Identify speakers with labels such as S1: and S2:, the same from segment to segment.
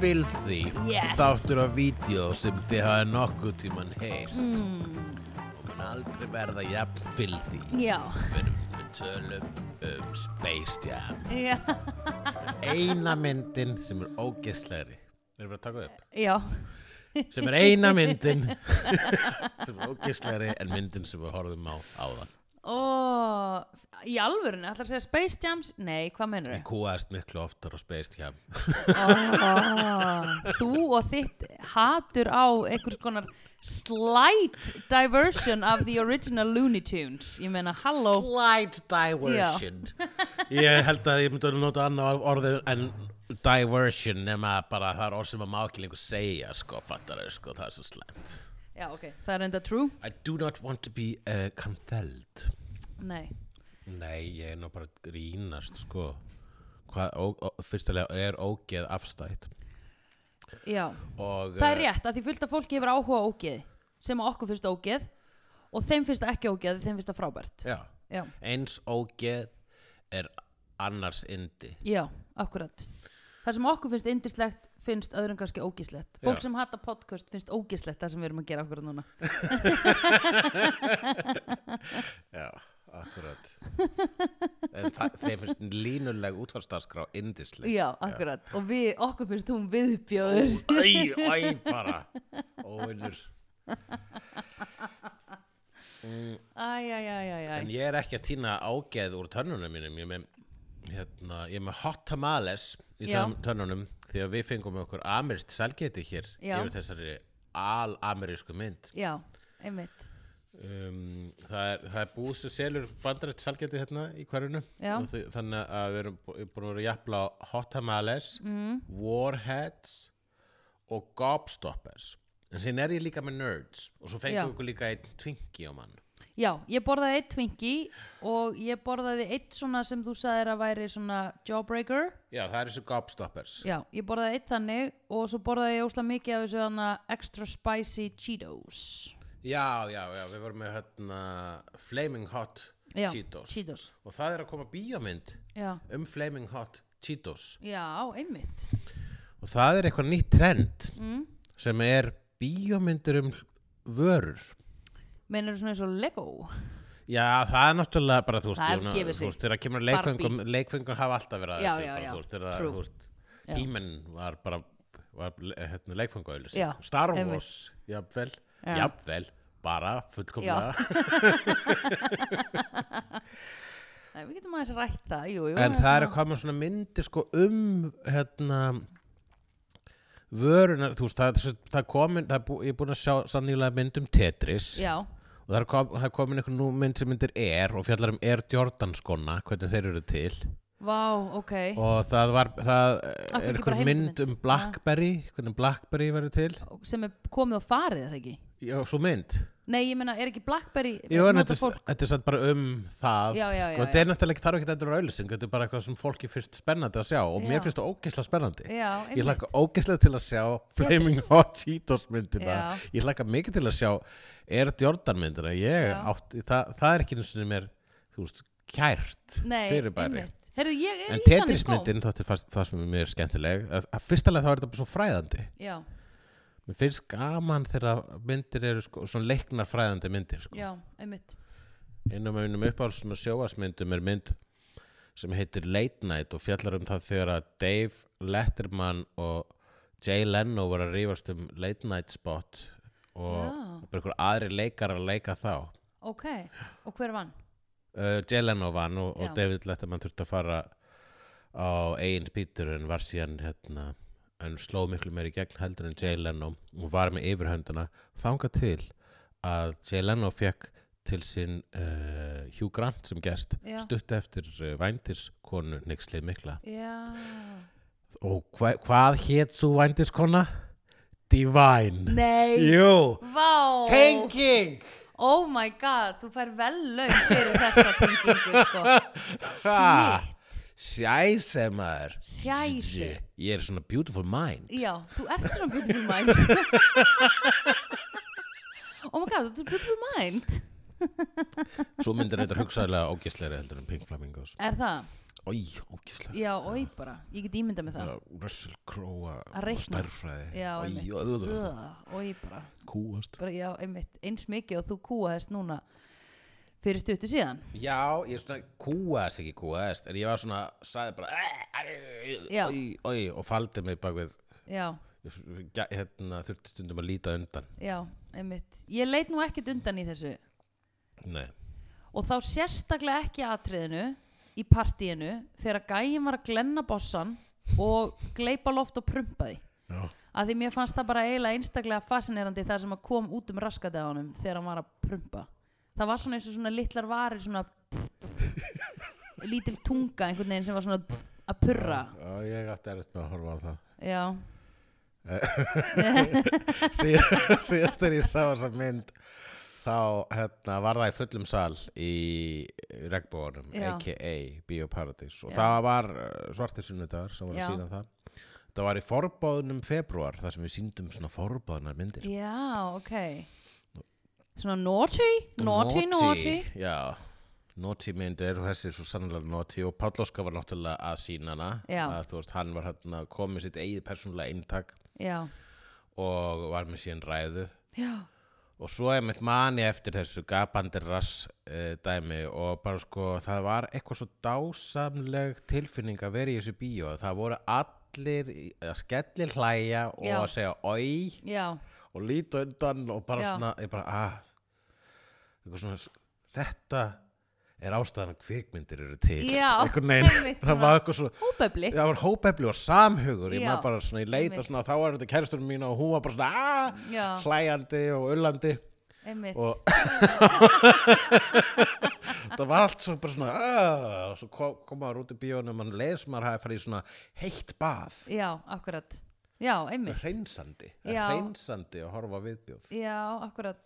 S1: filthy
S2: Yes.
S1: þáttur á vídeo sem þið hafa nokkuð tíman heyrt mm. og mun aldrei verða jafn filthy
S2: Já,
S1: við við tölum um Space Jam
S2: já,
S1: eina myndin sem er ógæstlegri erum við að taka upp
S2: já,
S1: sem er eina myndin sem er ógæstlegri en myndin sem við horfum á áðan
S2: ó, í alvörinu, ætlar að segja Space Jams? Nei, hvað menur
S1: ég kúaðist miklu oftar á Space Jam
S2: þau? Þú og þitt hatur á einhvers konar slight diversion of the original Looney Tunes. Ég meina, halló.
S1: Slight diversion Ég held að ég myndi að nota annað orði en diversion nema bara það er orð sem að má ekki lengur segja sko, fattar þau sko, það er svo slæmt
S2: Já, ok, það er enda true?
S1: I do not want to be uh, cancelled
S2: Nei.
S1: Nei, ég er nú bara að grínast sko Hvað, ó, ó, fyrstulega er ógeð afstætt
S2: Já,
S1: og
S2: það
S1: eh,
S2: er rétt að því fullt af fólki hefur áhuga á ógeði sem að okkur finnst ógeð og þeim finnst það ekki ógeð, þeim finnst það frábært.
S1: já,
S2: Já,
S1: eins ógeð er annars indi
S2: já, akkurat. Það sem okkur finnst indislegt finnst öðrum kannski ógeðslegt. Fólk
S1: Já.
S2: sem hata podcast finnst ógeðslegt það sem við erum að gera okkur núna.
S1: Já, akkurat En það, þeir finnst línuleg útvarsdagskrá indisleg
S2: Já, akkurat. Og við, okkur finnst hún viðbjóður.
S1: Æ, æ, bara Óvinnur
S2: Æ, æ, æ, æ, æ.
S1: En ég er ekki að týna ágeð úr tönnunum mínum Ég er með, hérna, ég er með hot tamales í
S2: Já.
S1: tönn- tönnunum Því að við fengum okkur amirist sælgeti hér
S2: Já.
S1: Yfir þessari al-amerísku mynd
S2: Já, einmitt.
S1: um, það, er, það er búið sem selur bandarætt sælgeti hérna í hverjunu
S2: Já.
S1: Og því- Þannig að við erum bú- búin að vera að jafla á hot tamales mm.
S2: Mhm.
S1: Warheads og gobstoppers En síðan er ég líka með nerds Og svo
S2: Já.
S1: fengum við okkur líka einn twinki á mann
S2: Já, ég borðaði eitt Twinkie og ég borðaði eitt svona sem þú sagðir að væri svona jawbreaker.
S1: Já, það er þessu gobstoppers
S2: Já, ég borðaði eitt þannig og svo borðaði ég óslega mikið af þessu hana extra spicy Cheetos.
S1: Já, já, já, við vorum með hérna Flaming Hot
S2: Já,
S1: Cheetos
S2: Cheetos.
S1: og það er að koma bíómynd
S2: Já,
S1: um Flaming Hot Cheetos
S2: já, einmitt.
S1: og það er eitthvað nýtt trend mm. sem er bíómyndir um vörur
S2: Meinar svona eins og Lego.
S1: Já, það er náttúrulega bara, þú veist,
S2: Það
S1: ég meina,
S2: gefur sig.
S1: þú veist þegar kemur að leikfengum, leikfengur hafa alltaf verið að
S2: Já,
S1: þessu,
S2: já,
S1: bara,
S2: já.
S1: þú veist, þegar,
S2: True.
S1: þú veist,
S2: Já.
S1: He-Man var bara, var hérna, leikfenguauðlis,
S2: Já,
S1: Star
S2: einmitt.
S1: Wars, jafnvel,
S2: Já.
S1: jafnvel, bara, fullkomlega,
S2: Nei, við getum aðeins rætt það, jú, jú.
S1: en það er að koma svona myndir, sko, um, hérna, vöruna, þú veist, það, það, það komin, það er bú, ég er búin að sjá sannilega mynd um Tetris,
S2: Já,
S1: og það er, kom, það er komin einhver nú mynd sem myndir Air og fjallar um Air Jordan skona, hvernig þeir eru til.
S2: vá, ok.
S1: og það var það
S2: Eh. Af hverju
S1: er
S2: ekki bara
S1: einhver mynd
S2: heimildarmynd?
S1: um Blackberry
S2: Ah.
S1: hvernig Blackberry verður til
S2: Sem er komið og farið, er það ekki?
S1: já, svo mynd
S2: Nei, ég meina, er ekki Blackberry,
S1: Jú, en
S2: nota
S1: þetta, er- þetta er satt bara um það
S2: Já, já,
S1: og
S2: já,
S1: þetta
S2: já.
S1: er náttúrulega ekki þarf ekki þetta er auðlýsing þetta er bara eitthvað sem fólki finnst spennandi að sjá og
S2: Já.
S1: mér finnst það ógeðslega spennandi
S2: Já,
S1: ég
S2: einmitt.
S1: hlakka ógeðslega til að sjá Flaming Hot Cheetos myndina
S2: Já.
S1: ég hlakka mikið til að sjá Air Jordan myndina ég
S2: Já.
S1: átti, það, það er ekki einu sinni mér þú veist, kært
S2: Nei,
S1: fyrirbæri
S2: einmitt. Herðu, ég er
S1: En
S2: í þannig skóm.
S1: Tetris-myndin þótti fast, fast mér mjög skemmtileg að, að fyrstalega þá er þetta bara svo fræðandi
S2: Já,
S1: Mér finnst gaman þegar myndir eru sko, svona leiknar fræðandi myndir sko.
S2: já, einmitt.
S1: Einum af einum uppáhalds svona sjóasmyndum er mynd sem heitir Late Night og fjallar um það þegar að Dave Letterman og Jay Leno voru að rífast um Late Night spot og
S2: Já.
S1: bara einhver aðri leikar að leika þá
S2: Ok, og hver vann?
S1: uh, Jay Leno vann og,
S2: Já.
S1: og David Letterman þurfti að fara á eigin spýtur en var síðan hérna en sló miklu meir í gegn heldur en Jay Leno og var með yfirhönduna þanga til að Jay Leno fekk til sinn uh, Hugh Grant sem gest
S2: Já.
S1: stutt eftir uh, vændiskonu Nixlið mikla
S2: Já,
S1: og hva, hvað hétt svo vændiskona? Divine
S2: nei,
S1: Jú,
S2: vá.
S1: tenging
S2: Oh my god, þú fær vel laun fyrir þessa tengingu sko.
S1: Ha,
S2: Shit.
S1: Sjæse maður
S2: Sjæsi
S1: Ég er svona beautiful mind
S2: Já, þú ert svona beautiful mind Oh my god, þú ert beautiful mind
S1: Svo myndir þetta hugsaðilega ógisleiri heldur en Pink Flamingo
S2: Er það?
S1: Í, ókíslega
S2: já, oi bara, ég get ímyndað með það
S1: Russell Crowe
S2: Að reikna.
S1: Stærfræði
S2: já,
S1: Í,
S2: einmitt,
S1: öðru
S2: Ugh, oi bara
S1: Kúast
S2: bara, já, einmitt, eins mikið og þú kúaðist núna fyrir stuttu síðan
S1: Já, ég svona kúast ekki kúast En ég var svona, sagði bara æ, æ,
S2: Já.
S1: æ, æ, Og faldi mig bak við
S2: já,
S1: ég- ja, hérna, Þurfti stundum að líta undan
S2: já, einmitt ég leit nú ekkert undan í þessu
S1: Nei
S2: og þá sérstaklega ekki atriðinu í partíinu þegar gæin var að glenna bossan og gleipa loft og prumpa því
S1: Já,
S2: að því mér fannst það bara eiginlega einstaklega fascinerandi það sem að kom út um raskatið á honum þegar hann var að prumpa það var svona eins og svona litlar varir svona lítil tunga einhvern veginn sem var svona að purra
S1: Já, ég átti erfitt með að horfa á það
S2: já,
S1: Síðan- síðast þegar ég sá þessa mynd þá hérna, var það í fullum sal í regnbóðunum
S2: Já.
S1: aka Bioparadís og
S2: Já.
S1: það var uh, svartir sunnudagur sem var
S2: Já.
S1: að sína það það var í forbóðunum februar þar sem við síndum svona forbóðunar myndir
S2: já, ok svona naughty naughty, naughty
S1: já Naughty myndir, þessi er svo sannlega Naughty og Páll Óskar var náttúrulega að sína hana
S2: Já.
S1: að þú veist, hann var hérna komið sitt eigið persónulega eintak
S2: já,
S1: og var með síðan ræðu
S2: já,
S1: og svo er mitt mani eftir þessu gapandi rass uh, dæmi og bara sko það var eitthvað svo dásamleg tilfinning að vera í þessu bíó það voru allir í- að skellir hlæja og
S2: Já.
S1: að segja oi
S2: já
S1: og líta undan og bara
S2: Já.
S1: svona ég bara að eitthvað svona þetta er ástæðan að kvikmyndir eru til
S2: Já,
S1: Einhvern veginn.
S2: einmitt
S1: það
S2: svona.
S1: var eitthvað svo
S2: hópefli
S1: það var hópefli og samhugur ég
S2: Já,
S1: maður bara svona í leita
S2: einmitt.
S1: svona þá var þetta kæristurinn mín og hún var bara svona aah
S2: Já.
S1: hlæjandi og ullandi
S2: einmitt,
S1: og það var allt svo bara svona "Ah", og svo kom, kom maður út í bíónum mann leið sem maður hafi farið í svona heitt bað
S2: já, akkurat já, einmitt
S1: hreinsandi,
S2: Já.
S1: hreinsandi að horfa á viðbjóð
S2: Já, akkurat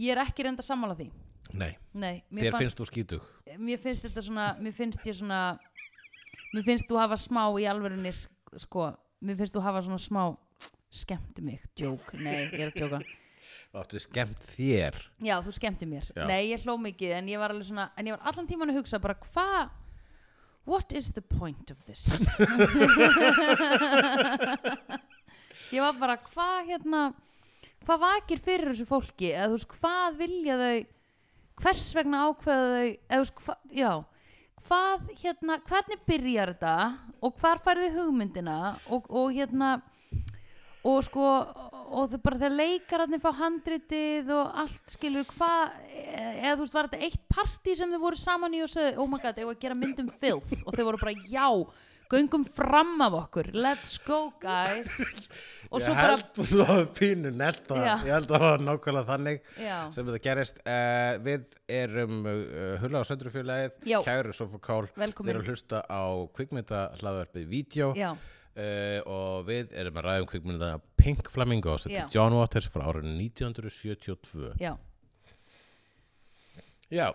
S2: Ég er ekki reynda sammála því
S1: Nei,
S2: Nei, mér,
S1: þér
S2: fannst,
S1: finnst þú skítug
S2: mér finnst þetta svona Mér finnst ég svona Mér finnst þú hafa smá í alvörinni sko, Mér finnst þú hafa svona smá Skemmti mig, djók Nei, ég er að djóka
S1: og áttu skemmt þér
S2: Já, þú skemmti mér
S1: Já.
S2: Nei, ég hló mikið en ég var alveg svona En ég var allan tíman að hugsa bara hvað What is the point of this? ég var bara hvað hérna Hvað vakir fyrir þessu fólki eða þú veist hvað vilja þau Hvers vegna ákveða þau eða þú veist hvað, já hvað, hérna, hvernig byrjar þetta og hvar færðu hugmyndina og, og hérna og sko, og þau bara þegar leikararnir fá handritið og allt skilur hvað, eða þú veist var þetta eitt partí sem þau voru saman í og sögðu, oh my god, eigum við að gera myndum filth og þau voru bara, já, göngum fram af okkur, let's go guys og svo
S1: Ég
S2: bara
S1: held að þú hafi pínu nelt það
S2: Já.
S1: Ég held að það var nákvæmlega þannig
S2: Já.
S1: sem þetta gerist uh, Við erum uh, Hula á Söndrufjörlæðið
S2: Já.
S1: Kæru Sofakál Þeir
S2: Velkomin.
S1: eru að hlusta á kvikmynda hlaðverfið Vídeó
S2: Já.
S1: Uh, og við erum að ræða um kvikmynda Pink Flamingo sem
S2: Já.
S1: er John Waters frá árinu 1972
S2: já,
S1: Já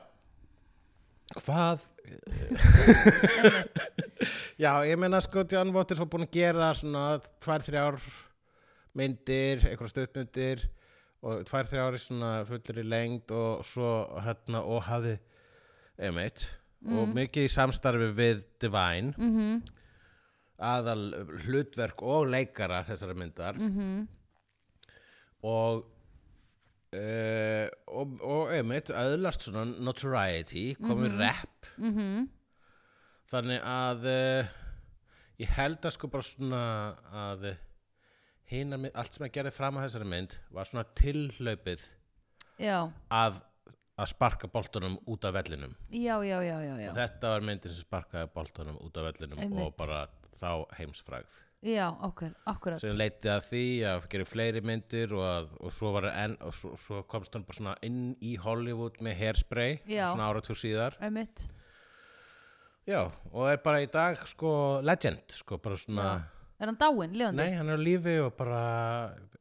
S1: Hvað? Já, ég meina sko John Waters var búin að gera svona tvær, þrjár myndir, einhverja stöðmyndir og tvær, þrjár í svona fullir í lengd og svo hérna og hafði einmitt og mikið í samstarfi við Divine mm -hmm.
S2: Mhm.
S1: aðal hlutverk og leikara þessara myndar mm -hmm. og Uh, og, og einmitt öðlast svona notoriety komið mm rap -hmm. þannig að uh, ég held að sko bara svona að hina, allt sem ég gerði fram að þessari mynd var svona tilhlaupið
S2: já,
S1: að, að sparka boltunum út af vellinum
S2: já, já, já, já, já.
S1: þetta var myndin sem sparkaði boltunum út af vellinum
S2: Einmitt.
S1: og bara þá heimsfrægð
S2: já, okkur, akkurat
S1: sem leiti að því að gera fleiri myndir og, að, og, svo, var enn, og svo, svo komst hann bara svona inn í Hollywood með hairspray
S2: Já.
S1: svona áratug síðar
S2: einmitt,
S1: já, og er bara í dag sko legend sko bara svona
S2: er hann dáinn, lifandi?
S1: nei hann er á lífi og bara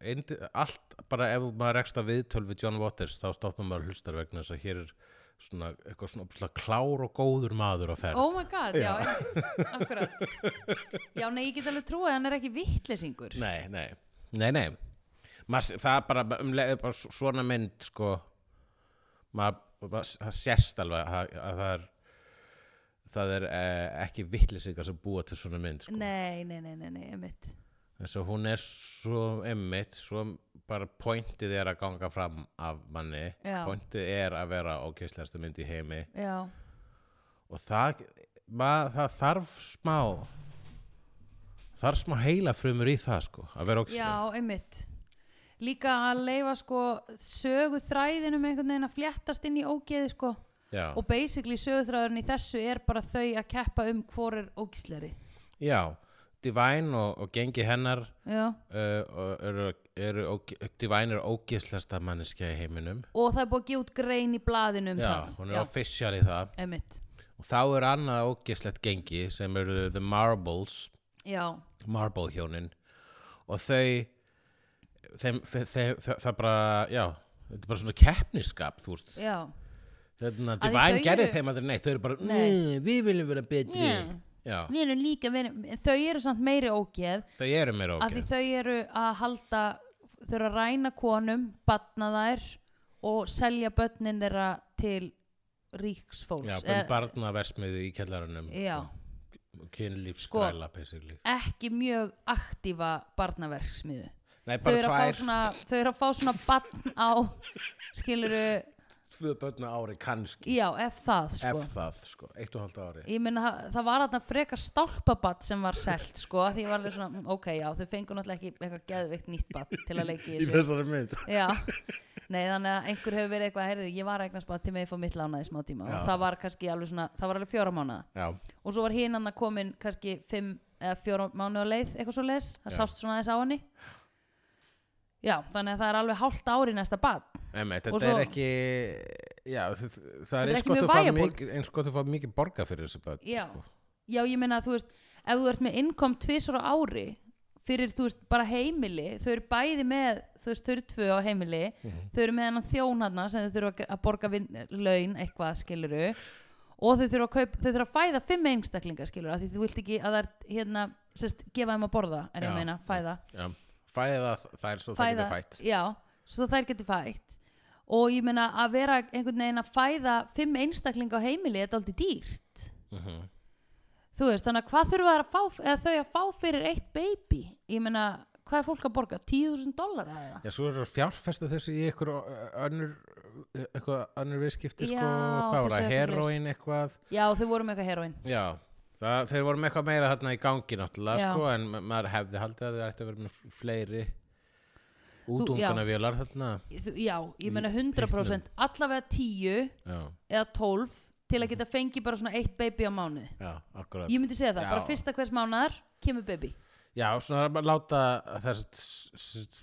S1: indi, allt bara ef maður rekst að viðtöl við John Waters þá stoppum maður hlustar vegna þess að hér er svona eitthvað svona, svona klár og góður maður að ferð
S2: Oh my god, já, já akkurat Já, nei, ég get alveg trúið að hann er ekki vittlesingur
S1: Nei, nei, nei, nei. Mas, það er bara, um, leið- bara s- svona mynd sko maður, maður, það sést alveg að, að það er það er eh, ekki vittlisingar sem búa til svona mynd sko.
S2: nei, nei, nei, nei, nei, einmitt
S1: svo hún er svo emmitt svo bara pointið er að ganga fram af manni
S2: Já.
S1: pointið er að vera ókesslegasta mynd í heimi
S2: já,
S1: og það, mað, það þarf smá þarf smá heila frumur í það sko, að vera ókesslega
S2: já, einmitt líka að leifa sko sögu þræðinum einhvern veginn að fléttast inn í ógeði sko
S1: já.
S2: og basically söguþræðurinn í þessu er bara þau að keppa um hvor er ógísleri
S1: já, Divine og, og gengi hennar
S2: já
S1: uh, og eru, eru óg- Divine er ókesslegasta manneskja í heiminum
S2: og það er búið að gefa út grein í blaðinu um
S1: já,
S2: það
S1: hún er official í það
S2: einmitt
S1: og þá er annað ógesslegt gengi sem eru The Marbles
S2: já,
S1: Marble hjónin og þau þeim, þe, þe, þe, það bara, já þetta er bara svona keppnisskap, þú veist
S2: já,
S1: Hérna,
S2: því
S1: Divine
S2: þau
S1: gerði
S2: eru-
S1: þeim aldrei neitt, þau eru bara
S2: Nei.
S1: "Mm, við viljum vera betri
S2: Yeah.
S1: já,
S2: við erum líka við erum, þau eru samt meiri ógeð
S1: þau eru mér
S2: að því
S1: ógeð
S2: þau eru að halda þau eru að ræna konum, batna þær og selja börnin þeirra til ríksfólks
S1: já,
S2: Eða-
S1: um barnaversmiðu í kjallarunum
S2: Eh, já,
S1: kynlífstræla
S2: Sko,
S1: basically.
S2: ekki mjög aktífa barnaverksmiðu
S1: nei,
S2: þau
S1: bara
S2: eru, að fá
S1: tvær,
S2: svona, þau eru að fá svona barn á skiluru,
S1: tvö börna ári kannski,
S2: já, ef það sko.
S1: ef það sko, eitt og halvt ári
S2: ég meina það, það var þarna frekar stálpabatt sem var selt sko, því ég var alveg svona, mm, ok, já, þau fengur náttúrulega ekki eitthvað geðveikt nýtt batt til að leiki
S1: í þessari mynd
S2: já, nei þannig að einhver hefur verið eitthvað, heyrðu, ég var að eignast bara til mig að fá mitt lánaði smá tíma
S1: Já.
S2: og það var kannski alveg svona, það var alveg fjóra mánuða
S1: já,
S2: og svo var hinn hann að komin kannski fimm eða fjóra mánuða leið, eitthvað svo leiðis það
S1: Já.
S2: sást svona aðeins á henni já, þannig að það er alveg hálft ári næsta bad
S1: Emme, þetta
S2: Og svo-
S1: er ekki já, það, það er
S2: er
S1: eins
S2: ekki
S1: gott
S2: mjög
S1: að fá
S2: viable.
S1: mikið- eins gott að fá mikið borga fyrir þessu börn
S2: Já.
S1: sko.
S2: já, ég meina að þú veist ef þú ert með innkom tvisar á ári fyrir, þú veist, bara heimili þau eru bæði með, þú veist, þau eru tvö á heimili
S1: Mhm.
S2: þau eru með hennan þjónarna sem þau þurfa að ge- að borga vin, laun eitthvað skiluru og þau þurfa að, kaup, þau þurfa að fæða fimm einstaklingar skiluru af því þú vilt ekki að það er hérna sérst, gefa þeim að borða, en
S1: Já.
S2: ég meina, fæða
S1: Já. fæða þær svo það
S2: fæða,
S1: getur fætt
S2: já, svo þær geti fætt og ég meina að vera einhvern veginn að fæða fimm einstaklinga á heimili þetta er aldrei dýrt
S1: Mhm.
S2: þú veist, þannig að hvað þurfa þær að fá, eða þau að fá fyrir eitt baby ég meina, hvað er fólk að borga? 10.000 dólar eða?
S1: já, svo er það fjárfesta þessu í eitthvað önnur, eitthvað önnur viðskipti sko,
S2: Já,
S1: hvað var
S2: þessu
S1: það,
S2: eitthvað
S1: heroin eitthvað
S2: Já, þau voru með eitthvað heroin
S1: já, það, þeir voru með eitthvað meira þarna í gangi náttúrulega,
S2: Já.
S1: sko, en ma- maður hefði haldið að þau ætti að vera með fleiri
S2: Þú- já.
S1: útunganavélar þarna
S2: Þú- Já, ég meina
S1: Í
S2: 100% allavega 10
S1: já,
S2: eða 12 til að geta fengið bara svona eitt baby á mánuði
S1: já, akkurat
S2: Ég myndi segja það,
S1: Já.
S2: bara fyrsta hvers mánuðar kemur baby
S1: Já, svona að bara láta þess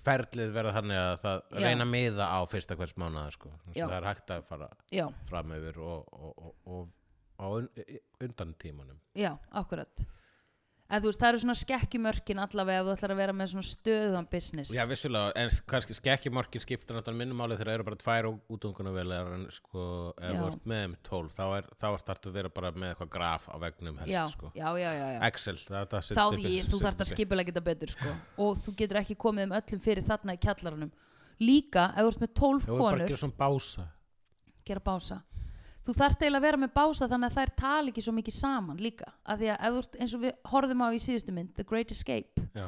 S1: ferlið vera þannig að það
S2: Já.
S1: reyna að miða á fyrsta hvers mánuða sko. Svo
S2: Já.
S1: það er hægt að fara
S2: Já,
S1: fram yfir og, og, og, og, og un, undan tímanum
S2: já, akkurat En þú veist, það eru svona skekkjumörkin allavega ef þú ætlar að vera með svona stöðugan business
S1: Já, vissulega, en s- kannski skekkjumorkin skipta náttúrulega minnumáli þegar það eru bara tvær útungunavelar en sko, ef
S2: Já.
S1: þú ert með um tólf þá er það að vera bara með eitthvað graf á vegnum helst
S2: já,
S1: sko.
S2: já, já, já, já.
S1: Excel, það er það
S2: þá því þú þarft að skipulega geta betur sko. og þú getur ekki komið um öllum fyrir þarna í kjallarunum líka ef þú ert með
S1: Þú er
S2: 12
S1: bara að
S2: konur
S1: gera svona bása
S2: gera bása þú þarft eiginlega að vera með bása þannig að þær tala ekki svo mikið saman líka af því að ef þú ert eins og við horfðum á í síðustu mynd The Great Escape
S1: Já,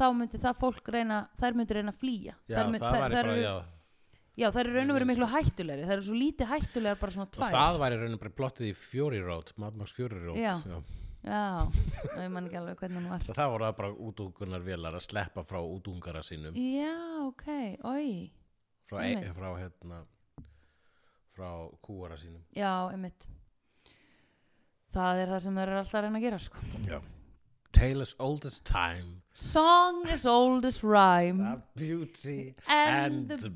S2: þá myndi það fólk reyna þær myndi reyna að flýja
S1: já
S2: þær,
S1: það,
S2: mun-
S1: væri
S2: þær,
S1: bara,
S2: eru,
S1: já
S2: já, þær eru raun og verið miklu hættulegri þær eru svo lítið hættulegar bara svona
S1: og
S2: tvær
S1: það var í rauninu bara plottið í Fury Road Mad Max Fury Road
S2: Já.
S1: Já.
S2: já, ég man ekki alveg hvernig hún var
S1: það voru það bara útungunar velar að sleppa frá útungara sínum
S2: já, ok, oi
S1: frá, e
S2: einmitt.
S1: frá hérna frá kúara sínum
S2: Já, einmitt Það er það sem þeir eru alltaf að reyna að gera sko.
S1: Já. Tale as old as time
S2: Song as old as rhyme
S1: the beauty
S2: And the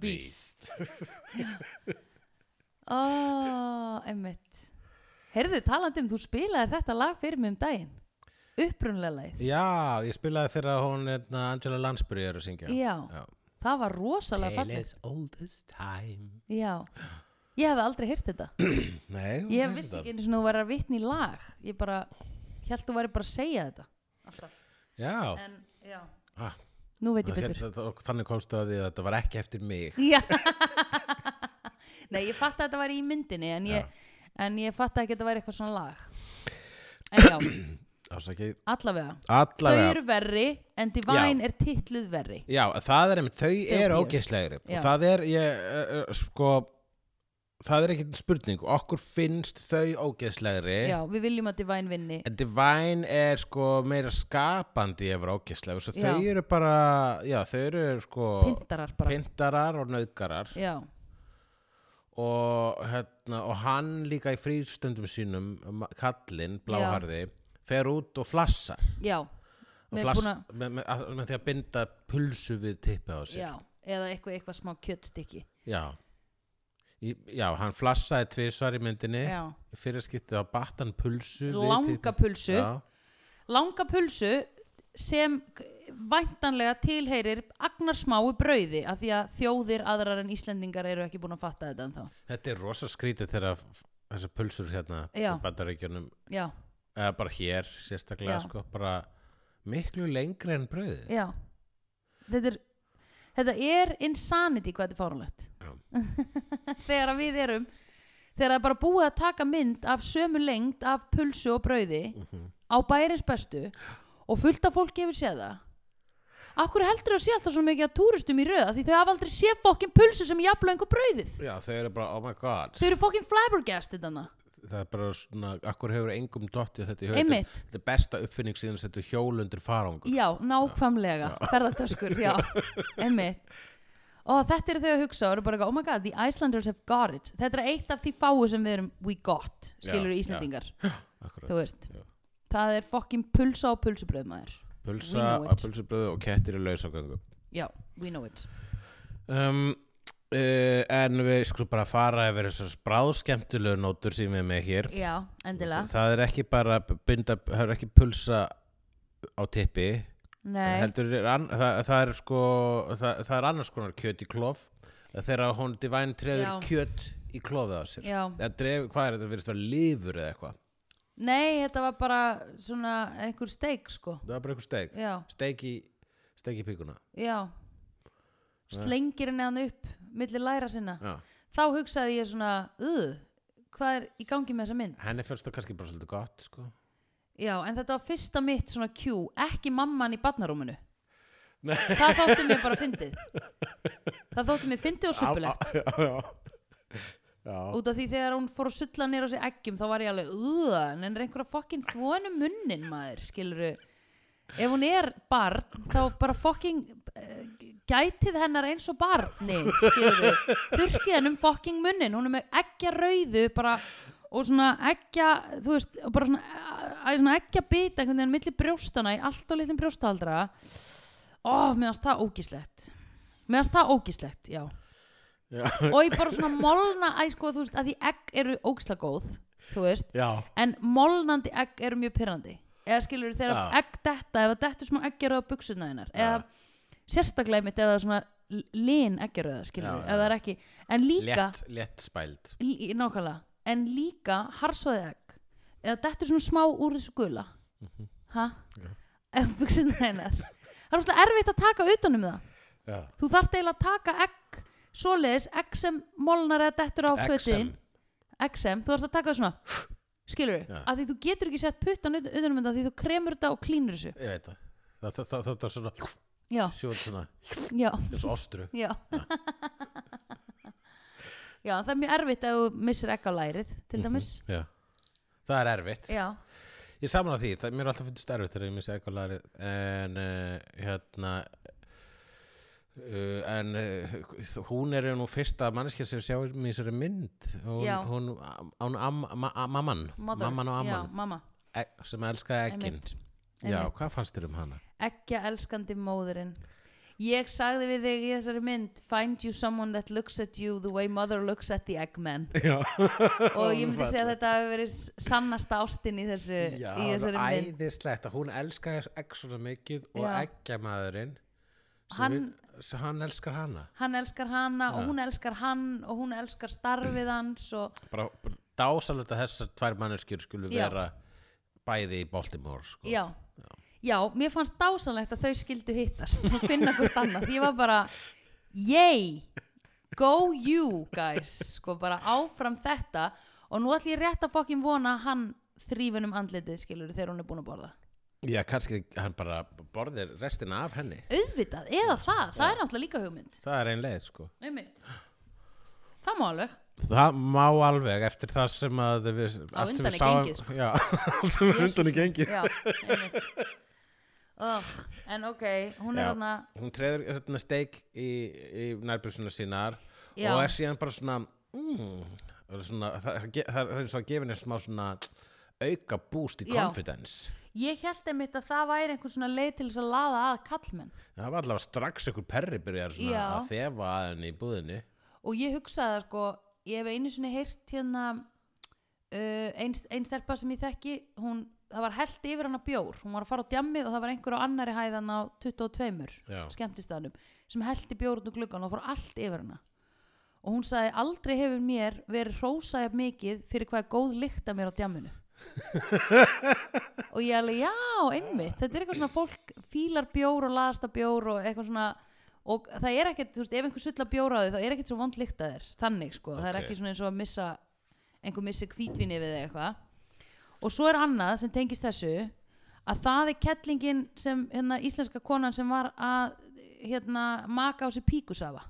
S2: Ó, Ah, einmitt Heyrðu, talandi um, þú spilaði þetta lag fyrir mig um daginn Upprunlega lagið
S1: Já, ég spilaði þegar hún hérna, Angela Lansbury er að syngja
S2: Já,
S1: Já.
S2: það var rosalega
S1: Tale
S2: fallið
S1: as old as time
S2: Já, ég hefði aldrei heyrt þetta
S1: Nei, hún
S2: Ég
S1: hefði
S2: vissi
S1: það.
S2: ekki einu svona þú væri að vitna í lag Ég bara, held þú væri bara að segja þetta
S1: Já,
S2: En, já
S1: Ah.
S2: Nú hérna, veit ég
S1: það,
S2: Eh, betur
S1: það, þannig komst það að því að þetta var ekki eftir mig
S2: Já Nei, ég fatt að þetta var í myndinni en ég, en ég fatt ekki að þetta væri eitthvað svona lag en já,
S1: Ásakið.
S2: allavega þau
S1: Allavega.
S2: eru verri en Divine er titluð verri
S1: Já, það er einmitt, þau eru
S2: fjögur.
S1: ógeðslegri.
S2: Já.
S1: Og það er, ég, uh, uh, sko, það er ekkert spurning. Okkur finnst þau ógeðslegri.
S2: já, við viljum að Divine vinni
S1: En Divine er sko meira skapandi yfir ógeðslegur. Svo
S2: Já.
S1: þau eru bara, já, þau eru sko
S2: pintarar bara
S1: pintarar og nauðgarar.
S2: já,
S1: og, hérna, og hann líka í frístundum sínum ma- kallinn, bláharði fer út og flassar
S2: já
S1: Og
S2: Með
S1: flass,
S2: búna-
S1: með, með, að- með því að binda pulsu við tippi á sig
S2: já, eða eitthvað, eitthvað smá kjötstykki
S1: já. Í, já hann flassaði tvisvar í myndinni
S2: já,
S1: í fyrir skiptið á battan pulsu við
S2: langa
S1: typpi-
S2: pulsu
S1: já,
S2: langa pulsu sem væntanlega tilheyrir agnarsmáu brauði af því að þjóðir aðrar en Íslendingar eru ekki búin að fatta þetta en þá
S1: þetta er rosa skrítið þegar f- f- þessar pulsur hérna
S2: Já.
S1: í bandaríkjunum
S2: já,
S1: eða bara hér sérstaklega
S2: Já.
S1: sko, bara miklu lengri en brauðið
S2: já þetta er, þetta er insanity hvað þetta er fáránlegt þegar að við erum þegar það er bara búið að taka mynd af sömu lengt af pulsu og brauði á bærins bestu og fullt af fólki hefur séð það Akkur heldur þú að sé alltaf svona mikið að túristum í röða því þau hafa aldrei séð fokkin pulsu sem jafnlöngu brauðið
S1: já, þau eru bara, oh my god
S2: Þau eru fokkin flabbergasted hana
S1: það er bara svona, akkur hefur engum dottið þetta í höfðu,
S2: Einmitt.
S1: Þetta- þetta er besta uppfinning síðan þetta hjólundir farangur
S2: Já, nákvæmlega, ferðartöskur Já, einmitt Og þetta eru þau að hugsa og eru bara eitthvað, Oh my god, the Icelanders have got it Þetta er eitt af því fáu sem við erum we got Skilur
S1: Já,
S2: Íslendingar,
S1: Akkurat.
S2: þú veist
S1: Já.
S2: Það er fokkin pulsa og pulsubröð maður we
S1: pulsa,
S2: know it.
S1: pulsubröðu og kettir í lausagöngu
S2: Já, we know it
S1: um, uh, en við skulum bara fara yfir þessar bráðskemmtilegu nótur sem við erum með hér
S2: Já, endilega
S1: það, það er ekki bara binda, það er ekki pulsa á tippi
S2: Nei,
S1: heldur, er an, það, það er sko það, það er annars konar kjöt í klof þegar hún divine treður
S2: Já.
S1: kjöt í klofið á sér
S2: já
S1: Eða dref, hvað er þetta, virðist það lífur eða eitthvað
S2: Nei, þetta var bara svona einhver steik sko
S1: það er bara einhver steik
S2: Já,
S1: steik í, steik í píkuna
S2: já Slengir henni hann upp milli læra sinna
S1: já.
S2: þá hugsaði ég svona uh, hvað er í gangi með þessa mynd
S1: henni fyrst það kannski bara svolítið gott sko.
S2: já, en þetta var fyrsta mitt svona Q ekki mamman í barnarúminu
S1: Nei.
S2: það þótti mér bara fyndið það þótti mér fyndið og suppulegt
S1: já, já, já.
S2: út af því þegar hún fór að sulla nýra á sig eggjum þá var ég alveg, uh, en er einhverja fokkin þvonu munnin maður, skiluru ef hún er barn þá bara fokkin uh, gætið hennar eins og barni skiluru, þurkið henn um fokkin munnin, hún er með eggja rauðu bara og svona eggja þú veist, og bara svona, æ, svona eggja bita einhvern veginn milli brjóstana í allt og litlum brjóstahaldra ó, meðan það ógíslegt meðan það ógíslegt, já
S1: já.
S2: og ég bara svona molna æ, sko, þú veist, að því egg eru ógsla góð þú veist,
S1: já.
S2: en molnandi egg eru mjög pyrrandi eða skilur þegar
S1: Já.
S2: egg detta, ef það dettur smá eggjaröð á buksuna hennar, eða sérstaklega mitt ef það er svona l- lin eggjaröða skilur,
S1: Já, já.
S2: ef það er ekki, en líka
S1: Létt, létt spæld
S2: lí, nákvæmlega, en líka harsoðið egg, eða dettur svona smá úr þessu gula ha?
S1: Mhm. Já.
S2: ef buksuna hennar það er svona erfitt að taka utanum það
S1: já.
S2: þú þarft eiginlega að taka egg svoleiðis, egg sem molnar eða dettur á fötin, egg sem þú þarft að taka það svona, skilur
S1: Já.
S2: að því þú getur ekki sett puttan ut- utan um þetta af því þú kremur þetta og klínur þessu
S1: ég veit það Það, það, það, það er svona,
S2: já,
S1: sjóð svona,
S2: já,
S1: eins og ostru.
S2: já já, það er mjög erfitt að þú missir egg á lærið til
S1: Mhm.
S2: dæmis,
S1: Já. Það er erfitt.
S2: já,
S1: Ég saman að því, það, mér er alltaf fundist erfitt þegar ég missi eitthvað lari. En, uh, hérna, uh, en uh, hún er nú fyrsta manneskja sem sjá mér í þessari mynd. Hún,
S2: Já.
S1: hún, hún am, ma, mamman,
S2: mother
S1: mamman og
S2: já,
S1: amman,
S2: mamma,
S1: egg, sem elskaði egginn.
S2: Einmitt.
S1: Já,
S2: Einmitt.
S1: hvað fannst þér um hana?
S2: eggja elskandi móðurinn ég sagði við þig í þessari mynd find you someone that looks at you the way mother looks at the eggman
S1: Já.
S2: og ég myndi segja að þetta hafi verið s- sannasta ástin í, þessu,
S1: Já,
S2: í þessari mynd
S1: æðislegt að hún elskaði egg svona mikið og
S2: Já.
S1: eggjamaðurinn sem
S2: Hann-
S1: við- sem hann elskar hana
S2: hann elskar hana
S1: Já. Sko,
S2: og hún elskar hann og hún elskar starfið hans og
S1: bara, bara dásalegt að þessar tvær manneskjur skulu
S2: Já.
S1: vera bæði í Baltimore sko.
S2: já, já, mér fannst dásanlegt að þau skildu hittast og finna hvort annað, ég var bara yay, go you guys sko bara áfram þetta og nú ætlum ég rétt að fokkin vona að hann þrýfinum andlitið skilur þegar hún er búin að borða
S1: Já, kannski hann bara borðir restina af henni.
S2: auðvitað, eða það, það er náttúrulega líka hugmynd
S1: Það er ein leið, sko.
S2: einmitt það má alveg,
S1: Það má alveg eftir það sem að við...
S2: Á
S1: allt sem
S2: undan
S1: við
S2: er
S1: sáum-
S2: gengið, sko.
S1: Já, allt sem er
S2: Jesús
S1: undan er gengið.
S2: já, einmitt oh, en ok, hún er
S1: Já.
S2: þarna
S1: Hún treður hérna, steik í, í nærbjörnsuna sínar
S2: Já.
S1: og er síðan bara svona... Mm, og svona það, það, það er eins og að gefa henni smá svona auka boost í
S2: Já.
S1: confidence.
S2: ég held einmitt að það væri einhvers svona leið til þess að laða að kallmenn
S1: Það var allavega strax einhver perri byrjar svona
S2: Já.
S1: að þefa að henni í búðinni.
S2: og ég hugsaði það sko ég hef einu sinni heyrt hérna uh, einn stelpa sem ég þekki hún, það var held yfir hana bjór hún var að fara á djammið og það var einhver á annari hæðan á 22
S1: Já.
S2: skemmtistaðanum sem heldi bjór út úr gluggan og fór allt yfir hana og hún sagði aldrei hefur mér verið hrósað jafn mikið fyrir hvað er góð lykt að mér á djamminu og ég alveg já, einmitt þetta er eitthvað svona fólk fílar bjór og laðast að bjór og eitthvað svona og það er ekkert, þú veist, ef einhver sulla bjór á þig þá er ekkert svo vond lykt að þér, þannig sko það er
S1: Ok.
S2: ekki svona eins og að missa einhver missi hvítvinni við þig eitthvað og svo er annað sem tengist þessu að það er kettlingin sem hérna, íslenska konan sem var að hérna, maka á sér píkusafa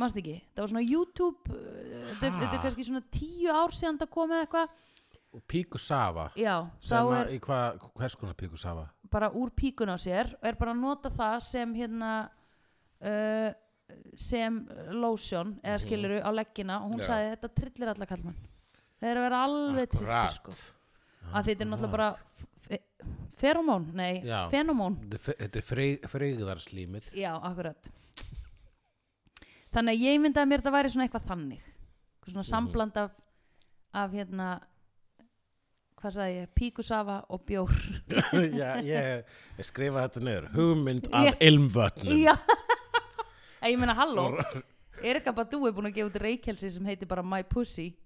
S2: manst ekki, það var svona YouTube uh, þetta
S1: Ha?
S2: þetta er kannski svona tíu ár síðan það komið eitthvað
S1: Og Píku Sava.
S2: já, þá
S1: sem
S2: er
S1: að, í hvað, hvers konar Píku Sava?
S2: bara úr píkun á sér og er bara að nota það sem hérna uh, sem lotion eða skiluru á leggina og hún
S1: Mhm. Já.
S2: sagði þetta trillir alla kallmann það er að vera alveg tristir sko að þetta er náttúrulega bara f- f- feromón, nei,
S1: Já.
S2: fenomón
S1: Þetta er fe- Þetta er freyð- freyðarslímið.
S2: Já, akkurat Þannig að ég myndaði mér þetta væri svona eitthvað þannig
S1: Mhm.
S2: Eitthvað svona sambland af af hérna hvað sagði ég, píkusafa og bjór
S1: Já, ég, ég skrifa þetta niður. Hugmynd af
S2: Ég-
S1: ilmvötnum.
S2: Já En ég meina halló Erika Badú er búin að gefa út reikelsi sem heitir bara My Pussy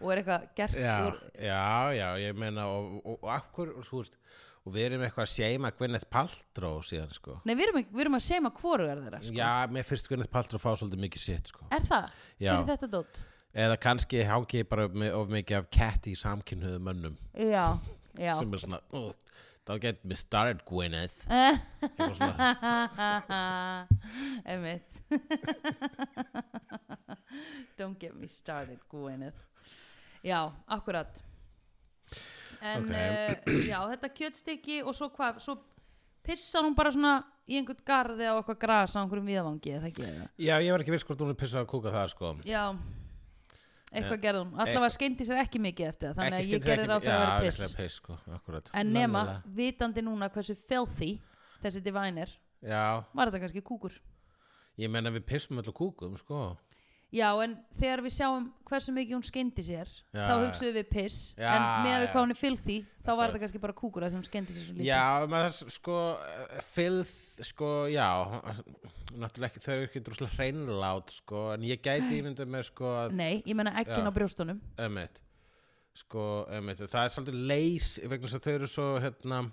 S2: og er eitthvað gert
S1: Já,
S2: úr
S1: já, já, ég meina og, og, og af hverju, þú veist, og við erum eitthvað að seima Gwyneth Paltrow síðan, sko.
S2: Nei, við erum, ekki- við erum að seima hvorugar þeirra sko.
S1: Já, mér finnst Gwyneth Paltrow fá svolítið mikið sitt, sko.
S2: Er það?
S1: Já.
S2: Fyrir þetta dótt?
S1: Eða kannski hangi ég bara með, of mikið af ketti í samkynhuðu mönnum
S2: Já, já
S1: sem er svona, oh, don't get me started, Gwyneth. Eitthvað svona.
S2: Emmett Don't get me started Gwyneth Já, akkurat En
S1: Ok.
S2: uh, já, þetta kjötstykki og svo hvað, svo pissar hún bara svona í einhvern garði á eitthvað gras á einhverjum viðavangi, eða ekki eða
S1: Já, ég var ekki viss hvort hún er pissað að kúka það, sko.
S2: Já, eitthvað gerði hún allavega skeindi sér ekki mikið eftir það þannig
S1: Eh, Ekki
S2: að ég
S1: skyndir
S2: gerði
S1: ekki-
S2: ráð fyrir að
S1: já,
S2: vera
S1: líklega
S2: piss
S1: piss, sko, akkurat.
S2: En nema,
S1: Lalala.
S2: vitandi núna hversu filthy þessi divine er,
S1: Já,
S2: var þetta kannski kúkur
S1: ég menna við pissum öll og kúkum, sko.
S2: Já, en þegar við sjáum hversu mikið hún skeindi sér
S1: Já,
S2: þá
S1: já.
S2: hugsuðum við piss
S1: Já,
S2: en með að við
S1: já.
S2: hvað hún er filthy þá var
S1: Akkurat.
S2: þetta kannski bara kúkur að því hún skeindi sér svo lítið
S1: Já, maður það sko eh, fylgð, sko, já náttúrulega ekki, þau eru ekki droslega hreinlát, sko, en ég gæti ímyndið með sko, að-
S2: Nei, ég menna
S1: Já.
S2: eggin á brjóstunum
S1: einmitt sko, einmitt, það er svolítið leys vegna þess að þau eru svo, hérna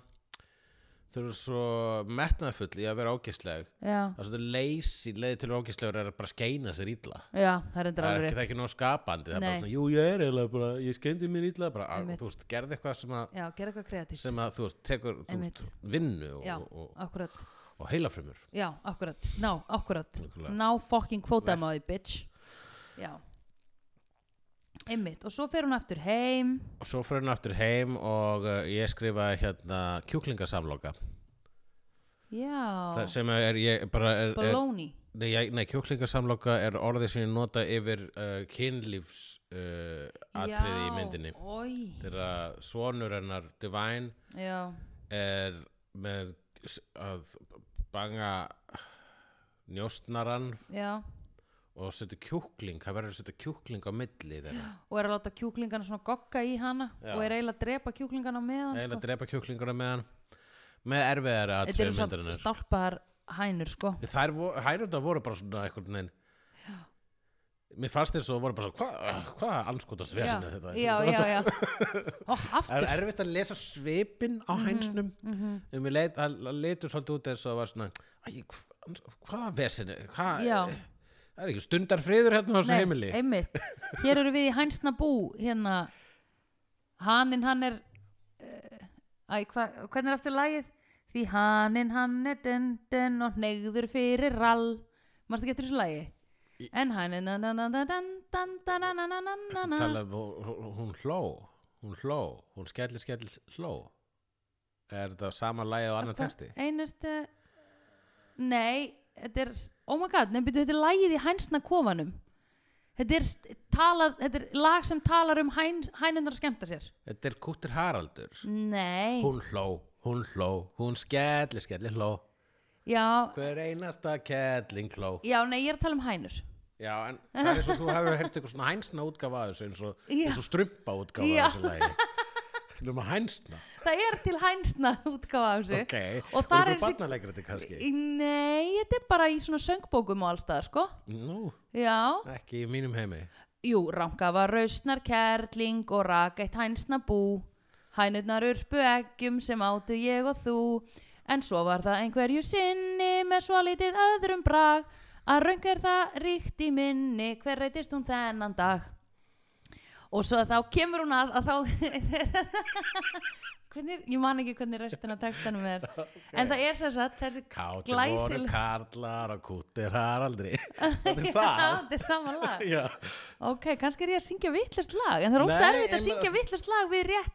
S1: þau eru svo metnaðfull í að vera ógæsleg
S2: Já,
S1: það er svolítið leys í leiði til ógæslegur er að bara skeina sér illa
S2: já það er endur
S1: það er ekki, það er
S2: alveg rétt
S1: ekki nóg skapandi, það er
S2: Nei.
S1: bara svona, jú, ég er eiginlega bara, ég skeindi mér illa, bara, að,
S2: Einmitt.
S1: þú veist, gerði eitthvað sem að
S2: Já, gera eitthvað kreatíft
S1: sem að þú veist, tekur, þú veist,
S2: Einmitt.
S1: vinnu
S2: Já,
S1: og, og,
S2: akkurat
S1: og heilafrumur
S2: Já, akkurat, ná, akkurat
S1: Nákvæmlega.
S2: Ná fucking kvótaðum á því, bitch Já Einmitt, og svo fer hún aftur heim
S1: og svo fyrir hann aftur heim og uh, ég skrifaði hérna kjúklingasamloka
S2: Já,
S1: það sem er, ég bara er, er,
S2: baloney
S1: nei, ég- nei, kjúklingasamloka er orðið sem ég nota yfir uh, kynlífs uh, atriði í myndinni
S2: oj,
S1: þegar sonur hennar Divine
S2: Já,
S1: er með s- að banga njóstnaran
S2: já
S1: og setja kjúkling, það verður að setja kjúkling á milli þeirra,
S2: og er að láta kjúklingana svona gogga í hana
S1: Já.
S2: og er eiginlega að drepa kjúklingana meðan
S1: eiginlega
S2: sko.
S1: drepa kjúklinguna með hann með erfiðari
S2: þetta
S1: atriði
S2: eru svona
S1: myndarinnar
S2: stálpaðar hænur sko.
S1: Þær voru, hærundar voru bara svona eitthvað neginn Mér fannst þér svo voru bara svona Hvað hva anskotast við
S2: já,
S1: sinni þetta?
S2: já, já, já. og
S1: Það
S2: aftur
S1: er erfitt að lesa svipin
S2: Mhm,
S1: á hænsnum mm -hmm. leit, Það það litur svolítið út eins og það var svona Æ, hva, hvaða vesinni? Hva,
S2: Já.
S1: Það er ekki stundar friður hérna á þessu
S2: Nei,
S1: heimili
S2: einmitt, hér eru við í hænsna bú hérna haninn hann er uh, æ, hva, hvernig er aftur lagið því haninn hann er dendin og hnegður fyrir rall mannst ekki eftir þessu lagi
S1: Í-
S2: en haninn dan, dan, dan, dan, dan, dan, dan, dan, dan, dan, dan,
S1: Talað, um, hún, hún hló Hún hló, hún skellir skellir hló Er þetta sama lagi á annan
S2: Hva-
S1: texti?
S2: einustu nei, þetta er oh my god, nefnir þetta er lagið í hænsna kofanum þetta er, st- talað, þetta er lag sem talar um hæn, hænundar að skemmta sér
S1: Þetta er Kúttir Haraldur
S2: nei,
S1: Hún hló, hún hló, hún skellir skellir hló
S2: já
S1: Hver einasta kelling hló
S2: Já, nei, ég er að tala um hænur
S1: Já, en það er eins og þú hefur heyrt eitthvað svona hænsna útgáfa að þessu eins og,
S2: Já.
S1: eins og strumpa útgáfa
S2: Já.
S1: að þessu lagi Núma hænsna
S2: Það er til hænsna útgáfa af þessu
S1: Ok,
S2: Og þar er
S1: þessi
S2: þessi-
S1: Barnalegrið kannski
S2: Í- Nei, þetta er bara í svona söngbókum og allstað, sko
S1: Nú,
S2: Já,
S1: ekki í mínum heimi
S2: jú, rangafa rausnar kærling og raka eitt hænsna bú Hænurnar urpu eggjum sem átu ég og þú En svo var það einhverju sinni með svo lítið öðrum brag Að raungar það ríkt í minni, hver reytist hún þennan dag Og svo þá kemur hún að, að þá hvernig, ég man ekki hvernig restina af textanum er en það er sem sagt þessi
S1: Kátir voru
S2: glæsilega
S1: karlar og kútir haraldri Þetta er það
S2: þetta er sama lag
S1: Já,
S2: ok, kannski er ég að syngja vittlust lag en það er ógst
S1: Nei,
S2: erfitt
S1: en-
S2: að syngja vittlust lag við rétt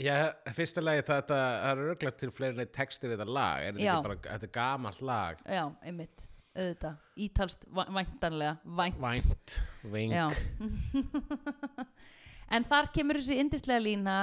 S1: Já fyrsta lagi þetta það er örglega til fleiri neitt texti við þetta lag er þetta
S2: Já.
S1: ekki bara, þetta er gamalt lag
S2: já, einmitt, auðvitað, ítalst væ- væntanlega, vænt
S1: Vænt, ving
S2: já en þar kemur þessi indislega lína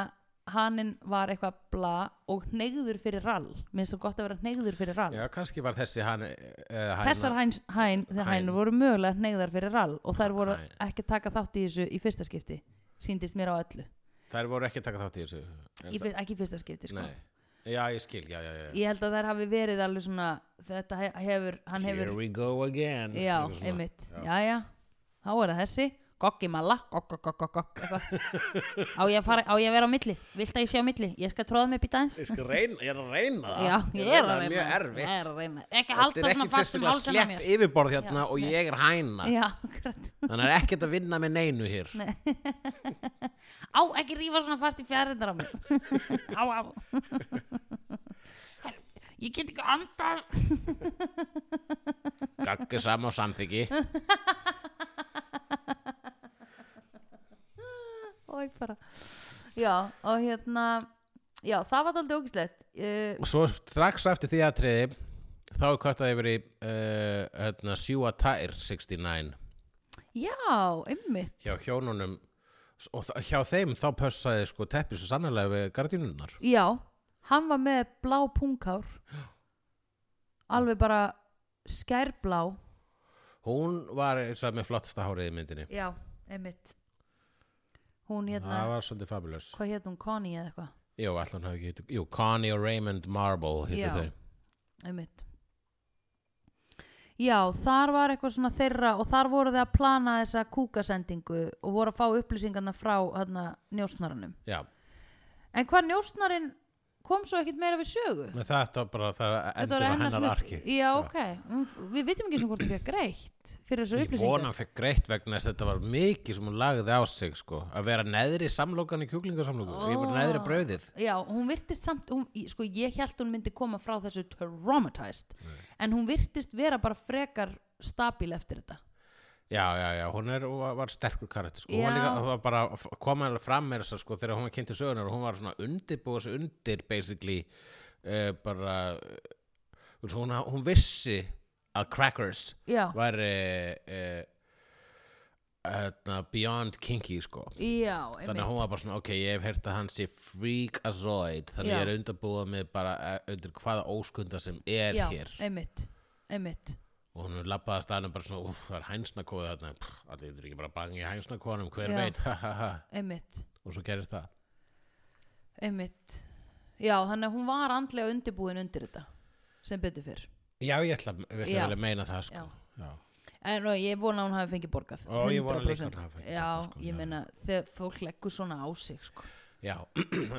S2: hanninn var eitthvað bla og hnegður fyrir rall mér finnst það gott að vera hnegður fyrir rall
S1: Já, kannski var þessi hann uh,
S2: Þessar hæn, hæn, hæn,
S1: Hæn.
S2: hæn voru mögulega neyðar fyrir rall og þær voru
S1: Hæn.
S2: ekki að taka þátt í þessu í fyrsta skipti síndist mér á öllu
S1: Þær voru ekki að taka þátt í þessu er
S2: í, fyr- ekki í fyrsta skipti sko.
S1: Nei, já ég skil, já, já, já
S2: ég held að þær hafi verið alveg svona þetta he- hefur, hann hefur
S1: Here we go again
S2: já,
S1: Eitthvað svona.
S2: einmitt, já. já, þá er það þessi goggi malla, gogg, gogg, gogg, gogg eitthvað. á, ég að fara, á ég að vera á milli vilt að ég sé á milli, ég skal tróða mig býta eins
S1: Ég skal reyna, ég er að reyna það
S2: já, ég er
S1: Það
S2: að
S1: er
S2: reyna
S1: mjög
S2: ég er
S1: erfitt
S2: að reyna. ekki
S1: Þetta
S2: halda
S1: er
S2: svona
S1: ekki
S2: fast um
S1: sérstaklega
S2: hálsinn á
S1: slett
S2: mér
S1: yfirborð hérna og ég er hæna
S2: já, akkurat
S1: Þannig er ekkert að vinna með neinu hér
S2: á, ekki rífa svona fast í fjærindar á mig á, á ég get ekki andað
S1: Gagga sama og samþyggi
S2: Ói, bara. já, og hérna já, það var aldrei ógislegt uh,
S1: Svo strax eftir því aðtriði þá er kvartað yfir í uh, hérna, sjúa tær 69
S2: já, ymmit
S1: hjá hjónunum S- og þa- hjá þeim þá pössaði sko teppi svo sannlega við gardínunnar
S2: já, hann var með blá punghár alveg bara skærblá
S1: Hún var eins og með flottasta hárið í myndinni
S2: já, ymmit hún hérna,
S1: Það var svolítið fabulous
S2: hvað hét hún, Connie eða eitthvað
S1: Jú, allan hafi ekki heitu Jú, Connie og Raymond Marble
S2: Já.
S1: hittu þau
S2: einmitt Já, þar var eitthvað svona þeirra og þar voru þið að plana þessa kúkasendingu og voru að fá upplýsingarna frá hérna, njósnaranum.
S1: Já,
S2: En hvað njósnarinn kom svo ekkit meira við sögu?
S1: menn þetta var bara það
S2: Þetta
S1: endur
S2: var
S1: á hennar
S2: hlut-
S1: arki
S2: Já, ok. Hún, við vitum ekki sem hvort það fyrir greitt fyrir þessu
S1: Ég vona
S2: upplýsingar.
S1: hann fekk greitt vegna þess að þetta var mikið sem hún lagði á sig sko. að vera neðri samlokan í kjúklingasamloku ég var neðri brauðið
S2: Já, hún virtist samt, hún, í- sko ég held hún myndi koma frá þessu traumatized en hún virtist vera bara frekar stabíl eftir þetta.
S1: Já, já, já, hún er, hún var- var sterkur karakter sko. hún var
S2: Já.
S1: líka, hún var bara f- kom alveg fram með þess að sko, þegar hún var kynnt í sögunar og hún var svona undirbúið þessu undir basically uh, bara uh, hún, hún vissi að Crackers
S2: Já,
S1: væri uh, uh, beyond kinky sko.
S2: já,
S1: þannig að hún
S2: einmitt.
S1: var bara svona ok, ég hef heyrt að hann sé freakazoid þannig
S2: Já.
S1: ég er undirbúið með bara eh, undir hvaða óskunda sem er
S2: Já,
S1: hér
S2: einmitt, einmitt.
S1: og hún labbaði að staðnum bara svona uff, það er hænsnakóð þarna Pff, allir þetta ekki bara bangi hænsnakóðanum, hver
S2: Já.
S1: veit ha, ha, ha.
S2: einmitt,
S1: og svo gerist það
S2: einmitt já, þannig að hún var andlega undirbúin undir þetta sem betur fyrr
S1: já, ég ætla, ég ætla
S2: Já.
S1: vel að meina það sko.
S2: Já.
S1: Já.
S2: en og ég vona að hún hafi fengið borgað
S1: Ó, ég vona líka að hún
S2: 100%.
S1: hafi fengið
S2: já,
S1: borgað, sko, já.
S2: ég meina þegar fólk leggur svona á sig sko.
S1: Já,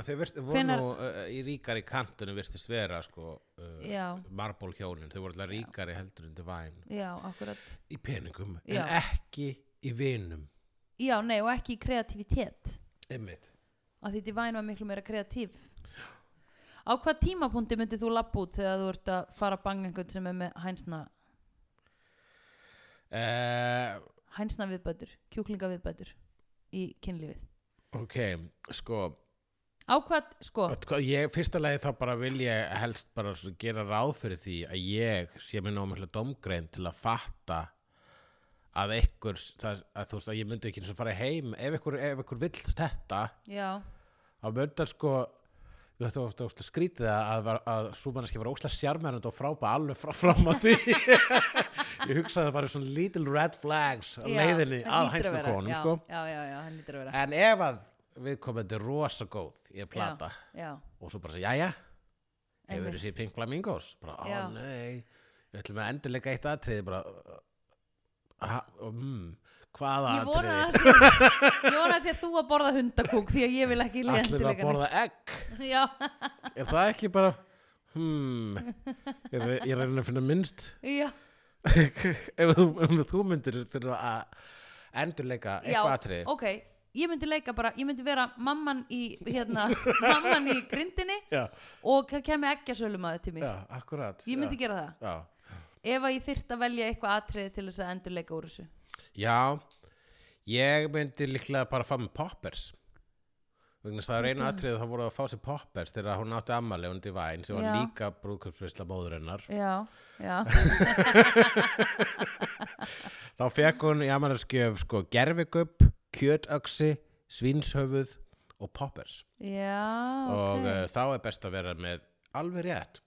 S1: þau virst, voru
S2: Hvenær-
S1: nú uh, í ríkari kantunum virtist vera sko uh,
S2: já,
S1: Marble hjónin, þau voru alltaf ríkari heldur en Divine
S2: já, akkurat
S1: í peningum
S2: Já.
S1: en ekki í vinum
S2: já, nei, og ekki í kreativitet
S1: einmitt
S2: að því Divine var miklu meira kreatív á hvað tímapunkti myndir þú lappa út þegar þú ert að fara að banga einhvern sem er með hænsna
S1: uh,
S2: hænsna viðbætur, kjúklinga viðbætur í kynlífið
S1: Ok, sko
S2: á hvað, sko,
S1: Veit hvað, ég, fyrsta lagi þá bara vil ég helst bara svo gera ráð fyrir því að ég sé mér nóg mjög domgrein til að fatta að einhver, það, að þú veist að ég myndi ekki eins og fara heim, ef einhver, ef einhver vill þetta,
S2: já
S1: að myndar sko Ég ætti ofta óslega skrítið að, að, var- að svo manneski var óslega sjarmerund og frápa alveg frá, fram að því. ég hugsaði að það var svona little red flags á
S2: já,
S1: leiðinni
S2: hann
S1: að
S2: hlýtur
S1: hænsna
S2: vera,
S1: konum,
S2: já,
S1: sko.
S2: já, já, já, hann lítur að vera
S1: En ef að viðkomandi er rosa góð í að plata
S2: já,
S1: og svo bara segja, jæja, hefur
S2: einmitt.
S1: þessi Pink Flamingos? Bara, á
S2: Já.
S1: nei, við ætlum að endurleika eitt atriði, bara, ha, mm, hvaða
S2: ég vona
S1: atriði?
S2: að það sé ég vona að sé þú að borða hundakúk því að ég vil ekki leiða
S1: Ætlum við að borða egg?
S2: já,
S1: Er það ekki bara, hmm, ég er ég er að reyna að finna minnst.
S2: já,
S1: ef, þú, ef þú myndir þurfa að endurleika
S2: já
S1: eitthvað atriði.
S2: ok, ég myndi leika bara ég myndi vera mamman í hérna, mamman í grindinni
S1: Já,
S2: og það kemur ekki að sölum til mín
S1: já, akkurat.
S2: ég myndi
S1: já,
S2: gera það
S1: Já.
S2: ef að ég þyrt að velja eitthvað atriði til þess að endurleika úr þessu
S1: Já, ég myndi líklega bara að fá með poppers vegna þess að það er einu atrið það voru að fá sér poppers þegar hún átti ammali hún Divine sem var
S2: Já.
S1: líka brúðkjöpsvisla móðurinnar
S2: já, já,
S1: þá fekk hún í ammaliðskjöf sko gerfigubb, kjötöksi svínshöfuð og poppers
S2: já
S1: og
S2: ok.
S1: uh, þá er best að vera með alveg rétt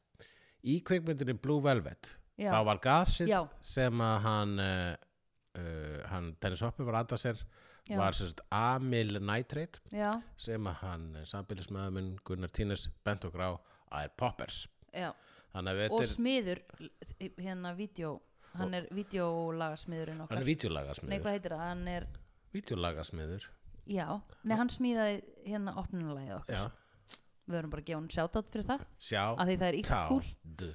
S1: í kveikmyndinni Blue Velvet
S2: Já.
S1: þá var gasið
S2: Já.
S1: sem að hann uh, uh, hann Dennis Hopper var aðað sér
S2: Já.
S1: var sem sagt amyl nitrate
S2: já,
S1: sem að hann sambilismæður minn Gunnar Tínes bent okkur á að er poppers
S2: já
S1: þannig að
S2: og
S1: þetta er,
S2: smiður hérna vídeo hann er videolagasmiðurinn
S1: hann
S2: okkar
S1: er
S2: nei
S1: vídeolagarsmiður
S2: hvað heitir það, hann er
S1: vídeolagarsmiður,
S2: já, nei hann smíðaði hérna opnunulagið okkar,
S1: já,
S2: við verum bara að gefa hann shoutout fyrir það,
S1: sjá
S2: af því það er íkt kúl
S1: d-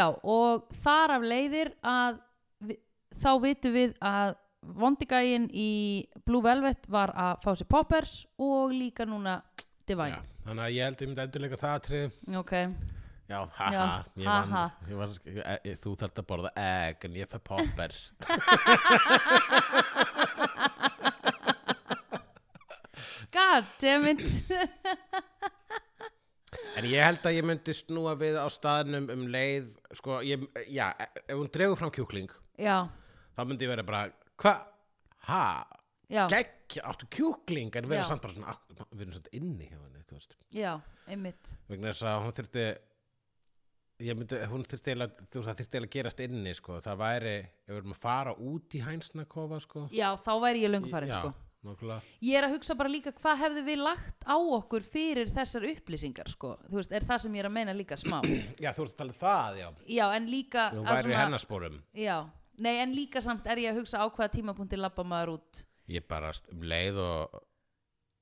S2: já, og þar af leiðir að vi, þá vitum við að vondigægin í Blue Velvet var að fá sér poppers og líka núna
S1: já,
S2: Divine,
S1: þannig að ég held ég myndi endurleika það atrið,
S2: ok
S1: já, haha
S2: Já,
S1: ég vann,
S2: haha.
S1: ég var, ég, ég, þú þarft að borða egg en ég fæ poppers
S2: god damn it
S1: en ég held að ég myndi snúa við á staðnum um leið, sko ég, já, e- ef hún dregur fram kjúkling
S2: já,
S1: þá myndi ég vera bara, hva, ha
S2: já,
S1: gegg, áttu kjúkling en vera
S2: Já.
S1: samt bara svona, ak- við erum samt inni hjá henni, þú veist
S2: já, einmitt
S1: vegna þess að hún þurfti ég myndi, hún þurfti eiginlega þú veist, það þurfti eiginlega að gerast inni, sko það væri, ef við erum að fara út í hænsnakofa, sko
S2: já, þá væri ég löngu farin
S1: já,
S2: sko
S1: nákvæmlega.
S2: ég er að hugsa bara líka hvað hefðu við lagt á okkur fyrir þessar upplýsingar sko, þú veist, er það sem ég er að meina líka smá
S1: já, þú veist að tala um það, já
S2: já, en líka
S1: þú
S2: að
S1: væri í hennaspórum
S2: já, nei, en líka samt er ég að hugsa á hvaða tímapunkti labba maður út
S1: ég bara st- um leið og,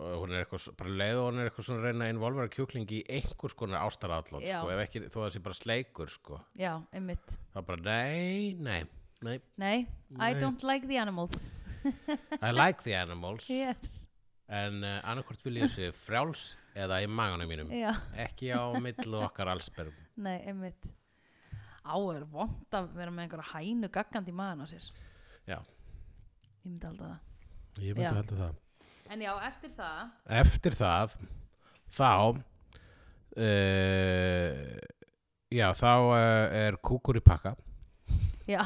S1: og hún er eitthvað, s- bara um leið og hún er eitthvað svona að reyna að involvera kjúkling í einhvers konar ástaraðlót,
S2: Já.
S1: sko, ef ekki þó að það sé bara sleikur, sko,
S2: já, einmitt,
S1: þá bara nei, nei, nei
S2: nei, I
S1: Nei.
S2: don't like the animals
S1: I like the animals
S2: yes,
S1: en uh, annarkvort vil ég sé frjáls eða í maganum mínum
S2: já,
S1: ekki á millu okkar allsberg
S2: nei, einmitt á, er vond að vera með einhverja hænu gaggandi í maðan á sér
S1: Já.
S2: ég myndi alltaf það
S1: ég
S2: myndi Já.
S1: halda það
S2: en já, eftir það,
S1: eftir það þá uh, já þá uh, er kúkur í pakka
S2: já,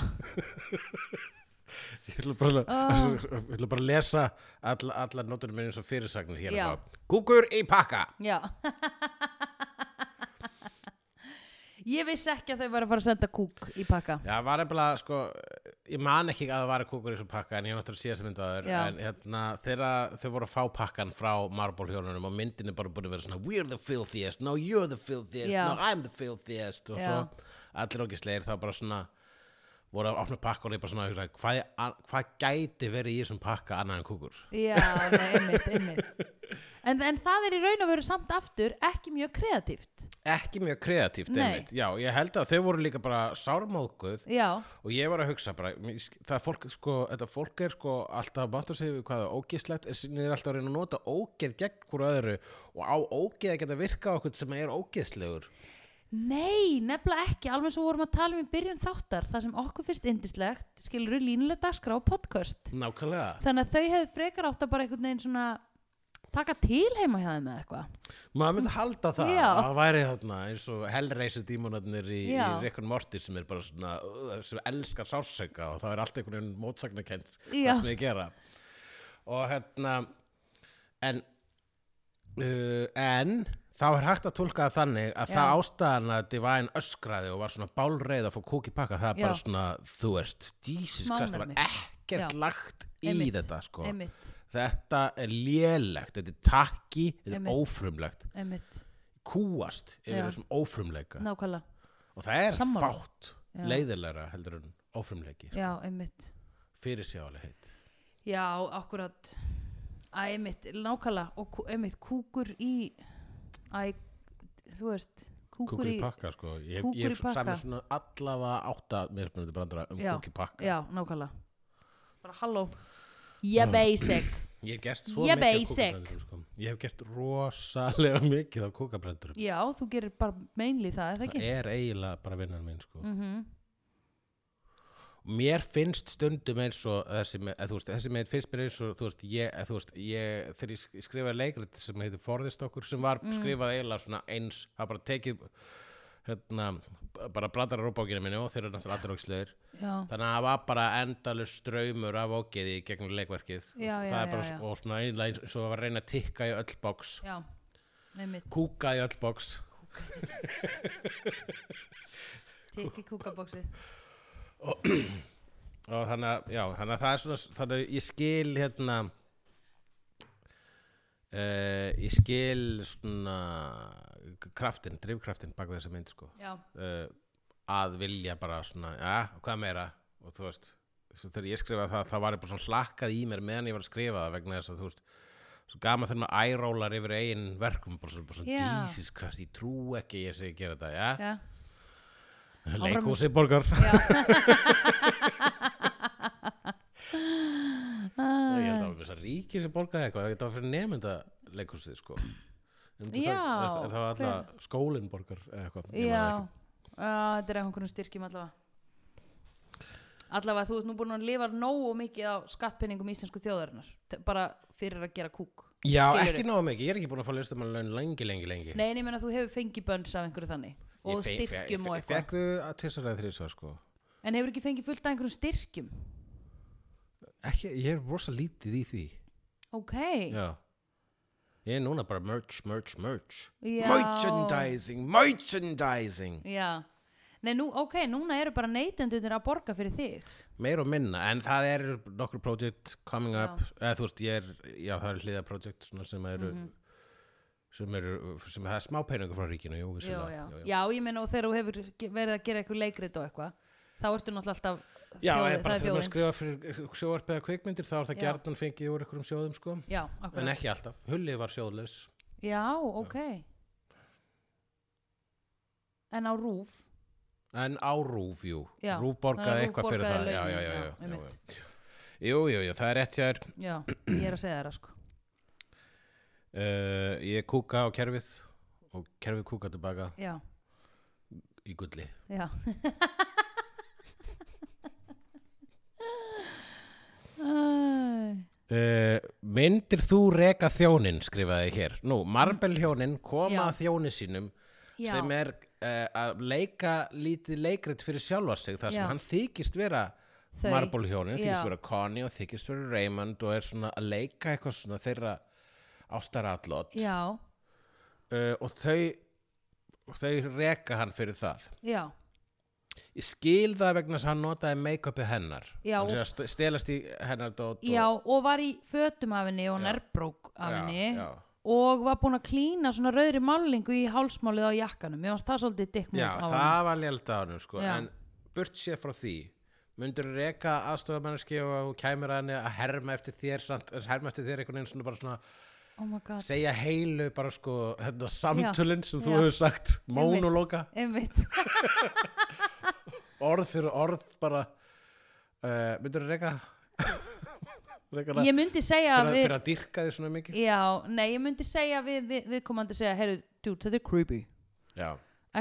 S1: ég ætla bara,
S2: Ah.
S1: ég ætla bara að lesa all, allar nótunum minnum svo fyrirsagnir hér
S2: Já.
S1: og þá. kúkur í pakka
S2: Já Ég vissi ekki að þau var að fara að senda kúk í pakka
S1: Já, var eitthvað, sko, ég man ekki að það var kúkur í þessu pakka en ég hef náttúrulega síðast myndaður
S2: Já.
S1: en hérna, þeirra, þau voru að fá pakkan frá marbólhjónunum og myndin er bara búin að vera svona we're the filthiest, no you're the filthiest
S2: Já.
S1: no I'm the filthiest og
S2: Já.
S1: svo allir okkur slegir þá bara svona voru að opna pakka og ég bara svona hugsa, hvað, er- hvað gæti verið í þessum pakka annað en kúkur
S2: Já, nei, einmitt, einmitt. En, en það er í raun og veru samt aftur ekki mjög kreatíft.
S1: ekki mjög kreatíft
S2: Nei.
S1: einmitt, já, ég held að þau voru líka bara sármóðguð
S2: Já,
S1: og ég var að hugsa bara, mér sk- það er fólk sko, þetta fólk er sko alltaf að banta sig við hvað það er ógislegt, en sinni er alltaf að reyna að nota ógeð gegn hvort öðru og á ógeð að geta virka á okkur sem er ógeðslegur
S2: nei, nefnilega ekki, alveg svo vorum að tala um í byrjun þáttar, það sem okkur finnst indislegt, skilur við línulega dagskrá og podcast.
S1: Mm. nákvæmlega,
S2: Þannig að þau hefðu frekar átt að bara einhvern veginn svona taka til heima hjá þeim eða eitthvað.
S1: maður myndi halda það
S2: Já.
S1: að það væri þarna eins og hellreisu dímonarnir í, í
S2: Já.
S1: Rickon Morty sem er bara svona, uh, sem elskar sársöka og það er allt einhvern veginn mótsagnakent það
S2: Já.
S1: sem ég gera og hérna en uh, en þá er hægt að tólka það þannig að
S2: Já.
S1: það ástæðan að Divine öskraði og var svona bálreið að fá kúk í pakka það er
S2: Já.
S1: bara svona, þú veist, Jesus Christ það var
S2: Smánarmi.
S1: ekkert
S2: Já.
S1: lagt í
S2: Einmitt.
S1: þetta sko
S2: Einmitt,
S1: þetta er lélegt, þetta er takki þetta er
S2: Einmitt.
S1: ófrumlegt
S2: einmitt,
S1: kúast yfir
S2: Já.
S1: þessum ófrumleika
S2: nákvæmlega.
S1: og það er
S2: Sammála.
S1: fátt
S2: Já.
S1: leiðilegra heldur en ófrumleiki sko.
S2: Já, einmitt.
S1: fyrir sjálega heitt
S2: Já, akkurat. Æ, einmitt, nákvæmlega. Og kú- einmitt, kúkur í, æ, þú veist, kúkur,
S1: kúkur í
S2: í,
S1: pakka sko ég,
S2: kúkur
S1: ég
S2: í pakka.
S1: saman svona allavega átta mismunandi brandara um
S2: Já.
S1: kúk í pakka
S2: Já, nákvæmlega. Bara halló. Yeah, basic.
S1: ég hef gert svo
S2: Ég
S1: mikið á
S2: basic.
S1: kúkabrendurum sko. ég hef gert rosalega mikið á kúkabrendurum
S2: Já, þú gerir bara meinli það, eða
S1: það
S2: ekki?
S1: er eiginlega bara vinnan minn sko
S2: Mm
S1: mér finnst stundum eins og þessi með, eða, þú veist, þessi með finnst mér eins og þú veist, ég, eða, þú veist, ég þegar ég sk- skrifaði leikrit sem heitir Forðist okkur sem var
S2: Mm.
S1: skrifað eiginlega svona eins það bara tekið hérna, b- bara bladar á bókinu minni og þeir eru náttúrulega allir ógisleir
S2: Já,
S1: þannig að það var bara endalus straumur af ógiði í gegnum leikverkið
S2: Já,
S1: það
S2: já,
S1: er bara
S2: já, já.
S1: og svona eiginlega eins og það var að reyna að tikka í öll box
S2: já, einmitt.
S1: kúka í öll box
S2: Tekki kúkabóksið.
S1: og þannig að, já, þannig að það er svona þannig að ég skil hérna uh, ég skil svona kraftin, drifkraftin bak við þessa mynd sko
S2: Já,
S1: uh, að vilja bara svona, já, hvað meira og þú veist, svo þegar ég skrifaði það það var ég bara svona hlakkað í mér meðan ég var að skrifa það vegna þess að þú veist svo gaman þegar maður ærólar yfir eigin verkum bara svona, bara svona
S2: Já.
S1: Jesus Christ, ég trú ekki að ég sé að gera þetta, já,
S2: já.
S1: leikhúsi borgar Nei, ég held að það var þess að ríki sem borgaði eitthvað, þetta var fyrir nefnda leikursið sko. En það-
S2: Já,
S1: Það, en það var alltaf skólinn borgar eða eitthvað. ég man það
S2: Já,
S1: ekki.
S2: Já, þetta er einhvern styrkjum allavega Allavega þú ert nú búin að lifa nógu mikið á skattpenningum íslensku þjóðarinnar T- bara fyrir að gera kúk
S1: Já,
S2: Skilurðu?
S1: ekki náða mikið, ég er ekki búin að fá listamann laun lengi, lengi, lengi.
S2: Nei, en ég meina þú hefur fengið bönns af einhverju þannig og styrkjum og
S1: Ég
S2: eitthvað
S1: fekk þau til þessar eða þrísvar sko.
S2: En hefur ekki fengið fullt af einhverjum styrkjum
S1: Ekki, ég er rosa lítið í því.
S2: Ok,
S1: Já. Ég er núna bara merch, merch, merch.
S2: Já.
S1: Merchandising, merchandising.
S2: já Nei, nú, ok, núna eru bara neytendunir að borga fyrir þig
S1: Meir og minna, en það eru nokkur project coming up, eða þú veist, ég er, já, það eru hliða project svona sem eru,
S2: Mhm.
S1: sem eru, sem það er smá peningur frá ríkinu, jú,
S2: já,
S1: vissulega.
S2: já. já, ég meina og þegar þú hefur ge- verið að gera eitthvað leikrit og eitthvað þá ertu náttúrulega alltaf
S1: Já,
S2: þjóðin-
S1: eða bara
S2: það er
S1: þegar maður
S2: þjóðin.
S1: skrifa fyrir sjóarpið eða kvikmyndir, þá er það
S2: Já.
S1: gjarnan fengið úr einhverjum sjóðum, sko.
S2: Já,
S1: En
S2: akkurat
S1: ekki alltaf, Hulli var sjóðlaus.
S2: Já, ok En á rúf
S1: En á Rúf, jú.
S2: Já,
S1: Rúf
S2: það
S1: borgaði
S2: er RÚV
S1: eitthvað fyrir það.
S2: borgaði
S1: Já, já,
S2: launin,
S1: já,
S2: já,
S1: já, já, já.
S2: einmitt.
S1: Jú, jú, jú, það er rétt hér.
S2: Já, ég er að segja það sko
S1: Uh, ég kúka á kerfið og kerfið kúka tilbaka
S2: Já,
S1: í gulli.
S2: já Æ,
S1: Uh, myndir þú reka þjónin skrifaði hér, nú marbelhjónin koma
S2: Já.
S1: að þjóni sínum
S2: Já,
S1: sem er uh, að leika lítið leikrit fyrir sjálfa sig þar sem
S2: Já.
S1: hann þykist vera
S2: Þau.
S1: marbelhjónin,
S2: Já.
S1: þykist vera Connie og þykist vera Raymond og er svona að leika eitthvað svona þeirra ástarallot uh,
S2: já,
S1: og þau, þau reka hann fyrir það
S2: já
S1: ég skil það vegna þess að hann notaði make-upi hennar
S2: Já,
S1: hann sé
S2: og-
S1: að st- stelast í hennar dót
S2: Já, og var í fötum af henni og
S1: Já.
S2: nærbrók af
S1: Já,
S2: henni
S1: já.
S2: og var búin að klína svona rauðri málingu í hálsmálið á jakkanum Mér varst það svolítið dikkmúf
S1: Já,
S2: á
S1: það var lélt á hann sko.
S2: Já.
S1: en burt séð frá því myndur reka aðstofamanneski og að hún kæmur að henni að herma eftir þér samt, herma eftir þér einhvern veginn svona bara svona
S2: oh my god,
S1: segja heilu bara sko hérna, samtölin sem þú
S2: já.
S1: hefur sagt mónulóka,
S2: einmitt
S1: orð fyrir orð bara uh, myndur reka reka hana
S2: ég myndi segja
S1: fyrir, að-
S2: við,
S1: fyrir að dýrka þig svona mikið
S2: já, nei, ég myndi segja við, við, við komandi segja, heyrðu, dude, þetta er creepy
S1: já,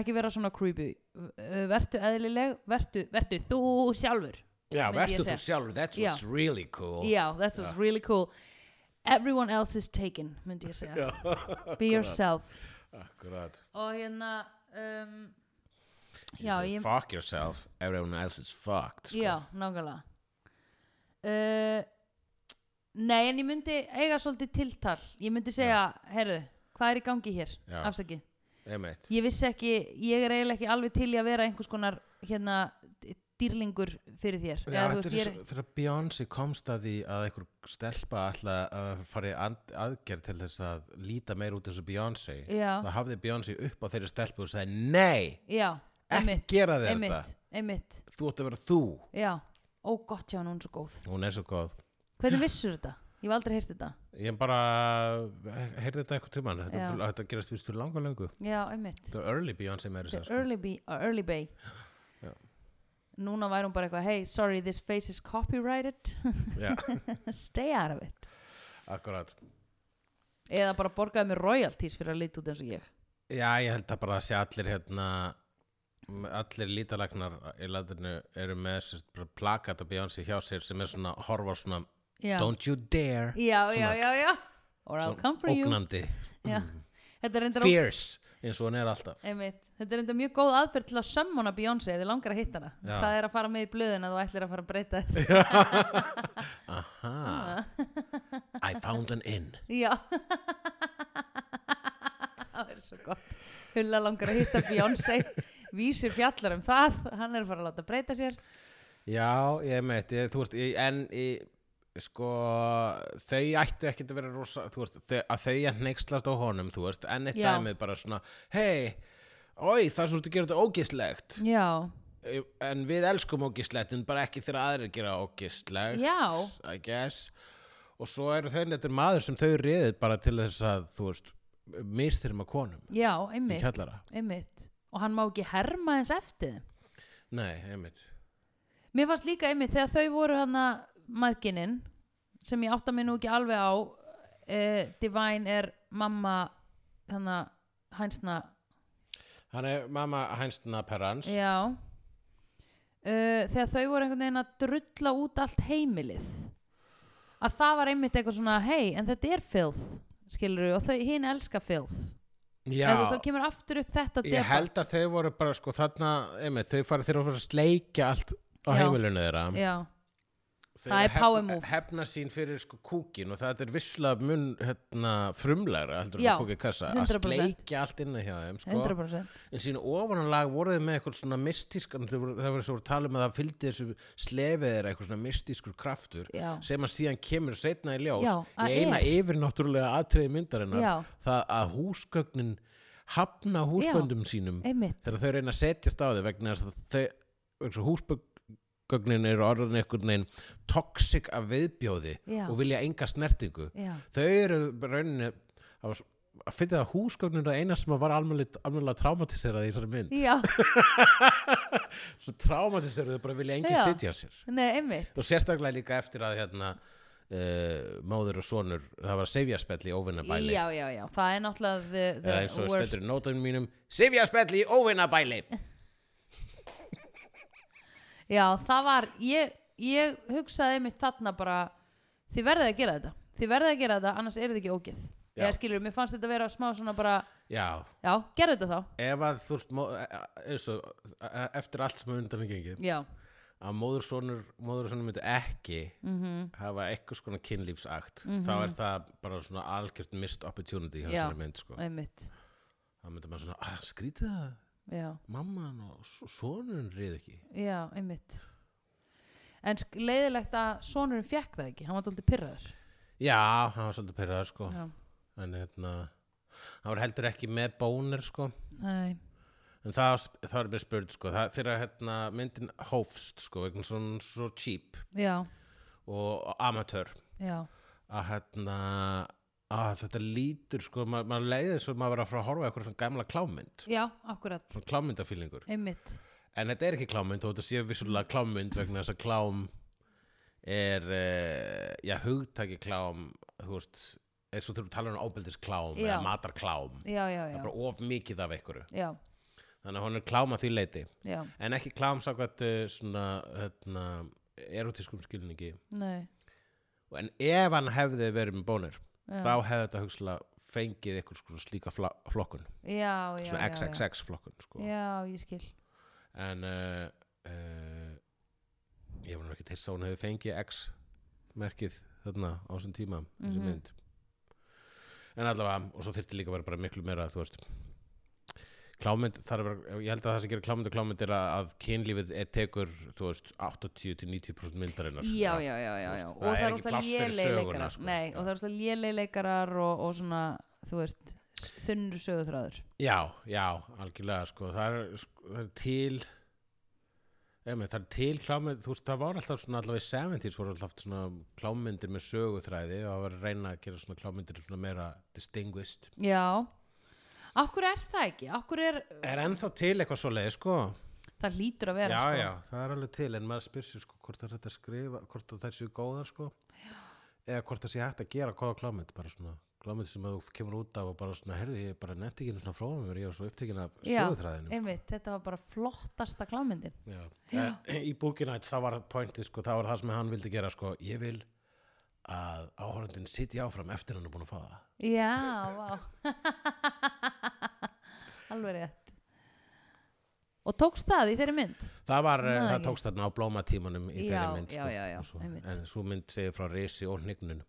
S2: ekki vera svona creepy Uh, vertu eðlileg, vertu, vertu þú sjálfur
S1: já
S2: Myndi ég
S1: verður þú
S2: segja.
S1: sjálf that's
S2: Já.
S1: what's really cool
S2: já, that's what's really cool everyone else is taken, myndi ég segja be yourself
S1: akkurat
S2: og hérna um,
S1: He
S2: já,
S1: said,
S2: ég,
S1: fuck yourself, everyone else is fucked sko.
S2: já, nákvæmlega uh, nei, en ég myndi eiga svolítið tiltal ég myndi segja, herru, hvað er í gangi hér
S1: Já.
S2: afsakið
S1: Einmitt.
S2: ég vissi ekki, ég er eiginlega ekki alveg til í að vera einhvers konar hérna dýrlingur fyrir þér
S1: Já,
S2: Eða, þú
S1: þetta
S2: veist,
S1: er
S2: ég er-
S1: svo- þegar Beyonce komst að því að einhver stelpa alltaf að fara í and- aðgerð til þess að líta meir út eins og Beyonce
S2: Já.
S1: þá hafði Beyonce upp á þeirri stelpu og sagði nei,
S2: já,
S1: ekki
S2: einmitt,
S1: gera þér
S2: einmitt, einmitt
S1: þetta þú ætti að vera þú
S2: já, ó gott hjá hann, hún er svo góð
S1: hún er svo góð
S2: hvernig vissur þetta? ég hef aldrei heyrst þetta
S1: ég bara heyrði þetta eitthvað tímann þetta,
S2: Já.
S1: fyrir- þetta gerast vist fyrir langa löngu
S2: já, einmitt
S1: þetta er early Beyonce meiri
S2: The
S1: sér sko.
S2: early, bee, uh, early Bay
S1: Já.
S2: Núna væri hún bara eitthvað Hey, sorry, this face is copyrighted
S1: Já,
S2: Stay out of it
S1: akkurat
S2: Eða bara borgaði mér royalties fyrir að lita út eins og ég
S1: Já, ég held að bara að sé allir hérna m- allir lítalagnar í landinu eru með sérst, bara plakat af Beyoncé hjá sér sem er svona horfa svona
S2: Já,
S1: Don't you dare
S2: já, já, já, já Or I'll
S1: Svona
S2: come for you
S1: ógnandi,
S2: já. Þetta er reyndar
S1: fierce eins og hún er alltaf
S2: Einmitt. Þetta er enda mjög góð aðferð til að sömmuna Beyoncé ef þið langar að hitta hana.
S1: Já.
S2: Það er að fara með í blöðin að þú ætlir að fara að breyta þér.
S1: Aha,
S2: Ah.
S1: I found an inn
S2: Já. það er svo gott. Hulla langar að hitta Beyoncé, vísir fjallar um það, hann er að fara að láta breyta sér.
S1: Já, ég meit, ég, þú veist ég, en ég, sko þau ættu ekkert að vera rosa þú veist, þau, að þau að neykslast á honum þú veist, en eitt
S2: Já.
S1: dæmið bara svona hei, oi, það sem þú ert að gera þetta ógislegt
S2: Já,
S1: en við elskum ógislegt en bara ekki þegar aðrir gera ógislegt
S2: Já.
S1: I guess og svo eru þau þetta er maður sem þau réðið bara til þess að þú veist mistyrma konum
S2: já,
S1: í
S2: einmitt.
S1: kallara
S2: Einmitt. Og hann má ekki herma eins eftir þeim.
S1: nei, einmitt
S2: Mér fannst líka einmitt þegar þau voru hann að maðgininn sem ég átta mig nú ekki alveg á uh, Divine er mamma þannig að hænsna
S1: hann er mamma hænsna perans
S2: já uh, þegar þau voru einhvern veginn að drulla út allt heimilið að það var einmitt eitthvað svona hei en þetta er filth skilur og þau hinn elska filth eða þú veist þá kemur aftur upp þetta
S1: ég held að þau voru bara sko þarna einmitt, þau farið þeirra að fara að sleikja allt á
S2: Já.
S1: heimilinu þeirra
S2: já,
S1: Þau
S2: Það er
S1: hef-
S2: power move.
S1: hefna sín fyrir sko kúkin og það er vissla mun hérna, frumlegra heldur
S2: Já,
S1: en kúki kassa að
S2: 100%.
S1: sleikja allt inni hjá þeim sko.
S2: 100%
S1: en sín ofanlag voru þið með eitthvað svona mystískan það voru, það voru svo að tala um að það fylgdi þessu slefið þeirra eitthvað svona mystískur kraftur
S2: já,
S1: sem að síðan kemur setna í ljós
S2: Já, að
S1: í eina
S2: er.
S1: yfirnáttúrulega atriði myndarinnar
S2: já,
S1: það að húsgögnin hafna húsböndum sínum
S2: einmitt
S1: þegar þau reyna að setja stáði vegna þess að þau vegna húsbögnin eru orðin einhvern veginn toxic af viðbjóði
S2: Já.
S1: og vilja enga snertingu
S2: já,
S1: þau eru rauninni að, að finna það að húsgögnin er það eina sem að var almennilega, almennilega traumatiserað í þessari mynd
S2: já,
S1: svo traumatiserað þau bara vilja engin
S2: Já.
S1: sitja á sér
S2: nei einmitt
S1: og sérstaklega líka eftir að hérna Uh, móður og sonur, það var sefjaspell í óvinnabæli
S2: Já, já, já, það er náttúrulega the, the
S1: eða eins og
S2: worst
S1: speldur í nótunum mínum sefjaspell í óvinnabæli
S2: Já, það var, ég, ég hugsaði einmitt þarna bara Þið verðið að gera þetta, þið verðið að gera þetta annars eru þið ekki ógið
S1: Já.
S2: Ég skilur, mér fannst þetta vera smá svona bara
S1: já,
S2: Já, gerðu þetta þá
S1: ef að þú veist mó- e- e- eins og e- e- eftir allt sem undan er gengið
S2: Já,
S1: að móður sonur, móður sonur myndi ekki
S2: mhm,
S1: hafa eitthvað skona kynlífsakt þá er það bara svona algjört missed opportunity hjá
S2: Já.
S1: þessari mynd sko.
S2: einmitt
S1: þá myndi maður svona, "Ah, að skrýta það
S2: Já,
S1: mamman og so- sonurinn reyð ekki
S2: já, einmitt En sk- leiðilegt að sonurinn fekk það ekki, hann var dálítið pyrraður
S1: já, hann var svolítið perraður sko.
S2: Já,
S1: en hérna hann var heldur ekki með bónir sko.
S2: nei,
S1: en það, það er mér spurð sko, það, þegar hérna, myndin hófst sko, vegna svona svo cheap
S2: já,
S1: og amatör
S2: já,
S1: að hérna að þetta lítur sko, ma maður leiðir svo maður verið að fara að horfa eitthvað svona gamla klámynd
S2: já, akkurat
S1: svona klámyndafílingur
S2: einmitt,
S1: en þetta er ekki klámynd og þetta sé vissulega klámynd vegna þess að klám er eh, já, hugtaki klám þú veist, eins og þurfum að tala um ábelðisklám
S2: Já.
S1: eða matarklám
S2: já, já,
S1: það
S2: já
S1: er bara of mikið af einhverju
S2: já,
S1: þannig að hún er klám að því leiti
S2: já,
S1: en ekki klám sákvæmt svona hérna, erotískum skilningi
S2: nei
S1: Og en ef hann hefði verið með bónir
S2: Já.
S1: þá hefði þetta hugslega fengið eitthvað svona slíka fla- flokkun
S2: já, já,
S1: svona
S2: já, já.
S1: XXX flokkun sko.
S2: já, ég skil
S1: en uh, uh, ég var nú ekki til að hún hefði fengið X merkið þarna á þessum tíma þessi
S2: Mhm.
S1: mynd en allavega, og svo þyrfti líka að vera bara miklu meira þú veist klámynd, þar er vera, ég held að það sem gerir klámynd og klámynd er að, að kynlífið er tekur þú veist, 80-90% myndarinnar
S2: já, já, já, já, já.
S1: veist,
S2: og
S1: það
S2: það
S1: er
S2: er
S1: ekki
S2: óslega
S1: pláss fyrir söguna,
S2: léleileikarar
S1: sko.
S2: nei,
S1: Já.
S2: og það er óslega léleileikarar og, og svona, þú veist s- þunnur sögutráður
S1: Já, já, algjörlega sko. það, er, sko, það er til emi, það er til klámynd þú veist, það var alltaf svona allavega í 70s voru alltaf svona klámyndir með sögutræði og það var að reyna að gera svona klámyndir svona meira distinguished
S2: já Akkur er það ekki, akkur er,
S1: Er ennþá til eitthvað svo leið, sko
S2: það hlýtur að vera
S1: Já,
S2: sko.
S1: já, það er alveg til en maður spyr sér sko hvort það er hægt að skrifa hvort það séu góðar, sko já. eða hvort það sé hægt að gera góða klámynd bara svona klámynd sem að þú kemur út af og bara svona, herði, ég bara nefnt ekki einu svona fróðum mér, ég var svo upptekinn af
S2: Já,
S1: sögutræðinu
S2: einmitt, þetta var bara flottasta klámyndin
S1: Já. Eh, Í Bookinæts þá var pointið sko, það var það sem hann vildi gera sko, ég vil að áhorundin sitji áfram eftir hann er búin að fá það.
S2: Já, vá Alveg rétt Og tókst það í þeirri mynd?
S1: Það var, Næ,
S2: Nei.
S1: það tókst þarna á blómatímanum í
S2: Já,
S1: þeirri mynd sko.
S2: já, já, já,
S1: og svo,
S2: einmitt.
S1: en svo mynd segir frá risi og hnignun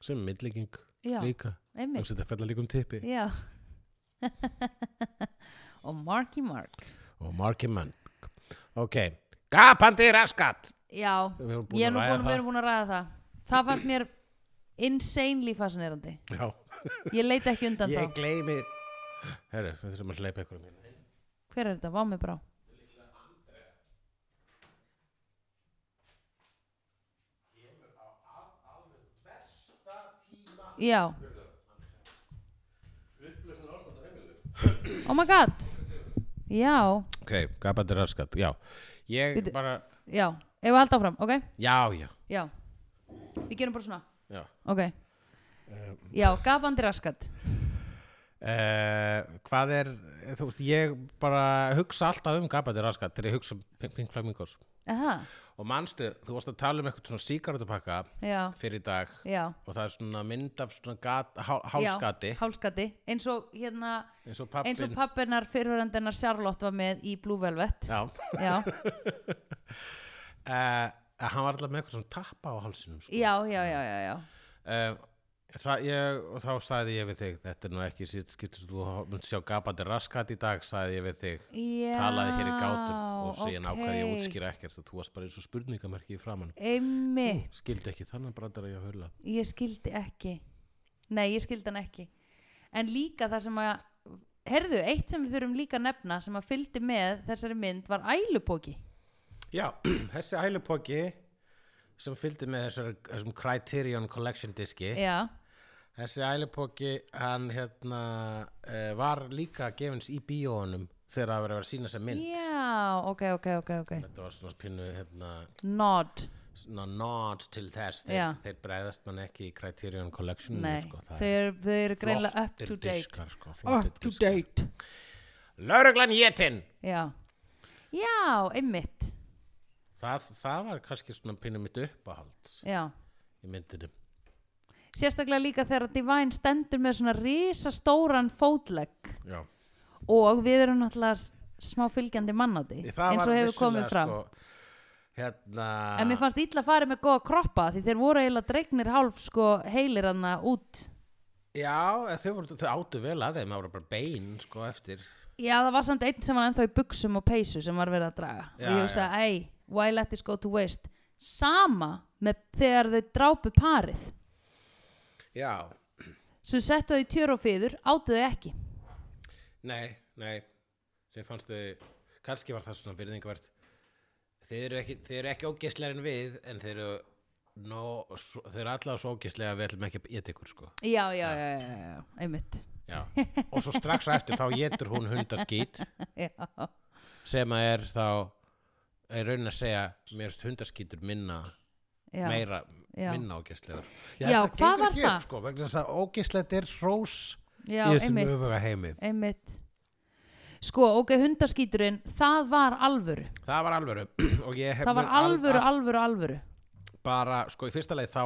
S1: sem er myndlíking
S2: Já,
S1: líka,
S2: einmitt
S1: þannig að þetta fella líka um tippi
S2: Já Og Marky Mark
S1: og Marky Mann. Ok, gapandi raskat!
S2: Já,
S1: Við erum
S2: ég er
S1: búin að
S2: nú búin,
S1: ræða
S2: við erum búin að ræða það Það fannst mér insanely fascinerandi
S1: það. Já,
S2: Ég leita ekki undan
S1: ég
S2: þá
S1: gleymi, herru, við þurfum að hleypa ykkur um hérna.
S2: Hver er þetta? Vá mig brá Já Oh my god Já,
S1: Ok, gapandi raskat, já. Ég
S2: Bíddu.
S1: bara,
S2: já, ef við halda áfram, ok?
S1: já, já,
S2: Já, við gerum bara svona
S1: já.
S2: Ok,
S1: Eh.
S2: já, gapandi raskat
S1: Uh, hvað er, þú veist, ég bara hugsa alltaf um gapandi raskat þegar ég hugsa um Pink- Pink Flamingos
S2: Aha,
S1: og manstu, þú varst að tala um eitthvað svona síkartupakka
S2: já,
S1: fyrir í dag
S2: já
S1: og það er svona mynd af svona gat, hál, hálskati
S2: Já, hálskati, eins og hérna
S1: eins og pappin
S2: eins og pappinar fyrirhörendennar Charlotte var með í Blue Velvet
S1: já,
S2: Já,
S1: uh, hann var alltaf með eitthvað svona tappa á hálsinum sko.
S2: já, já, já, já, já.
S1: uh, það, ég, og þá sagði ég við þig þetta er nú ekki sítt skipt sem þú munt sjá gapandi raskat í dag sagði ég við þig
S2: já
S1: talaði hér í gátum og síðan
S2: ok.
S1: ákvaði ég að útskýra ekkert og þú varst bara eins og spurningamerki í framann
S2: Einmitt,
S1: skildi ekki þannig brandar að ég að hula
S2: ég skildi ekki Nei, ég skildi hann ekki En líka það sem að Herðu, eitt sem við þurfum líka að nefna sem að fylgdi með þessari mynd var ælupóki
S1: já, þessi ælupokki sem fylgdi með þessar, þessum Criterion Collection diski
S2: Já,
S1: þessi ælupokki hann hérna uh, var líka gefins í bíóunum þegar það var að vera að sína sem mynd
S2: já, ok, ok, ok, ok
S1: þetta var svona pínu hérna
S2: Nod,
S1: svona nod til þess þeir,
S2: Já.
S1: þeir bregðast mann ekki í Criterion Collection
S2: nei,
S1: sko, það
S2: þau
S1: er
S2: eru, þau eru greinlega up
S1: flottir
S2: to date
S1: diskar, sko,
S2: Up to date
S1: Lauruglan Jétin
S2: Já, já, einmitt
S1: það, það var kannski svona pínu mitt uppahald
S2: já.
S1: í myndinu
S2: Sérstaklega líka þegar Divine stendur með svona risastóran fótlegg
S1: já.
S2: og við erum náttúrulega s- smá fylgjandi mann á því eins og hefur
S1: sko,
S2: komið fram
S1: hérna
S2: En mér fannst illa farið með góða kroppa því þeir voru eiginlega dregnir hálf sko heilir hana út
S1: já, en þau, voru, þau áttu vel að þeim það voru bara bein sko eftir
S2: Já, það var samt einn sem var ennþá í buksum og peysu sem var verið að draga
S1: Já,
S2: og ég hugsaði, ei, why let this go to waste Sama með þegar þau drápu parið
S1: já,
S2: Svo settu þau í tjör og fýður, átu þau ekki
S1: nei, nei sem fannst þau, kannski var það svona virðingvert þeir eru ekki, þið eru ekki ógislega en við en þeir eru no, svo, þeir eru allavega svo ógislega að við ætlum ekki að geta ykkur sko
S2: já, já, já, já, já, já, einmitt
S1: Já. og svo strax á eftir þá getur hún hundaskít
S2: já,
S1: sem að er þá er raunin að segja mér finnst hundaskítur minna
S2: já,
S1: meira,
S2: Já.
S1: minna ógæslegar
S2: Já, hvað var það?
S1: Sko, vegna þess að ógæslegt er hrós í
S2: já,
S1: þessum
S2: einmitt
S1: öfuga heimi
S2: einmitt sko, ok, hundaskíturinn, það var alvöru
S1: það var alvöru og ég hef
S2: það var
S1: mér al-
S2: alvöru,
S1: allt
S2: alvöru, alvöru
S1: bara, sko í fyrsta leið þá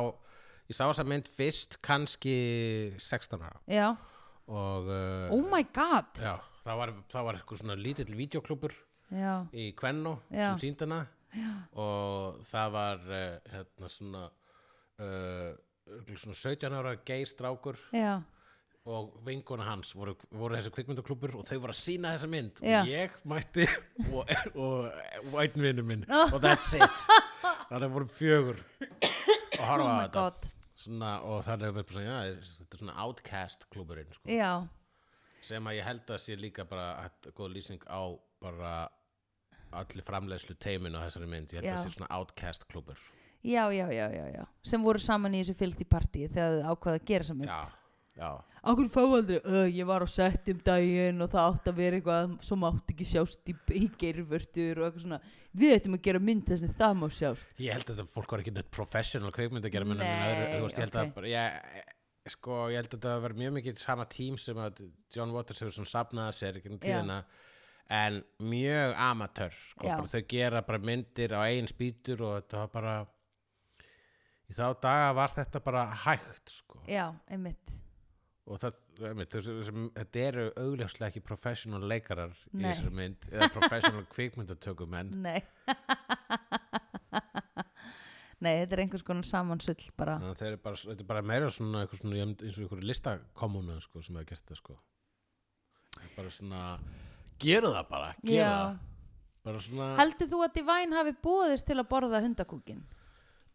S1: ég sá þessa mynd fyrst kannski 16 ára
S2: já,
S1: og uh,
S2: oh my god
S1: já, það var, það var eitthvað svona lítill videoklubur
S2: já,
S1: í Kvenno
S2: Já.
S1: sem síndi hana Já. og það var eh, hérna svona uh, svona 17 ára geistrákur
S2: já,
S1: og vinkona hans voru, voru þessi kvikmyndaklubur og þau voru að sína þessa mynd
S2: Já.
S1: og ég mætti og, og vætnvinu minn og that's it þannig voru fjögur og
S2: oh
S1: horfa á
S2: my
S1: þetta
S2: god
S1: svona, og þannig verður bara svona, já, þetta er svona outcast kluburinn sko
S2: já,
S1: sem að ég held að sé líka bara hætt- góð lýsing á bara allir framleiðslu teimin á þessari mynd ég held að
S2: Já.
S1: það sé svona outcast klubur
S2: já, já, já, já, já sem voru saman í þessu fylgdi partí þegar þau ákvaða að gera saman
S1: já, já,
S2: Akkur fá aldrei, uh, ég var á sett um daginn og það átt að vera eitthvað sem átt ekki sjást í, í geirvörtur og eitthvað svona, við ættum að gera mynd þess að það má sjást.
S1: ég held að þetta fólk var ekki neitt professional kveikmynd að gera minna
S2: Nei,
S1: veist, ég held að
S2: ok.
S1: bara, ég, sko, ég held að þetta var mjög mikið sama tím sem að John Waters hefur svona safnað að sér ekki
S2: Já.
S1: tíðina en mjög amatör sko,
S2: Já.
S1: bara, þau gera bara myndir á eigin spýtur og þetta var bara í þá daga var þetta bara hægt sko.
S2: Já, einmitt.
S1: og það, einmitt, þessi, þessi, þetta eru augljóslega ekki professional leikarar í
S2: Nei.
S1: þessari mynd eða professional kvikmyndatökumenn
S2: Nei. Nei, þetta er einhvers konar samansull bara.
S1: þannig að þeir eru bara, þetta er bara meira svona, einhver svona ég myndi- eins og einhverju listakommuna sko, sem hefur gert það sko. Það er bara svona gera það bara, gera
S2: Já.
S1: það bara svona,
S2: Heldur þú að Divine hafi búðist til að borða hundakúkin?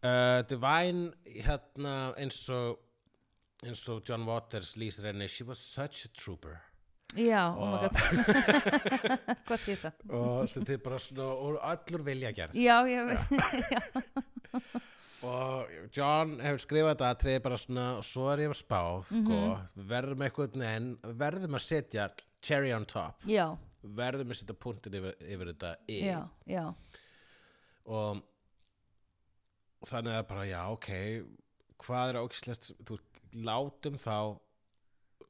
S1: uh, Divine hérna eins og eins og John Waters lýsir henni she was such a trooper
S2: Já, oh my
S1: Og-
S2: god. Hvað því það?
S1: og sem þið bara svona, og allur vilja gerð
S2: Já, ég veit.
S1: og John hefur skrifað þetta atriði bara svona og svo er ég að spá
S2: Mhm.
S1: sko, verðum eitthvað en verðum að setja cherry on top
S2: Já,
S1: verðum að setja punktin yfir, yfir þetta í
S2: já, já,
S1: og þannig að bara já ok hvað er ógislegt þú látum þá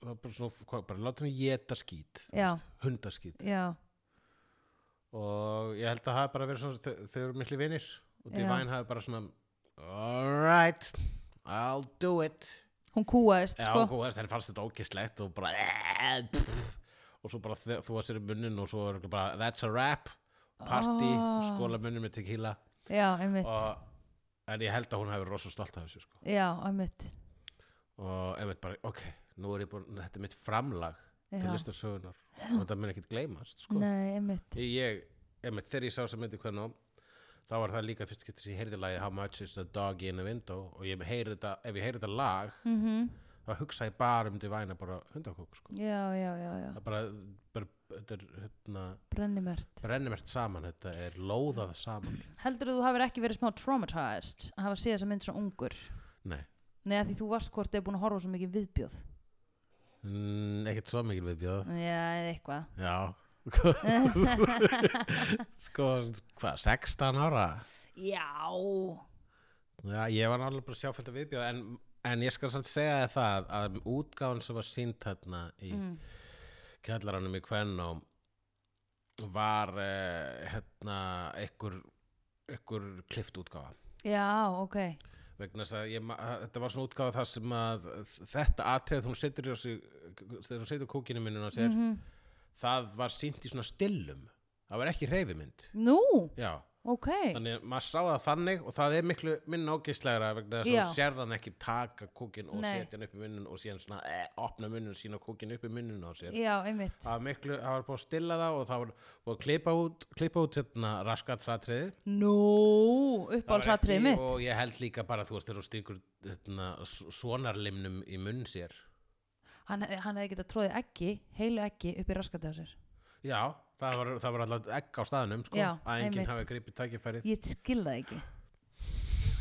S1: það er bara, svona, hvað, bara látum við geta skít
S2: Já.
S1: hundaskít
S2: já,
S1: og ég held að það hafi bara verið svona þau, þau eru miklu vinir og
S2: Já.
S1: Divine hafi bara svona alright I'll do it
S2: Hún kúaðist,
S1: Já,
S2: sko.
S1: sko. henni fannst þetta ógislegt og bara eh, pff, og svo bara þe- þú að sér í munnin og svo er örugglega bara that's a wrap party,
S2: Ah.
S1: skóla munnin með tequila
S2: Já, einmitt.
S1: og, en ég held að hún hefur rosa stolt af þessu sko.
S2: Já, einmitt.
S1: og einmitt bara, ok, nú er ég búin þetta er mitt framlag til
S2: Já.
S1: listasögunar og þetta mun ekkert gleymast sko.
S2: Nei, einmitt.
S1: ég, einmitt, þegar ég sá þess að myndi hvernig þá var það líka fyrst getur sem ég heyrði lagi How much is a dog in a window og ég heyri þetta, ef ég heyri þetta lag
S2: Mm
S1: þá hugsa ég bara um divæna bara hundakók sko.
S2: Já, já, já, já.
S1: það er bara, bara þetta er hérna,
S2: Brennimert.
S1: brennumert saman þetta er lóðað saman
S2: Heldur þú hafir ekki verið smá traumatized að hafa séð þess að mynd svona ungur?
S1: nei,
S2: Nei, að því þú varst hvort eða búin að horfa á svo mikið viðbjóð.
S1: mm, ekkert svo mikil viðbjöð
S2: Já, eða eitthvað.
S1: já sko, hvað, 16 ára
S2: Já.
S1: já, ég var náttúrulega bara sjáfælt að viðbjöð en, en ég skal samt segja þér það að útgáðan sem var sínt hérna í
S2: Mm.
S1: kjallaranum í kvennum var uh, hérna einhver, einhver klift útgáfa
S2: Já, ok.
S1: vegna þess að ég, ma- að þetta var svona útgáfa það sem að þetta atrið hún setur í sig, þegar hún setur kókinu minnuna sér,
S2: Mhm.
S1: það var sínt í svona stillum, það var ekki reyfimynd
S2: Nú,
S1: já,
S2: ok.
S1: þannig að maður sá það þannig og það er miklu minna ágeislegra vegna þess að
S2: Já.
S1: hún sér hann ekki taka kókin og
S2: Nei.
S1: setja hann upp í munnun og síðan svona eh, opna munnun, sína kókin upp í munnun á sér
S2: Já, einmitt.
S1: það var miklu, það var búið að stilla það og það var búið að klippa út, klippa út hérna raskatsatriði Það
S2: Nú,
S1: var
S2: uppáhaldsatriðið
S1: ekki-
S2: mitt.
S1: og ég held líka bara þú veist þegar þú stingur hérna, svonarlimnum í munn sér
S2: Hann, hann hefði getað tróðið ekki, heilu ekki, upp í raskatið á sér.
S1: já, það var, það var alltaf egg á staðnum sko,
S2: Já,
S1: að enginn
S2: einmitt.
S1: hafi gripið tækifærið
S2: Ég skil það ekki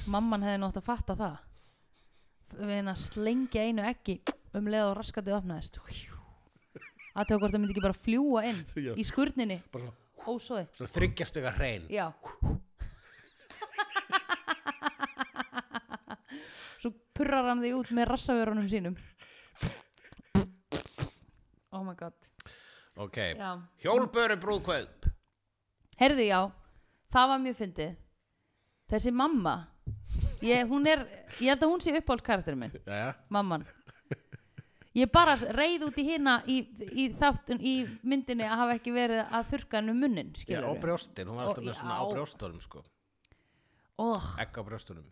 S2: Mamman hefði nátt að fatta það F- Við henni að slengja einu ekki um leið og raskatið opnaðist Aðtöku hvort það myndi ekki bara fljúa inn
S1: Já.
S2: í skurninni
S1: bara svo,
S2: Ósóði
S1: svo þryggjast ykkar hrein
S2: Já Svo purrar hann því út með rassavörunum sínum Oh my god
S1: ok,
S2: Já
S1: hjólböru brúðkvöð
S2: Herðu já, það var mjög fyndið Þessi mamma ég, hún er, ég held að hún sé uppáhalds karakterinn minn,
S1: já,
S2: mamman Ég bara reyð út í hina í, í þáttun í myndinni að hafa ekki verið að þurrka hann um munnin
S1: já,
S2: skilur
S1: og brjóstin, hún var alltaf
S2: Ó,
S1: með svona á
S2: já.
S1: brjóstunum sko, egg á brjóstunum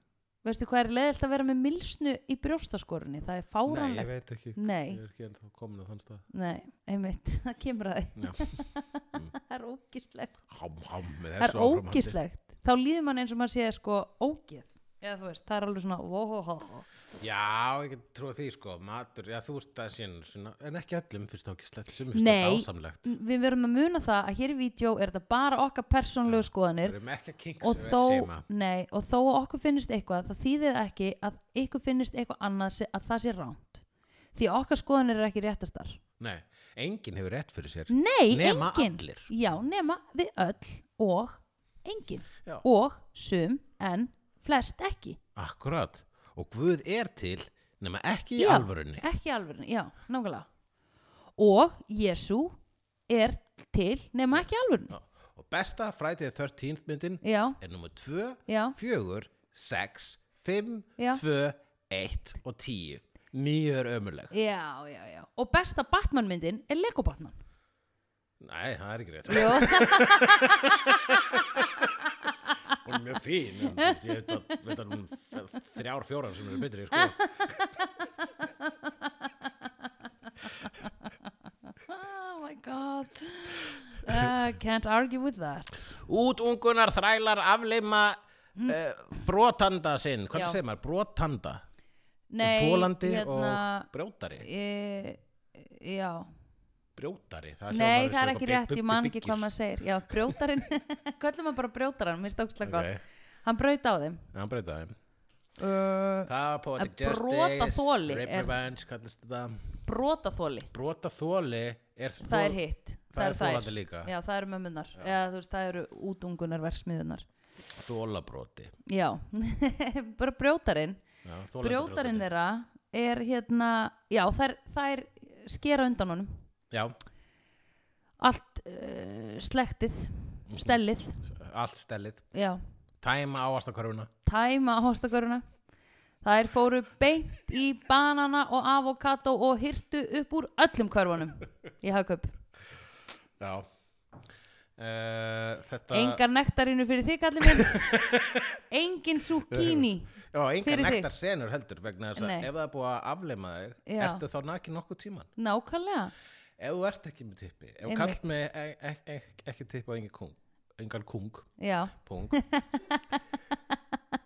S2: Veistu hvað er leðilt að vera með milsnu í brjóstaskorunni, það er
S1: nei, ég
S2: fáránlegt
S1: veit ekki,
S2: Nei.
S1: ég er ekki ennþá komin á þann stað
S2: Nei, einmitt, það kemur að því
S1: Já.
S2: Það er ógislegt
S1: ham, ham, með
S2: Það er
S1: þessu áframhaldi.
S2: ógislegt, þá líður mann eins og maður sé sko ógið eða þú veist, það er alveg svona vohohoho
S1: Já, ég trúi því sko, matur, já þú veist það sín, svona, en ekki öllum finnst það ekki slett, sem finnst það
S2: Nei.
S1: dásamlegt.
S2: við verðum að muna það að hér í vídeo er þetta bara okkar persónlegu
S1: Við
S2: skoðanir
S1: erum ekki að kinka
S2: og
S1: sem
S2: þó,
S1: seima.
S2: nei, og þó að okkur finnist eitthvað það þýðir ekki að ykkur finnist eitthvað annað se- að það sé ránt því að okkar skoðanir er ekki réttastar
S1: Nei, enginn hefur rétt fyrir sér.
S2: nei,
S1: Nema
S2: engin
S1: allir.
S2: já, nema við öll og engin
S1: Já.
S2: og sum en flest ekki
S1: Akkurat, og Guð er til, nema ekki í
S2: Já.
S1: alvörunni.
S2: ekki alveg, já, nákvæmlega og Jésu er til nema ekki alveg
S1: Já. Og besta frætið 13 myndin
S2: já,
S1: er nummer 2,
S2: já
S1: 4, 6, 5,
S2: Já.
S1: 2, 1 og 10. Nýju er ömurleg.
S2: Já, já, já. Og besta Batman myndin er Lego Batman.
S1: Nei, það er ekki rétt.
S2: Jó.
S1: Hún er mjög fín, en ég veit að, veit að hún er þrjár, fjórar sem eru betri, sko.
S2: oh my god. Uh, can't argue with that.
S1: Útungunar þrælar afleima uh, brotanda sinn
S2: Mm. Já.
S1: Hvernig segir maður? Brotanda
S2: Nei,
S1: Þólandi
S2: hérna,
S1: og brjótari
S2: E, já.
S1: Brjótari það hljómar
S2: Nei,
S1: eins
S2: það
S1: og
S2: er
S1: eitthvað
S2: ekki
S1: big-
S2: rétt,
S1: big-
S2: ég man
S1: big-
S2: ekki
S1: biggir.
S2: hvað maður segir. Já, brjótarinn, köllum maður bara brjótarann, mér stókslega
S1: Ok,
S2: okay. gott. Hann braut á þeim.
S1: já, hann breyta þeim
S2: Uh,
S1: Það var poetic
S2: Að brotaþoli
S1: rape
S2: er-
S1: revenge kallist þetta
S2: Brotaþóli,
S1: Brotaþóli er þol-
S2: það er hitt.
S1: Það er
S2: eru þær.
S1: þólandi líka
S2: Já, það eru mömmunar. Eða þú veist, það eru útungunarversmiðunar.
S1: Þólabroti
S2: Já, bara brjótarinn. brjótarinn þeirra er hérna, já þær, þær skera undan honum
S1: Já,
S2: allt uh, slektið stellið,
S1: allt stellið
S2: já
S1: Tæma áastakörfuna
S2: tæma hóstaköruna þær fóru beint í banana og avokado og hyrtu upp úr öllum körfunum í hagkaup,
S1: Já uh, Þetta
S2: engar nektarinu fyrir þig allir minn engin zucchini
S1: Já, engar
S2: Fyrir þig.
S1: nektar senur heldur vegna þess að
S2: Nei.
S1: ef það er búið að afleima þig,
S2: Já.
S1: ertu þá nakin nokkuð tíman.
S2: nákvæmlega,
S1: Ef þú ert ekki með tippi, ef þú
S2: Einmitt.
S1: kallt með e e e ekki tippi á engan kung, engan kung,
S2: já
S1: pung,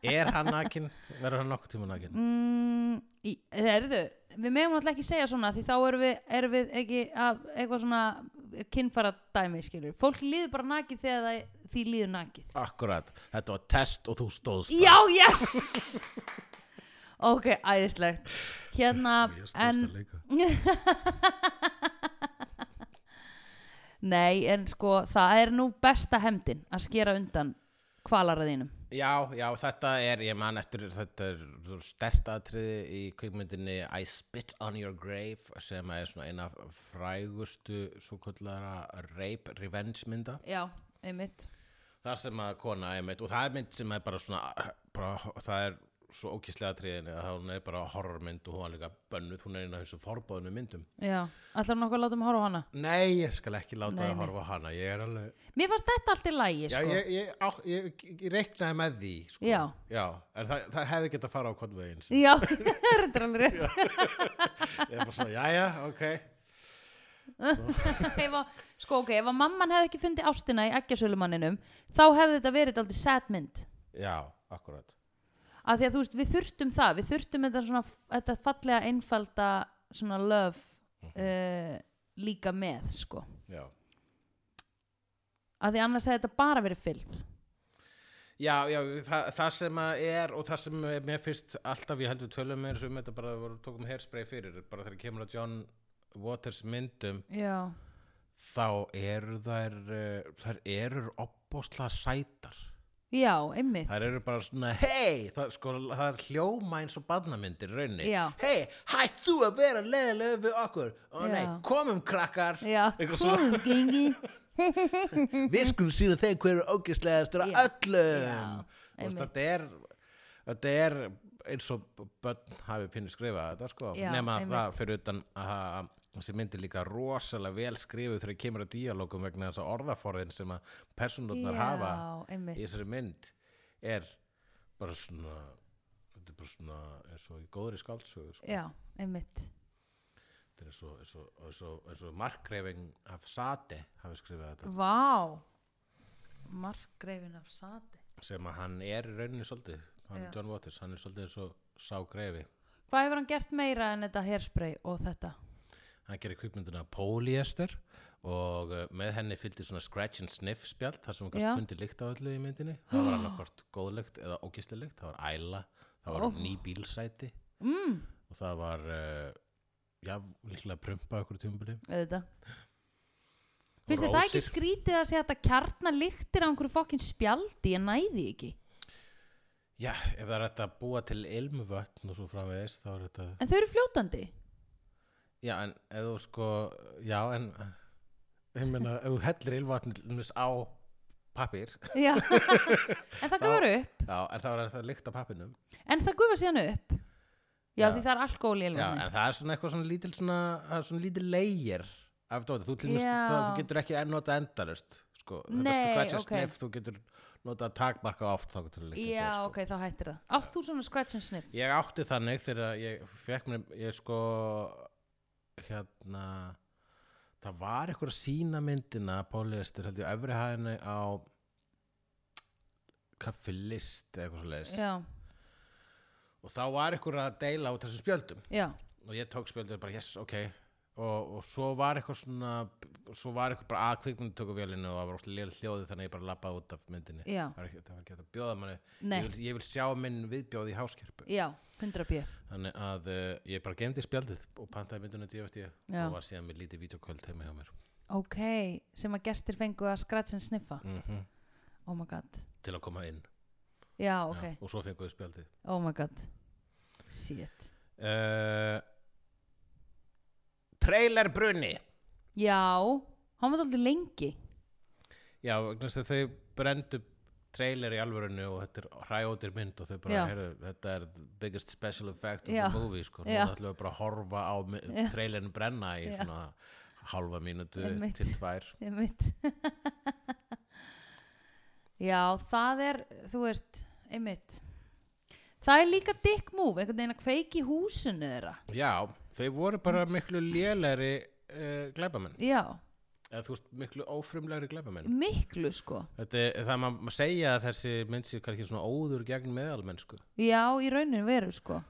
S1: er hann nakin, verður hann nokkuð tíman nakin?
S2: mm, í, erðu, við meðum náttúrulega ekki segja svona því þá erum við, erum við ekki að, eitthvað svona kynfara dæmi skilur, fólk líður bara nakið þegar það, því líður nakið
S1: Akkurat, þetta var test og þú stóðst.
S2: já, yes ok, æðislegt hérna,
S1: Ég stóðst
S2: en
S1: að leika.
S2: nei, en sko það er nú besta hemdin að skera undan kvalaraðinum
S1: Já, já, þetta er, ég man eftir, þetta er stertatriði í kvikmyndinni I Spit on Your Grave sem er svona eina frægustu svo kallara rape revenge mynda.
S2: já, einmitt
S1: þar sem að kona einmitt, og það er mynd sem er bara svona bara, það er svo ókíslega tríðinni að hún er bara horrormynd og hún er líka bönnuð, hún er eina af þessu forbóðinu myndum
S2: já, allar nokkuð að láta mig horfa á hana
S1: Nei, ég skal ekki láta
S2: Nei,
S1: það
S2: nei.
S1: horfa á hana ég er alveg,
S2: mér fannst þetta allt í lægi
S1: já,
S2: sko.
S1: ég, ég, á, ég, ég reiknaði með því sko.
S2: Já.
S1: en það, það hefði getað að fara á hvern veginn ég
S2: Já, þetta er alveg rétt
S1: er bara svona, jæja, ok
S2: ef að, Sko ok, ef að mamman hefði ekki fundið ástina í eggjasölumanninum þá hefði þetta verið aldrei sad mynd
S1: Já, akkurat
S2: af því að þú veist, við þurftum það við þurftum þetta svona þetta fallega
S1: Mhm.
S2: einfalda svona love uh, líka með, eh, sko
S1: Já,
S2: að því annars hefði þetta bara verið fylg
S1: Já, já, það, það sem að er og það sem er- mér finnst alltaf ég held við tölum með um þetta bara voru tókum herspray fyrir bara þegar kemur að John Waters myndum
S2: já,
S1: þá eru þær uh, þær eru opbósla sætar
S2: já, einmitt
S1: þær eru bara svona hei, það, sko, það er hljóma eins og badnamyndir raunni
S2: Já.
S1: hei, hætt þú að vera leðilega við okkur ó nei,
S2: Já.
S1: komum krakkar
S2: já,
S1: Eitthvað
S2: kom gengi
S1: við skulum sína þeim hverju ógislegastur
S2: Já.
S1: að öllum
S2: Já,
S1: Þú veist,
S2: einmitt.
S1: þetta er þetta er eins og börn hafi pínu skrifað þetta sko
S2: Já,
S1: nema
S2: einmitt.
S1: það fyrir utan að þessi myndi líka rosalega vel skrifuð þegar kemur að díalókum vegna þess að orðaforðin sem að personurnar hafa
S2: Já, einmitt.
S1: í þessari mynd er bara svona þetta er bara svona eins og í góðri skáldsögu sko.
S2: já, einmitt
S1: þetta er eins og, eins og, eins og, eins og markreifing af sati hafi skrifað þetta
S2: vá markgreifin af sati
S1: sem að hann er í rauninni svolítið hann
S2: Já.
S1: John Waters, hann er svolítið eins og sá greifi
S2: hvað hefur hann gert meira en þetta hairspray og þetta
S1: hann gerir kvikmyndina Polyester og uh, með henni fylgdi svona scratch and sniff spjald þar sem hann
S2: Já.
S1: gæst fundi lykt á öllu í myndinni það var annarkvort góðlegt eða ógistilegt það var æla, það var
S2: Ó.
S1: ný bílsæti
S2: mm,
S1: og það var uh, já, líklega prumpa okkur tímabili
S2: auðvitað finnst þið það ekki
S1: rósir.
S2: skrítið að segja þetta kjarnar lyktir á einhverju fokkin spjaldi ég næði ekki
S1: já, ef það er hægt að búa til ilmvötn og svo framvegis þá er þetta
S2: en þau eru fljótandi
S1: já, en ef þú sko já, en ég meina, ef þú hellir ilmvötn til dæmis á pappir
S2: já. en það gufar upp
S1: Já, en það var það lykt af pappinum
S2: en það gufar síðan upp já,
S1: Já.
S2: því það er alkohol í
S1: Já,
S2: elvinni
S1: en það er svona eitthvað svona lítil svona, það er svona lítil leir af dóti, þú til mest,
S2: Já.
S1: það þú getur ekki enn nota endalust, sko þetta
S2: Nei,
S1: scratch and
S2: ok.
S1: sniff, þú getur nota takmarka oft þá getur líkt
S2: já, ok, þá hættir það átt þú svona scratch and sniff
S1: Ég átti þannig þegar ég fekk mér, ég sko hérna það var eitthvað að sína myndina Póliðistir, held ég, á efri hæðinni á kaffilist eða eitthvað svo leis
S2: já,
S1: og þá var eitthvað að deila út þessum spjöldum
S2: já,
S1: og ég tók spjöldið bara yes, ok og, og svo var eitthvað svona svo var eitthvað bara að kvikmynd tóku vélinu og það var óslega lél hljóði þannig að ég bara labbaði út af myndinni
S2: Já.
S1: það var ekki, það var ekki hægt að bjóða manni
S2: Nei.
S1: ég vil, ég vil sjá minn viðbjóð í háskerpu
S2: já, 100 pjö
S1: þannig að uh, ég bara gemdi spjaldið og pantaði myndinu díu eftir ég
S2: Já.
S1: og var síðan með lítið vídeokvöld heima hjá mér
S2: ok, sem að gestir fengu að scratch and sniffa
S1: mm
S2: oh my god,
S1: til að koma inn
S2: já, ok
S1: Já, og svo fenguðu spjaldið
S2: oh my god, shit
S1: uh, trailerbrunni
S2: já, hann var alltaf lengi
S1: Já, vegna þess að þau brendu trailer í alvörinu og þetta er hræjótir mynd og þau bara,
S2: Já.
S1: heyrðu, þetta er the biggest special effect of
S2: Já.
S1: the movie, sko
S2: Já.
S1: núna ætlum við bara að horfa á mi- trailerin brenna í svona halva mínútu
S2: Einmitt.
S1: til tvær
S2: einmitt já, það er þú veist, einmitt það er líka dick move einhvern veginn að kveiki í húsinu þeirra
S1: Já, þau voru bara miklu lélegri uh, glæpamenn,
S2: já,
S1: eða þú veist, miklu ófrumlegri glæpamenn
S2: miklu sko
S1: Þetta er það má má segja að þessi mynd sér kannski svona óður gegn meðalmenn, sko
S2: já, í rauninu veru sko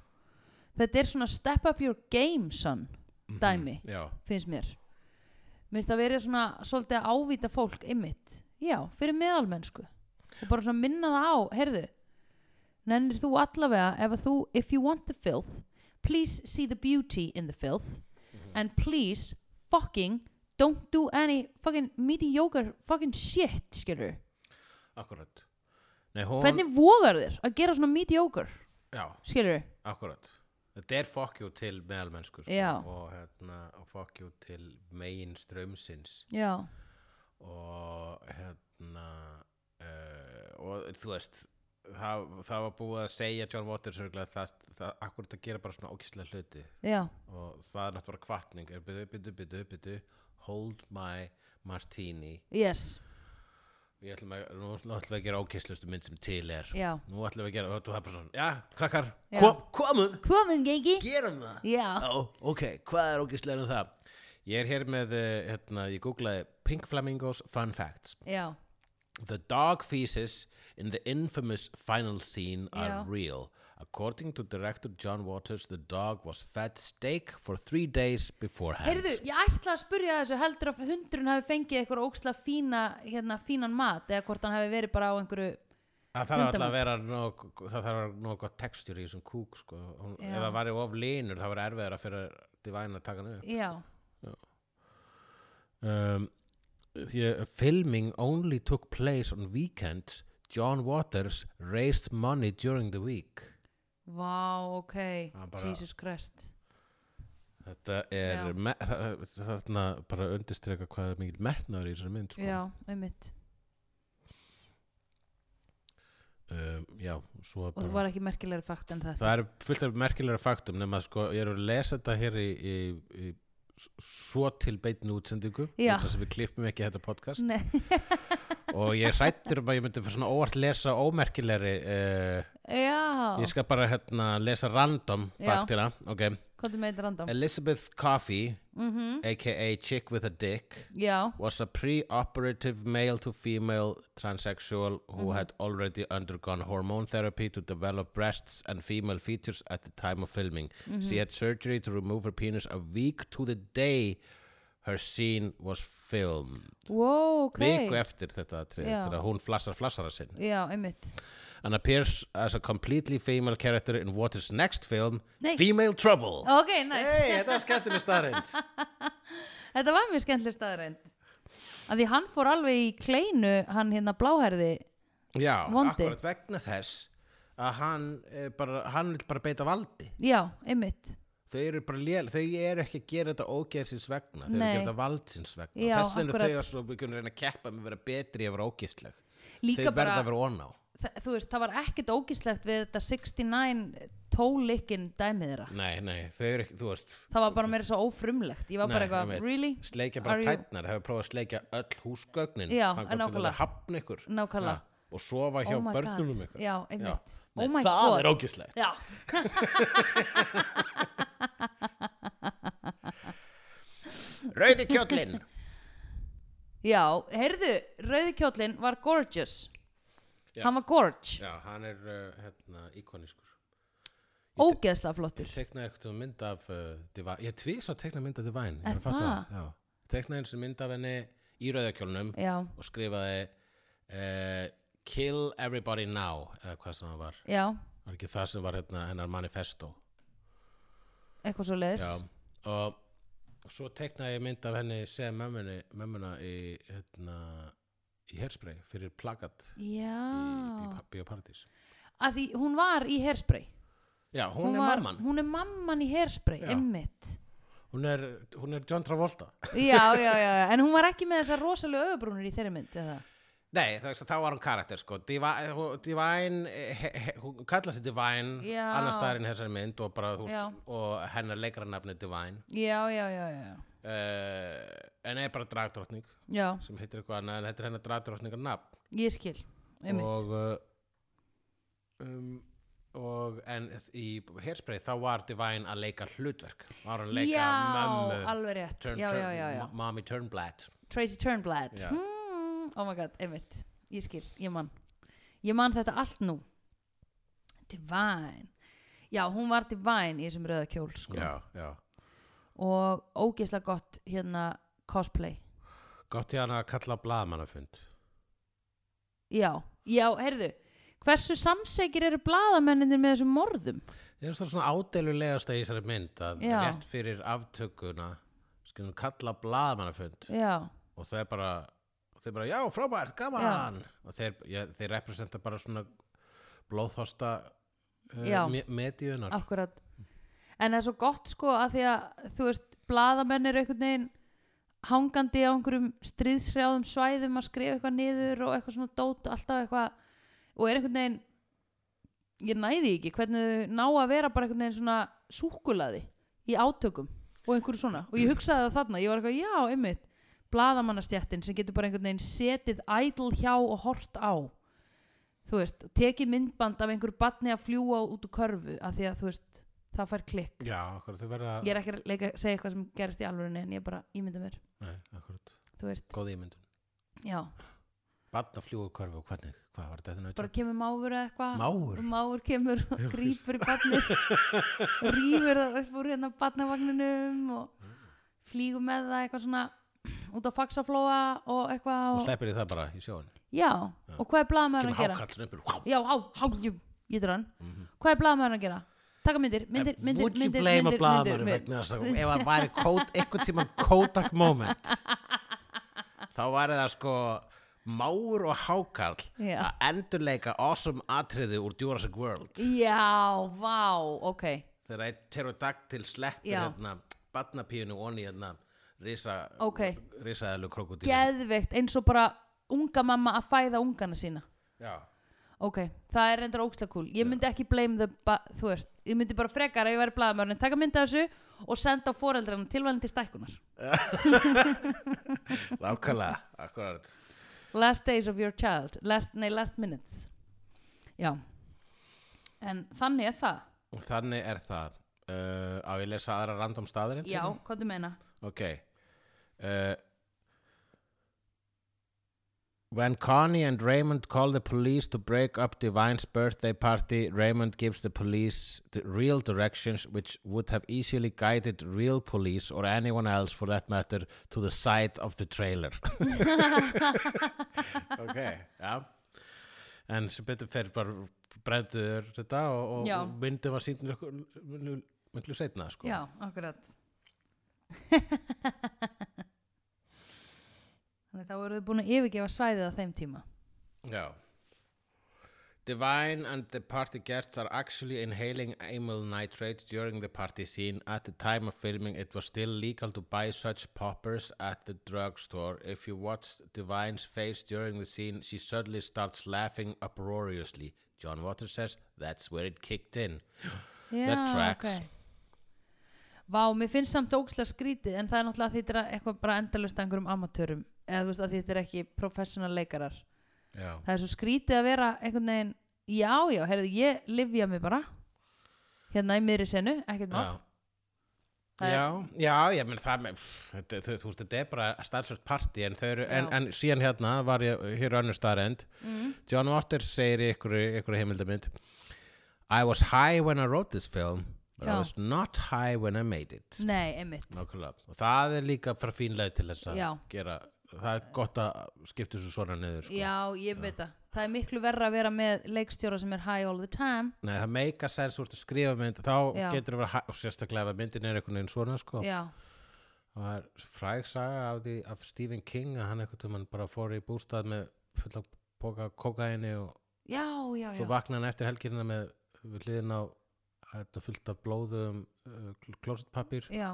S2: þetta er svona step up your game son Mhm. dæmi,
S1: Mhm. Já,
S2: finnst mér minnst að vera svona svolítið að ávita fólk einmitt, já, fyrir meðalmennsku og bara svona minna það á, heyrðu nennir þú allavega ef að þú, if you want the filth please see the beauty in the filth and please fucking don't do any fucking mediocre fucking shit, skilur
S1: akkurat Nei, hún,
S2: hvernig vogar þér að gera svona mediocre
S1: Já,
S2: skilur
S1: Akkurat. Þetta er fokkjú til meðalmennsku sko,
S2: Já.
S1: og, hérna, og fokkjú til megin strömsins
S2: já,
S1: og hérna uh, og þú veist það, það var búið að segja John Waters örugglega að það, það akkurat að gera bara svona ókislega hluti
S2: já,
S1: og það er náttúrulega kvartning byttu, byttu, byttu, byttu hold my martini
S2: yes
S1: ég ætlum að, nú ætlum við að gera ókislustu mynd sem til er
S2: Já.
S1: nú ætlum við að gera, og það er bara svona já, krakkar,
S2: Já.
S1: Kom, komum
S2: komin gengi
S1: gerum það
S2: Já.
S1: ok, hvað er ógislega en það ég er hér með, eh, hérna, ég googlaði Pink Flamingos Fun Facts
S2: já,
S1: The dog feces in the infamous final scene are
S2: Já.
S1: real According to director John Waters, the dog was fed steak for three days beforehand.
S2: Heyrðu, ég ætla að spurja þessu heldur að hundurinn hafi fengið eitthvað óksla fína, hérna, fínan mat eða hvort hann hafi verið bara á einhverju
S3: Það þarf alltaf að
S2: Hundamót.
S3: vera nóg, það þarf að vera nóg gott textur í þessum kúk sko. Hún-
S2: Já.
S3: Ef það væri of línur þá var erfiðara fyrir divæn að taka hann upp.
S2: Já,
S1: Um, yeah, filming only took place on weekends. John Waters raised money during the week.
S2: vá, ok
S3: Hann bara-
S2: Jesus Christ
S1: Þetta er
S2: Já.
S1: me- það- þarna bara undirstreka hvað er mikil metnaður í þessari mynd. Sko.
S2: Já, einmitt
S1: Um, já, svo
S2: Og það
S1: bara,
S2: var ekki merkilegri fakt en þetta
S1: það er fullt af merkilega faktum nema sko, ég er að lesa þetta hér í, í, í s- svo til beitin útsendingu
S2: Já.
S1: þess að við klippum ekki þetta podcast
S2: Nei,
S1: og ég hrættur um að ég myndi fyrir svona óvart lesa ómerkilegri uh,
S2: já,
S1: ég skal bara hérna lesa random
S2: Já.
S1: faktina ok,
S2: hvað þú meitir random
S1: Elizabeth Coffey
S2: mm
S1: aka Chick with a Dick
S2: Já,
S1: was a pre-operative male to female transsexual
S2: Mm-hmm.
S1: who had already undergone hormone therapy to develop breasts and female features at the time of filming.
S2: Mm-hmm.
S1: She had surgery to remove her penis a week to the day her scene was filmed.
S2: wow, ok
S1: Viku eftir þetta atrið,
S2: Já.
S1: þegar hún flassar flassara sinn.
S2: Já, einmitt
S1: and appears as a completely female character in what is next film,
S2: Nei. Oh,
S1: Female Trouble.
S2: Ok, næs
S1: Hey, þetta var skemmtileg staðrind.
S2: Þetta var mjög skemmtileg staðarend að því hann fór alveg í kleinu hann hérna bláherði
S1: Já,
S2: Vondi.
S1: akkurat vegna þess að hann, eh, bara, hann vil bara beita valdi.
S2: Já, einmitt
S1: Þau eru bara lél, þau eru ekki að gera þetta ógeðsins vegna, þau eru að
S2: Nei.
S1: gera þetta valdsins vegna.
S2: Já,
S1: Þess vegna
S2: akkurat.
S1: þau eru svo byggjum að reyna að keppa með að vera betri að vera ógeðsleg. Þau
S2: Líka
S1: verða
S2: bara,
S1: að vera oná.
S2: þa- þú veist, það var ekkert ógíslegt við þetta 69 tólikinn dæmið þeirra
S1: Nei, nei, þau eru ekki, þú veist,
S2: Það var bara meira svo ófrumlegt Ég var bara
S1: Nei, ég
S2: eitthvað,
S1: veit.
S2: really?
S1: sleikja bara
S2: Are you-
S1: tætnar, hefur prófað að sleikja öll húsgögnin.
S2: Já,
S1: þangað til
S2: nákvæmlega.
S1: að hafna ykkur.
S2: Nákvæmlega.
S1: Ja, og sofa hjá
S2: Oh my
S1: börnunum
S2: God.
S1: ykkur.
S2: Já, einmitt
S1: Nei,
S2: Oh my
S1: það
S2: god
S1: er ógislegt
S2: Já,
S1: Rauði kjóllinn
S2: já, heyrðu, rauði kjóllinn var gorgeous
S1: Já.
S2: Hann var gorge,
S1: Já, hann er uh, hérna, íkonískur
S2: ógeðslega flottur
S1: Ég teknaði eitthvað mynd af uh, Divine Ég tvís að tekna mynd af Divine ég er
S2: Er
S1: að fatta
S2: það?
S1: Já. Teknaði eins og mynd af henni í rauðakjólnum
S2: Já,
S1: og skrifaði uh, Kill everybody now eða hvað sem það var
S2: já,
S1: Var ekki það sem var hérna, hennar manifesto
S2: eitthvað svo leis
S1: Já, og svo teknaði ég mynd af henni sem mömmuna, mömmuna í, hérna, í herspray fyrir plakat í
S2: Já,
S1: Bio- Bioparadís
S2: að því hún var í hairspray
S1: Já, hún, er
S2: var-
S1: mamman
S2: Hún er mamman í hairspray,
S1: Já.
S2: einmitt
S1: hún er, hún er John Travolta
S2: já, já, já, já, en hún var ekki með þessar rosalega augabrúnir í þeirri mynd eða?
S1: Nei, það, þá var hún karakter sko Divi- hú- Divine, eh, he, he, hún kallaði sig Divine
S2: Já.
S1: annars staðarinn þessari mynd og, bara, hú,
S2: Já.
S1: og hennar leikranafni Divine
S2: Já, já, já, já
S1: uh, en er bara dragdrottning
S2: Já,
S1: sem heitir eitthvað annað en þetta er hennar dragdrottningar nafn
S2: ég skil, einmitt
S1: og, uh, um, og en í herspray þá var Divine að leika hlutverk var hún að leika
S2: Já,
S1: mömmu
S2: alveg rétt
S1: turn,
S2: Já,
S1: turn,
S2: já, já, já
S1: Ma- Mommy Turnblad sko.
S2: Tracy Turnblad
S1: Já.
S2: hmm, Oh my god, einmitt Ég skil, ég man Ég man þetta allt nú Divine Já, hún var divine í þessum rauða kjól sko.
S1: Já, já
S2: og ógeðslega gott hérna cosplay
S1: Gott ég hann að kalla blaðmannafund
S2: Já, já, heyrðu Hversu samsækir eru blaðamenninir með þessum morðum?
S1: Ég er svona ádeilulegasta í þessari mynd að
S2: Já.
S1: rétt fyrir aftökuna skulum kalla blaðmannafund
S2: Já,
S1: og það er bara og þeir bara, já, frábært, gaman og þeir, ja, þeir representa bara svona blóðhosta
S2: Já.
S1: uh, mediunar
S2: akkurat En það er svo gott sko að því að þú veist, blaðamenn eru einhvern veginn hangandi á einhverjum stríðshrjáðum svæðum að skrifa eitthvað niður og eitthvað svona dót og alltaf eitthvað og er einhvern veginn ég næði ekki hvernig þau ná að vera bara einhvern veginn svona súkulaði í átökum og einhverju svona og ég hugsaði það þarna, ég var eitthvað, já, einmitt blaðamannastjættin sem getur bara einhvern veginn setið ædl hjá og hort á þú veist, og tekið myndband af einhverju batni að fljúa út úr körfu af því að þú veist, það fær klikk
S1: Já, akkurat, þau verða
S2: ég er ekki að leika, segja eitthvað sem gerist í alvörunni en ég bara ímynda mér,
S1: Nei, akkurat,
S2: þú veist
S1: góð ímyndun
S2: já,
S1: Batna fljúgur hverfi og hvernig, hvað var þetta
S2: bara kemur máfur eða eitthvað
S1: Máfur?
S2: Og máfur kemur og grýpur í barnið rýfur það upp úr hérna barnavagninum og flýgur með það eitthvað svona út á faxaflóa og eitthvað
S1: og
S2: og,
S1: sleppir þið það bara í sjóin
S2: já, og hvað er blaðmaður
S1: kemur
S2: að gera?
S1: hákall svona upp úr, há.
S2: já, há, háljum, getur hann hvað er blaðmaður að gera? taka myndir, myndir,
S1: En
S2: myndir,
S1: would you
S2: myndir,
S1: blame a
S2: myndir,
S1: blaðamönnum
S2: myndir,
S1: vegna þess að ef það væri kót, einhvern tíma Kodak moment þá væri það sko Máur og Hákarl
S2: Já.
S1: að endurleika awesome atriði úr Jurassic World
S2: já, vá, ok
S1: þegar einn pterodaktil sleppir
S2: Já.
S1: hérna batnapíunu onni hérna risa,
S2: Ókei.
S1: risaðalu krokodíl
S2: geðveikt eins og bara unga mamma að fæða ungana sína
S1: Já,
S2: ok, það er reyndar óksla cool ég myndi ekki blame the, ba- þú veist ég myndi bara frekar að ég væri blaðamörn en taka mynda þessu og senda á foreldrarna tilvæðin til stækkunar
S1: lákala, akkurat
S2: last days of your child last, nei, last minutes já en þannig er það
S1: Þannig er það uh, á ég að lesa aðra random staðurinn
S2: já, hvað þú meina
S1: Ok uh, When Connie and Raymond call the police to break up Divine's birthday party, Raymond gives the police the real directions which would have easily guided real police or anyone else for that matter to the side of the trailer. ok, já. En sem betur fer bara brendur þetta og, og
S2: Já.
S1: myndið var síndin miklu setna, sko.
S2: já, akkurat þannig þá eru þau búin að yfirgefa svæðið á þeim tíma
S1: Já. Divine and the party guests are actually inhaling amyl nitrate during the party scene. At the time of filming, it was still legal to buy such poppers at the drugstore. If you watch Divine's face during the scene, she suddenly starts laughing uproariously. John Waters says, That's where it kicked in.
S2: Já,
S1: tracks.
S2: ok. Vá, mér finnst samt ókslega skrítið en það er náttúrulega að þetta er eitthvað bara endalust einhverjum amatörum eða þú veist að þetta er ekki professional leikarar
S1: Já.
S2: það er svo skrítið að vera einhvern veginn já, já, heyrðu, ég livja mig bara hérna í miðri senu, ekkert mál
S1: Já.
S2: Það er-
S1: Já, já, ég menn það með, pff, þetta, þú, þú veist, þetta er bara starfsvöld party en, þau eru, en,
S2: Já.
S1: en síðan hérna var ég, hér er önnur starrend mm. John Waters segir í ykkur, ykkur heimildamynd I was high when I wrote this film but I
S2: Já.
S1: was not high when I made it
S2: nei, einmitt
S1: Nákvæmlega, og það er líka bara fín leið til þess að
S2: Já.
S1: gera það er gott að skipta þessu svona niður sko.
S2: já, ég veit það, það er miklu verra að vera með leikstjóra sem er high all the time
S1: Nei, það meika sens úr að skrifa mynd þá
S2: Já.
S1: getur það verið, og sérstaklega ef myndin er einhvern veginn svona sko.
S2: já,
S1: og það er fræg saga af, því, af Stephen King að hann einhvern veginn bara fór í bústað með fulla póka kokaini og
S2: já, já, já
S1: svo vakna hann eftir helgina með við hliðin á þetta fullt af blóðum uh, klósetpapir
S2: já,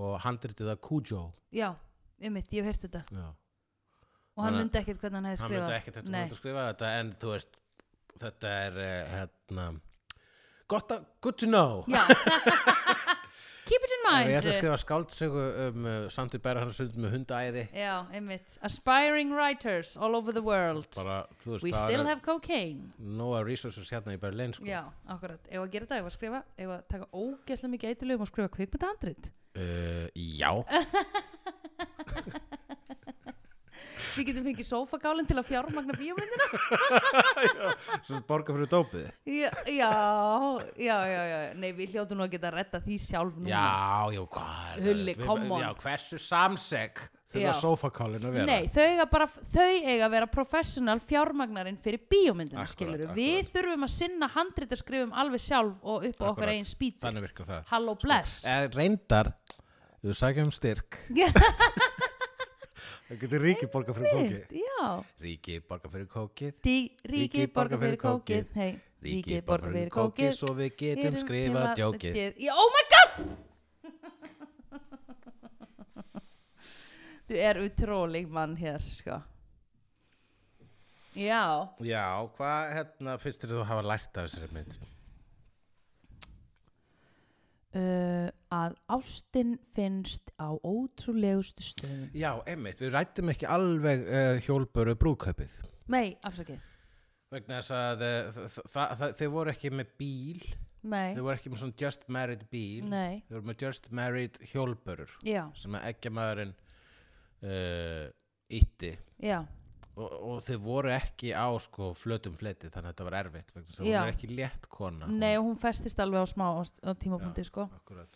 S1: og handritið að Cujo
S2: já, einmitt, ég hef heyrt þetta
S1: Já.
S2: og hann
S1: Þannig að-
S2: myndi ekkert hvernig hann hefði
S1: hann
S2: skrifað
S1: myndi ekkert þetta
S2: Nei.
S1: myndi skrifa þetta en þú veist þetta er uh, hérna gott að, good to know
S2: Já Keep it in
S1: ég ætla að
S2: mind
S1: skrifa skáldsögu um uh, samt í bæra hann sund með hundaæði
S2: Já, einmitt Aspiring writers all over the world
S1: bara, þú veist,
S2: We
S1: það
S2: still
S1: er
S2: have cocaine
S1: nóga resources hérna í Berlin sko.
S2: Já, akkurat Ef að gera þetta, ef að skrifa Ef að taka ógeðslega mikið eitilögum og skrifa kvikmyndahandrit
S1: Uh, já
S2: Við getum fengið sófagálinn til að fjármagna bíómyndina
S1: Svo borga fyrir dópið
S2: já, já, já, já, já Nei, við hljótum nú að geta að redda því sjálf núna
S1: Já, já, hvað er
S2: Hulli,
S1: við-
S2: come on.
S1: Já, hversu samseg
S2: Já.
S1: þurfa sofakálin að vera
S2: Nei, þau eiga, bara, þau eiga að vera professional fjármagnarinn fyrir bíómyndina
S1: Akkúrat,
S2: skilur
S1: akkúrat.
S2: Við þurfum að sinna handritaskrifum alveg sjálf og upp á okkar
S1: Akkúrat,
S2: eigin spýti
S1: Þannig virkar það
S2: Halló bless
S1: eh, Reyndar, ef þú sækja um styrk Það getur ríki borga fyrir kókið
S2: Einmitt, Já
S1: Ríki borga fyrir kókið
S2: Dí, Ríkið borga fyrir kókið hey, Ríkið borga fyrir kókið
S1: Svo við getum
S2: Erum
S1: skrifað
S2: tíma-
S1: djókið
S2: Já, Oh my god Þú er utrólig mann hér sko Já
S1: Já, hvað hérna finnst þér þú hafa lært af þessari mynd?
S2: uh, að ástin finnst á ótrúlegustu stöðum
S1: Já, einmitt, við rættum ekki alveg uh, hjólböru brúkaupið
S2: Nei, afsakið
S1: vegna þess að uh, þa- þa- þa- þa- þau voru ekki með bíl
S2: Nei,
S1: þau voru ekki með svona just married bíl
S2: Nei.
S1: þau voru með just married hjólbörur
S2: já,
S1: sem að ekki maðurinn uh, ítti
S2: já,
S1: og eh, og, og þau voru ekki á sko flötum fleti þannig að þetta var erfitt vegna þess að
S2: Já.
S1: hún er ekki létt kona
S2: Nei, og hún festist alveg á smá á, á tímapunkti, sko.
S1: hún, akkurat,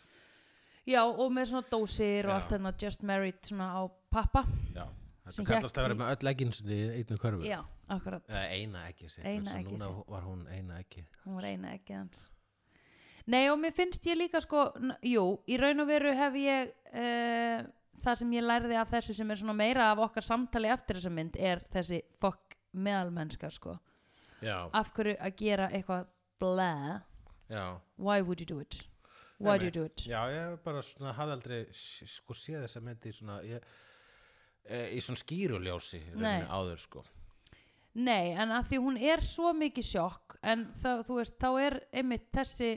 S2: Já, og með svona dósir og
S1: Já.
S2: allt þennan Just Married svona á pappa.
S1: já,
S2: Sem
S1: þetta kallast að
S2: hékk
S1: vera
S2: í-
S1: með öll eggin sinni í einnu körfu
S2: Já, akkurat.
S1: eða eina ekki sitt
S2: Eina
S1: vegna þess að
S2: eggið
S1: núna var hún eina ekki
S2: Hún var eina ekki hans. Nei, og mér finnst ég líka, sko, n- jú, í raun og veru hef ég, uh, það sem ég lærði af þessu sem er svona meira af okkar samtali eftir þessa mynd er þessi fokk meðalmennska, sko.
S1: já,
S2: Af hverju að gera eitthvað bleh,
S1: já,
S2: why would you do it? Why do you
S1: Einmitt.
S2: do it?
S1: já ég bara svona hafði aldrei s- sko séð þessa myndi svona ég, e, í svona skýruljósi í
S2: Nei.
S1: rauninni áður sko
S2: Nei, en að því hún er svo mikið sjokk en þá, þú veist, þá er einmitt þessi,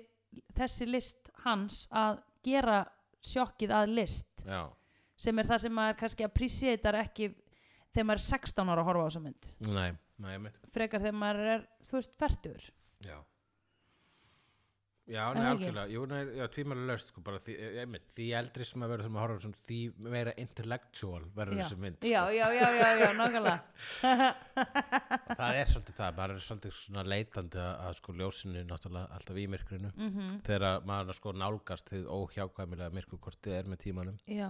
S2: þessi list hans að gera sjokkið að list
S1: já,
S2: sem er það sem maður kannski appreciatar ekki þegar maður er 16 ára að horfa á þessa mynd
S1: nei, nei, ég mynd
S2: frekar þegar maður er, þú veist, færtur
S1: Já Já, nei,
S2: Er það ekki?
S1: algjörlega, jú, nei, já, tvímælu löst sko, bara því, einmitt, því eldri sem að vera sem að horfa á svona, því meira intellectual verður
S2: já.
S1: þessu mynd,
S2: já, já, já, já, já, nákvæmlega
S1: sko. það er svolítið það, maður er svolítið svona leitandi að, að sko ljósinu náttúrulega alltaf í myrkrinu,
S2: mm
S1: þegar maður sko nálgast þið óhjákvæmilega myrkurkortið er með tímanum
S2: já,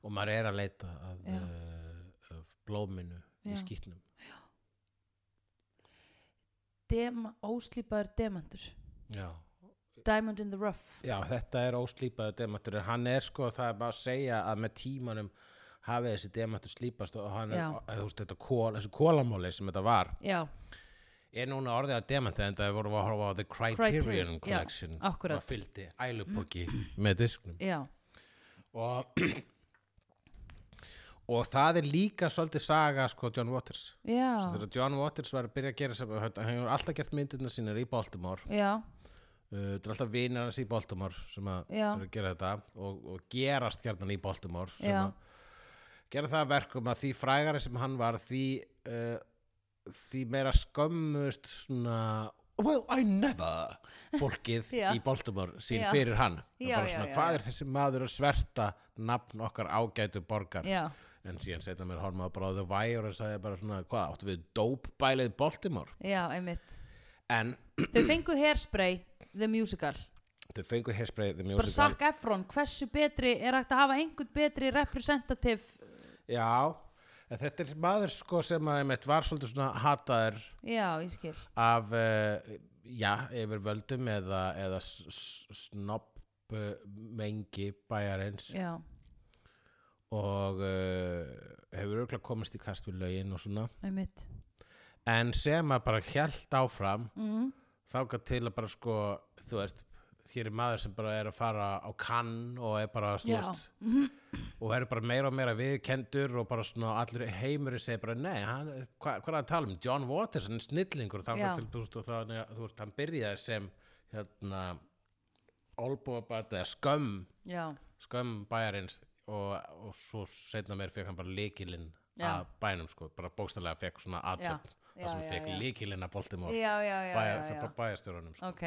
S1: og maður er að leita að,
S2: Já.
S1: uh, að blóminu
S2: Já.
S1: í skýtnum,
S2: Dema, óslýpaður demantur
S1: já.
S2: Diamond in the rough
S1: Já, þetta er óslýpaður demantur en hann er sko, það er bara að segja að með tímanum hafi þessi demantur slípast og hann er,
S2: Já.
S1: að, þú veist, þetta kól, þessi kólamóli sem þetta var
S2: já,
S1: er núna orðið að demantur en það vorum við að horfa á The Criterion,
S2: Criterion, já,
S1: Collection
S2: akkurat.
S1: og fylgdi ælupokki með disknum
S2: já,
S1: og, og það er líka svolítið saga sko John Waters
S2: já
S1: þegar John Waters var að byrja að gera sem, hann hefur alltaf gert myndirna sínar í Baltimore
S2: já,
S1: Uh, þetta er alltaf vinir hans í Baltimore sem að
S2: Já.
S1: eru að gera þetta og, og gerast gerðan í Baltimore sem
S2: Já.
S1: að gera það að verkum að því frægari sem hann var því, uh, því meira skömmust svona well I never fólkið
S2: Já.
S1: í Baltimore sín
S2: Já.
S1: fyrir hann Það er
S2: Já,
S1: bara
S2: já,
S1: svona,
S2: já,
S1: hvað
S2: já.
S1: er þessi maður að sverta nafn okkar ágætu borgar
S2: já
S1: en síðan setna mér horfum að bara á The Wire og sagði bara svona hvað áttu við dópbælið Baltimore
S2: Já, einmitt.
S1: en
S2: Þau fengu hairspray, the musical.
S1: þau fengu hairspray the
S2: Bara
S1: musical
S2: Zac Efron, hversu betri, er hægt að hafa einhvern betri representative?
S1: Já, en þetta er maður sko sem að einmitt var svolítið svona hataður
S2: Já, ég skil.
S1: af, uh, já, yfir völdum eða, eða snopp mengi bæjarins
S2: Já,
S1: og uh, hefur auðvitað komist í kast við lögin og svona
S2: einmitt.
S1: en sem að bara hjælt áfram
S2: Mm.
S1: þáka til að bara sko þú veist, hér er maður sem bara er að fara á kann og er bara þú
S2: Já.
S1: veist, og er bara meira og meira viðkendur og bara svona allir heimurinn segir bara nei, hann, hva, hvað er að tala um John Waters, hann er snillingur
S2: Já.
S1: þáka til þú veist, og þannig að þú veist, hann byrjaði sem hérna olbúabat eða skömm
S2: Já,
S1: skömm bæjarins og, og svo setna meir fekk hann bara líkilinn
S2: Já.
S1: að bænum sko, bara bókstælega fekk svona
S2: Já.
S1: aðtöp
S2: Já,
S1: það sem
S2: já,
S1: fekk
S2: já.
S1: líkilinn að Baltimore
S2: já, já, já.
S1: bæjar,
S2: já, já.
S1: frá bæjarstjórunum sko.
S2: Ok.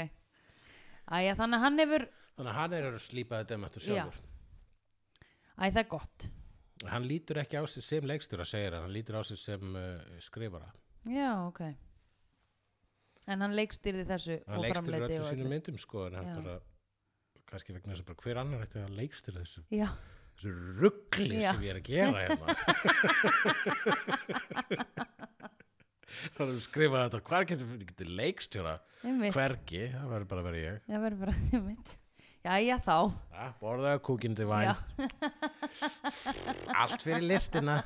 S2: Æja, þannig að hann hefur,
S1: þannig að hann er að slípa þetta með þetta
S2: Já.
S1: sjálfur
S2: æ, það er gott.
S1: hann lítur ekki á sig sem leikstjóra segir hann, hann lítur á sig sem uh, skrifara
S2: Já, ok. En hann leikstýrði þessu
S1: hann
S2: og
S1: leikstjóra
S2: framleiti
S1: öllu
S2: og
S1: sínum
S2: öllu.
S1: myndum sko en hann
S2: Já.
S1: bara kannski vegna þess að bara hver annar ætti að leikstjóra þessu
S2: Já,
S1: þessu ruggli
S2: Já.
S1: sem ég er að gera hérna hann er að skrifa þetta hvar getur, getur leikstjóra
S2: einmitt.
S1: hvergi, það verður bara að vera ég
S2: Það verður bara, einmitt. Jæja þá.
S1: ah, borðaðu kúkinn til væn
S2: Já.
S1: allt fyrir listina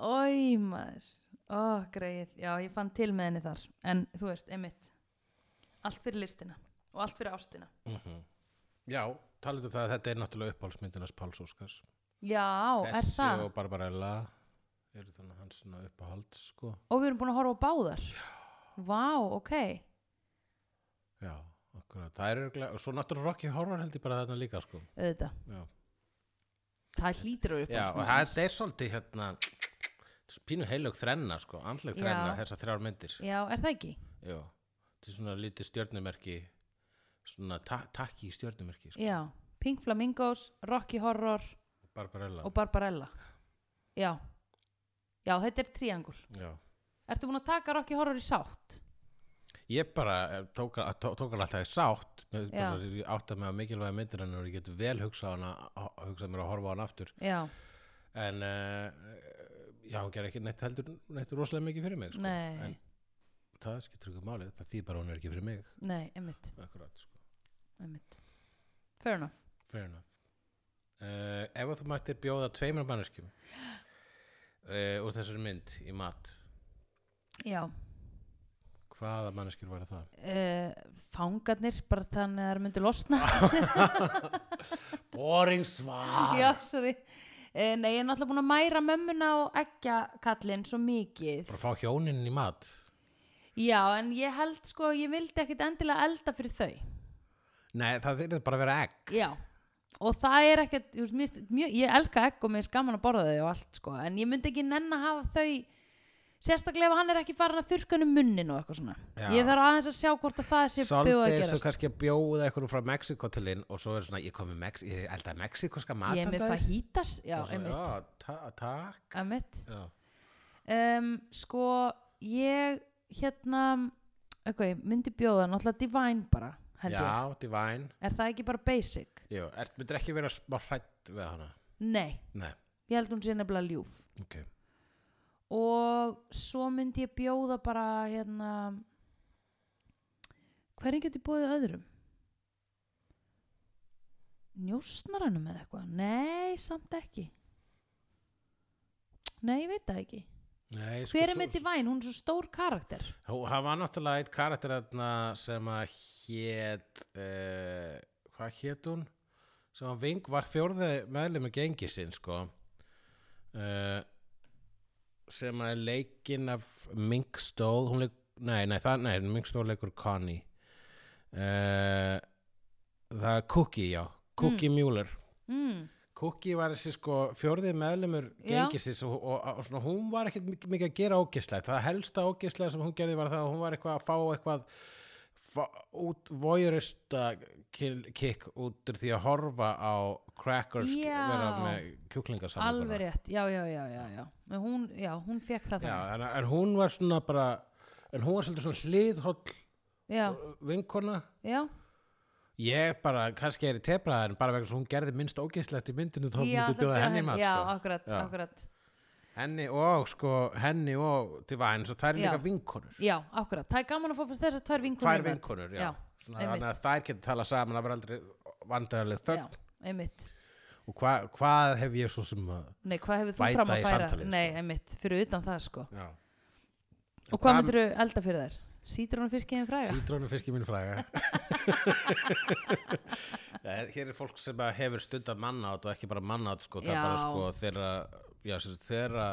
S2: Ói maður, ó greið, já ég fann til með henni þar en þú veist, einmitt, allt fyrir listina og allt fyrir ástina.
S1: Mhm. já, talaðu það að þetta er náttúrulega uppáhaldsmyndinars Páls Óskars
S2: Já, er
S1: þessi
S2: það?
S1: og Barbarella eru þannig hans svona uppáhald sko.
S2: Og við erum búin að horfa á báðar. Vá, ok,
S1: já, okkur það er örugglega- og svo náttúrulega Rocky Horror held ég bara þarna líka sko.
S2: auðvitað,
S1: já.
S2: það hlýtur að upp
S1: já, og það er svolítið hérna pínu heilög þrenna sko, andleg
S2: Já.
S1: þrenna þessar þrjár myndir
S2: Já, er það ekki?
S1: já, til svona lítið stjörnumerki svona ta takki í stjörnumerki sko.
S2: Já, Pink Flamingos, Rocky Horror
S1: Barbarella
S2: og Barbarella. Já, Já, þetta er triangul.
S1: Já.
S2: Ertu búin að taka Rocky Horror í sátt?
S1: Ég bara eh, tók hann tó, tók hann alltaf í sátt Ég
S2: Já.
S1: bara- ég átta mig á mikilvæga myndir hennar og ég get vel hugsað hana hugsað mér að horfa á hann aftur
S2: Já,
S1: en uh, já, hún ger ekki neitt heldur neitt rosalega mikið fyrir mig sko.
S2: Nei.
S1: en það skiptir ekki máli það þýð bara að hún er ekki fyrir mig
S2: nei, einmitt,
S1: akkurat, sko.
S2: einmitt. Fair enough.
S1: fair enough uh, ef að þú mættir bjóða tveimur manneskjum uh, úr þessari mynd í mat
S2: Já,
S1: hvaða manneskjur var það?
S2: uh, fangarnir, bara þannig að það myndi losna.
S1: boring svar
S2: Já, sorry. Uh, nei, ég er náttúrulega búin að mæra mömmuna og ekja kallinn svo mikið.
S1: bara fá hjónin í mat
S2: Já, en ég held sko, ég vildi ekkit endilega elda fyrir þau.
S1: nei, það þyrfir bara að vera egg
S2: Já, og það er ekkert, þú veist, mist, mjög, ég elka egg og mér er gaman að borða þau og allt sko, en ég myndi ekki nenn að hafa þau, sérstaklega ef hann er ekki farin að þurrka hann um munnin og eitthvað svona.
S1: Já.
S2: Ég þarf aðeins að sjá hvort að það sé búið að
S1: Svolítið svo
S2: gerast.
S1: kannski að bjóða eitthvað frá Mexiko til inn og svo er svona, ég komi Mex ég er alltaf mexikoska mat
S2: Ég er með
S1: handa þér.
S2: fajitas, já,
S1: Og svo,
S2: einmitt,
S1: Já, ta- takk
S2: einmitt.
S1: Já.
S2: Um, sko, ég, hérna, eitthvað, ég myndi bjóða, náttúrulega divine bara, held ég.
S1: Já, Divine
S2: Er það ekki bara basic?
S1: Jú, er, myndir ekki vera smá hrætt við hana
S2: Nei,
S1: Nei,
S2: ég held hún sé nefnilega ljúf.
S1: ok
S2: og svo myndi ég bjóða bara hérna hverjum getur bóðið öðrum njósnaranum eða eitthvað nei, samt ekki nei, ég veit það ekki
S1: Nei, sko,
S2: hver er
S1: svo-
S2: með Divine, hún er svo stór karakter
S1: Hó- Hann var náttúrulega eitt karakter þarna sem að hét uh, Hvað hét hún? Sem að Ving var fjórði meðlum með gengi sinn sko uh, sem að er leikinn af Minkstól hún leik, nei, nei, það, nei, Minkstól leikur Connie uh, Það er Cookie, já Cookie Mueller
S2: mm,
S1: Cookie var þessi sko fjórði meðlumur
S2: Já.
S1: gengisins og, og, og svona, hún var ekkert mik- mikið að gera ógislega það helsta ógislega sem hún gerði var það að hún var eitthvað að fá eitthvað fá, út voyeurista kikk út úr því að horfa á crackers
S2: Já.
S1: vera með kjúklingasamlokuna.
S2: alveg rétt, já, já, já, já, já. Men Hún, já hún fekk það
S1: Já,
S2: þannig
S1: en, en hún var svona bara en hún var svolítið svona hliðhóll
S2: já,
S1: vinkona
S2: já,
S1: ég bara, kannski er í tebraðar en bara vegna svo hún gerði minnst ógislegt í myndinu þá
S2: já,
S1: mútið
S2: það
S1: bjóða
S2: bjóða
S1: henni í mat
S2: já,
S1: sko.
S2: akkurat,
S1: Já.
S2: akkurat
S1: henni og sko henni og Divine svo þær eru
S2: Já.
S1: líka vinkonur
S2: já, akkurat, það er gaman að fá fyrst þess að tvær vinkonur
S1: tvær
S2: í mat.
S1: vinkonur, já, Svona
S2: einmitt.
S1: þannig að þær geta tala saman það verður aldrei vandræðarleg
S2: já,
S1: þögn
S2: einmitt
S1: og hva, hvað hef ég svo sem að
S2: Nei, hvað hefur þú
S1: Bæta
S2: fram
S1: í
S2: að færa?
S1: samtalið, sko.
S2: Nei, einmitt, fyrir utan það sko.
S1: já.
S2: Og hvað myndir þú elda fyrir þær? Sítrónufiskiðin fræga?
S1: Sítrónu fiski mín fræga Já, Hér er fólk sem að hefur stundar mannátt og ekki bara mannátt sko, það er
S2: Já.
S1: bara sko þeirra, já, sem sagt, þeirra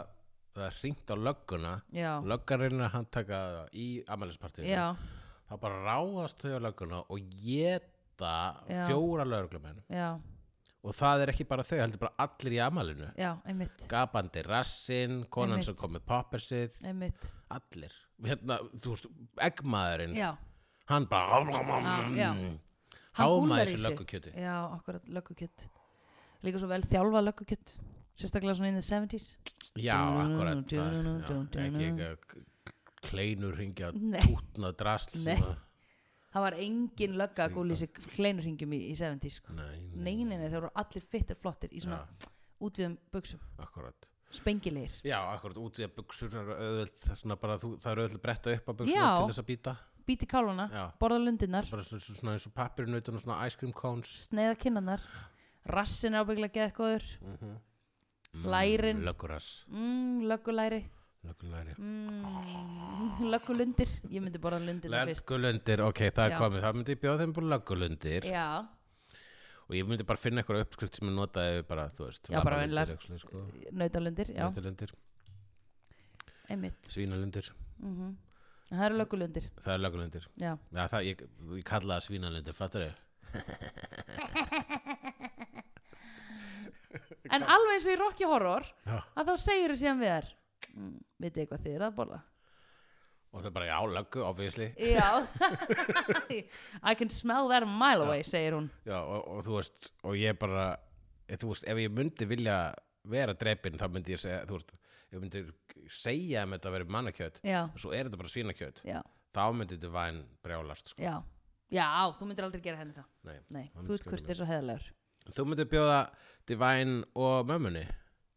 S1: það er hringt á lögguna
S2: Já,
S1: löggarinn að handtaka það í amælispartíð
S2: já,
S1: þá bara ráðast þau á lögguna og geta
S2: Já.
S1: fjóra lögreglumenn
S2: já,
S1: og það er ekki bara þau, heldur bara allir í amalinu
S2: já, einmitt,
S1: gapandi rassin, konan sem
S2: Einmitt.
S1: kom með poppersið
S2: einmitt,
S1: allir, hérna, þú veist eggmaðurinn,
S2: já,
S1: hann bara
S2: já. Hann gúllar
S1: hámaði
S2: í
S1: þessu
S2: sig.
S1: löggukjöti
S2: já, akkurat, löggukjött. Líka svo vel þjálfa löggukjött, sérstaklega svona in the 70s.
S1: já, akkurat það,
S2: Dun,
S1: já,
S2: dun, dun,
S1: ekki
S2: dun.
S1: eitthvað kleinur hringja
S2: Nei.
S1: tútna drasl
S2: Nei.
S1: sem að-
S2: Það var engin lögga að gúli sig kleinurhingjum í, í 70s sko.
S1: nei, nei,
S2: Nei, nei, nei, það voru allir fittir flottir í svona útviðum buksum,
S1: akkurat
S2: spengilegir.
S1: já, akkurat, út við að buksunar auðvöld, svona bara, þú, það er auðvöld að bretta upp að buksunar
S2: Já.
S1: til þess að býta
S2: Bíti káluna,
S1: Já.
S2: borða lundinnar,
S1: bara svona, svona eins og pappirinn utan og svona ice cream cones
S2: sneiða kinnarnar rassin er ábygglega geðgóður Mm, Lærin.
S1: löggurass,
S2: mm, löggulæri
S1: löggulæri Oh.
S2: mm, löggulundir ég myndi borða lundina fyrst
S1: Löggulundir, ok, það
S2: Já.
S1: er komið Það myndi ég bjóða þeim bara löggulundir
S2: já,
S1: og ég myndi bara finna eitthvað uppskrift sem ég notaði bara, þú veist,
S2: Já, bara
S1: varmalundir,
S2: venjulegar.
S1: actually, sko.
S2: nautalundir, já,
S1: Nautalundir,
S2: einmitt
S1: svínalundir
S2: mm það eru löggulundir,
S1: Það er löggulundir
S2: já
S1: Já, það, ég, ég kalla það svínalundir, fattur ég?
S2: en alveg eins og í Rocky Horror
S1: Já.
S2: að þá segir þú síðan við þær mm, vitið eitthvað þið er að borða
S1: Og það er bara, já, löggu, obviously
S2: já I can smell that a mile away, segir hún
S1: Já, og, og þú veist, og ég bara eh, Þú veist, ef ég myndi vilja vera drepin, þá myndi ég segja, þú veist ef myndi segja um þetta verið mannakjöt
S2: já,
S1: svo er þetta bara svínakjöt
S2: já,
S1: þá myndi Divine brjálast sko.
S2: já já, þú myndir aldrei gera henni það
S1: Nei.
S2: nei,
S1: Það
S2: þú
S1: myndi
S2: ert kurtið svo heðalegur
S1: þú myndi bjóða Divine og mömmunni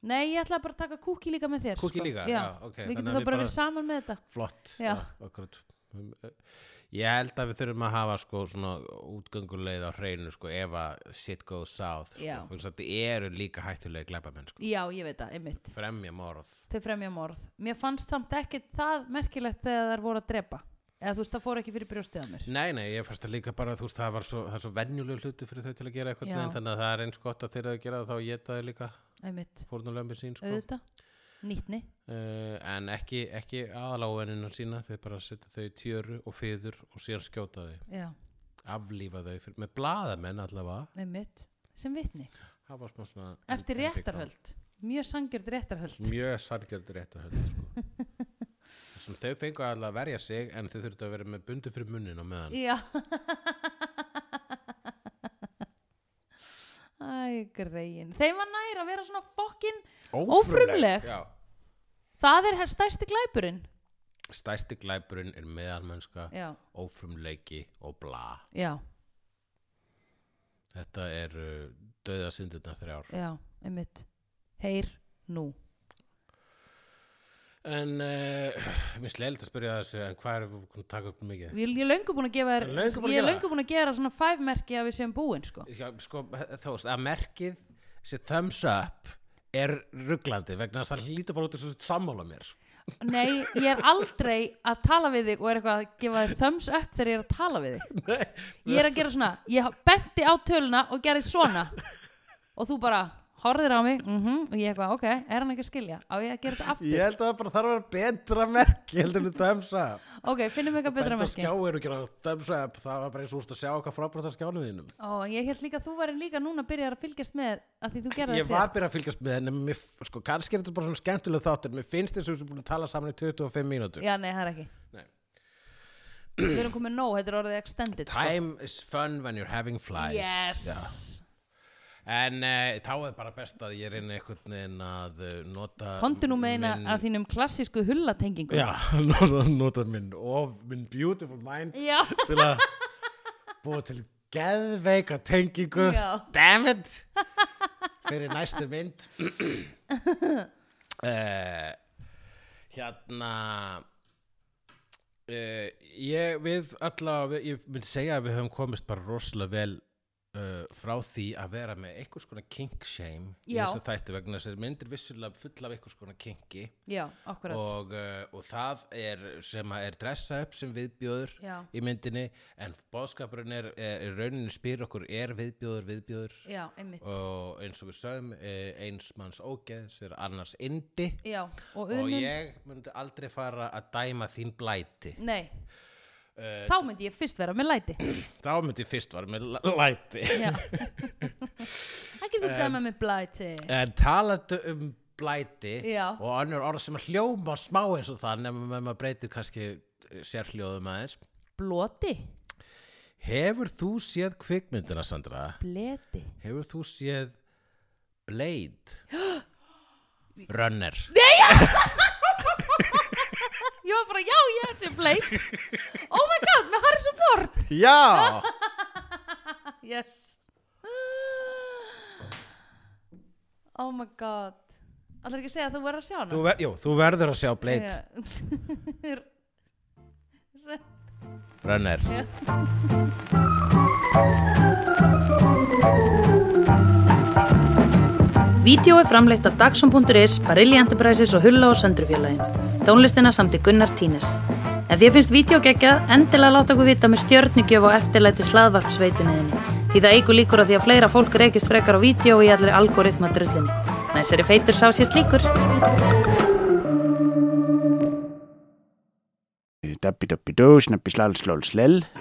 S2: nei, ég ætla bara að taka kúki líka með þér
S1: kúki
S2: sko.
S1: líka,
S2: já,
S1: já, ok
S2: við
S1: þannig að
S2: getum þá bara verið saman með þetta
S1: flott
S2: Já.
S1: akkurat. eh, ég held að við þurfum að hafa sko, svona útgönguleið á hreinu sko, ef að shit goes south sko.
S2: Já.
S1: Vegna þess að þetta eru líka hættulegi glæpamenn sko.
S2: já, ég veit það, einmitt
S1: fremja morð
S2: þau fremja morð mér fannst samt ekki það merkilegt þegar þær voru að drepa eða þú veist, það fór ekki fyrir brjóstið að mér
S1: Nei, nei, ég fannst það líka bara, þú veist, það var svo, það er svo venjuleg hluti fyrir þau til að gera eitthvað
S2: Já.
S1: neginn, þannig að það er eins gott að þeir að gera það þá geta þau líka
S2: einmitt,
S1: fórnulegum sín, sko.
S2: auðvitað, nýtni
S1: Uh, en ekki, ekki aðalávenina sína, þeir bara setja þau í tjöru og fyður og síðan skjóta þau,
S2: já,
S1: aflífa þau fyrir, með blaðamenn allavega,
S2: einmitt, sem vitni
S1: það var smá svona...
S2: eftir
S1: en- en-
S2: réttarhöld, mjög sangjörð réttarhöld
S1: Mjög sangjörð réttarhöld, sko. Þessum þau fengu allavega að verja sig, en þau þurftu að vera með bundu fyrir munnin á meðan.
S2: já æ, greiðin þeim var nær að vera svona fokkin Ófrumleg.
S1: Já.
S2: það er hér stærsti glæpurinn
S1: Stæsti glæpurinn er meðalmennska
S2: já,
S1: ófrumleiki og bla
S2: já,
S1: þetta er uh, döðasyndirna þrjár
S2: já, einmitt heyr nú
S1: en uh, mér sleilit að spyrja þessu en hvað er að taka upp mikið
S2: Ég ég er löngu búin að gefa þér
S1: Er löngu búin að
S2: Ég er
S1: gera
S2: löngu búin að gera svona five merki að við séum búin sko.
S1: Já, sko, þú veist, að merkið sér thumbs up er rugglandi vegna þess að það lítur bara út þessu sammála mér
S2: Nei, ég er aldrei að tala við þig og er eitthvað að gefa þér thumbs up þegar ég er að tala við þig
S1: Nei,
S2: Ég er að gera svona, ég benti á töluna og gerði svona og þú bara horfðir á mig mm og ég eitthvað, ok, er hann ekki að skilja á ég að gera þetta aftur,
S1: ég held að það bara þarf að vera betra merki heldur en thumbs up
S2: ok, finnum eitthvað betra
S1: Benda á
S2: merki
S1: skjáir og gera thumbs up það var bara eins og úrst að sjá okkar frábært á skjánu þínum
S2: Ó, ég held líka að þú væri líka núna að byrja að fylgjast með að því þú gerði
S1: Ég
S2: það
S1: var
S2: síðast
S1: byrjað að fylgjast með henni, mér, sko, kannski er þetta bara svona skemmtilega þáttur, mér finnst þess að við erum búin að tala saman í 25 mínútur.
S2: Já, nei, það er ekki
S1: Nei.
S2: Við erum komið nóg, þetta er orðið extended sko.
S1: Time is fun when you're having flies.
S2: Yes
S1: En uh, þá er bara best að ég reyna einhvern veginn að eh, nota...
S2: Kondu nú með eina
S1: minn-
S2: af þínum klassísku hullatengingum
S1: Já, nota, nota minn of, minn beautiful mind
S2: Já,
S1: til að búa til geðveika tengingu.
S2: Já.
S1: Damn it! Fyrir næstu mynd. uh, hérna... Uh, ég, við allavega, ég myndi segja að við höfum komist bara rosalega vel uh, frá því að vera með einhvers konar kink shame í
S2: Já.
S1: þessu þætti vegna þess að myndir vissulega fulla af einhvers konar kinki
S2: já, akkurat
S1: og, uh, og það er sem að er dressa upp sem viðbjóður
S2: Já,
S1: í myndinni en bóðskapurinn er, er, er rauninni spyr okkur er viðbjóður viðbjóður
S2: já, einmitt
S1: og eins og við sögum eh, eins manns ógeðs er annars indi
S2: Já, og
S1: og
S2: unum
S1: ég myndi aldrei fara að dæma þín blæti
S2: Nei,
S1: uh,
S2: þá myndi ég fyrst vera með læti
S1: þá myndi ég fyrst vara með la- læti
S2: Já Ekki þú dæma með blæti
S1: en talandu um blæti
S2: Já.
S1: og önnur orð sem hljóma smá eins og það nema með maður breytir kannski eh, sérhljóðum aðeins
S2: Bloti,
S1: hefur þú séð kvikmyndina Sandra?
S2: bleti
S1: Hefur þú séð Blade Runner?
S2: Ég var bara, já, ég er sem bleik Oh my god, með Harrison Ford
S1: Já!
S2: Yes Oh my god Allar ekki að segja að þú verður að sjá hana
S1: þú, ver, jú, þú verður að sjá Blade
S2: Já.
S1: Runner
S4: Vídeó er framleitt af Dagsum.is, Barilli Enterprises og Hulla og Söndrufjörlægin. Tónlistina samt í Gunnar Tínes. Ef þér finnst vídeo geggjað, endilega láta okkur vita með stjörnugjöf og eftirlæti slaðvarpsveitunniðinni. Því það eigur líkur að því að fleira fólk reykist frekar á vídeo í allir algoritma drullinni. Næsari feitur sá sér slíkur.
S5: Dabbi dabbi dó, snabbi slal slól slell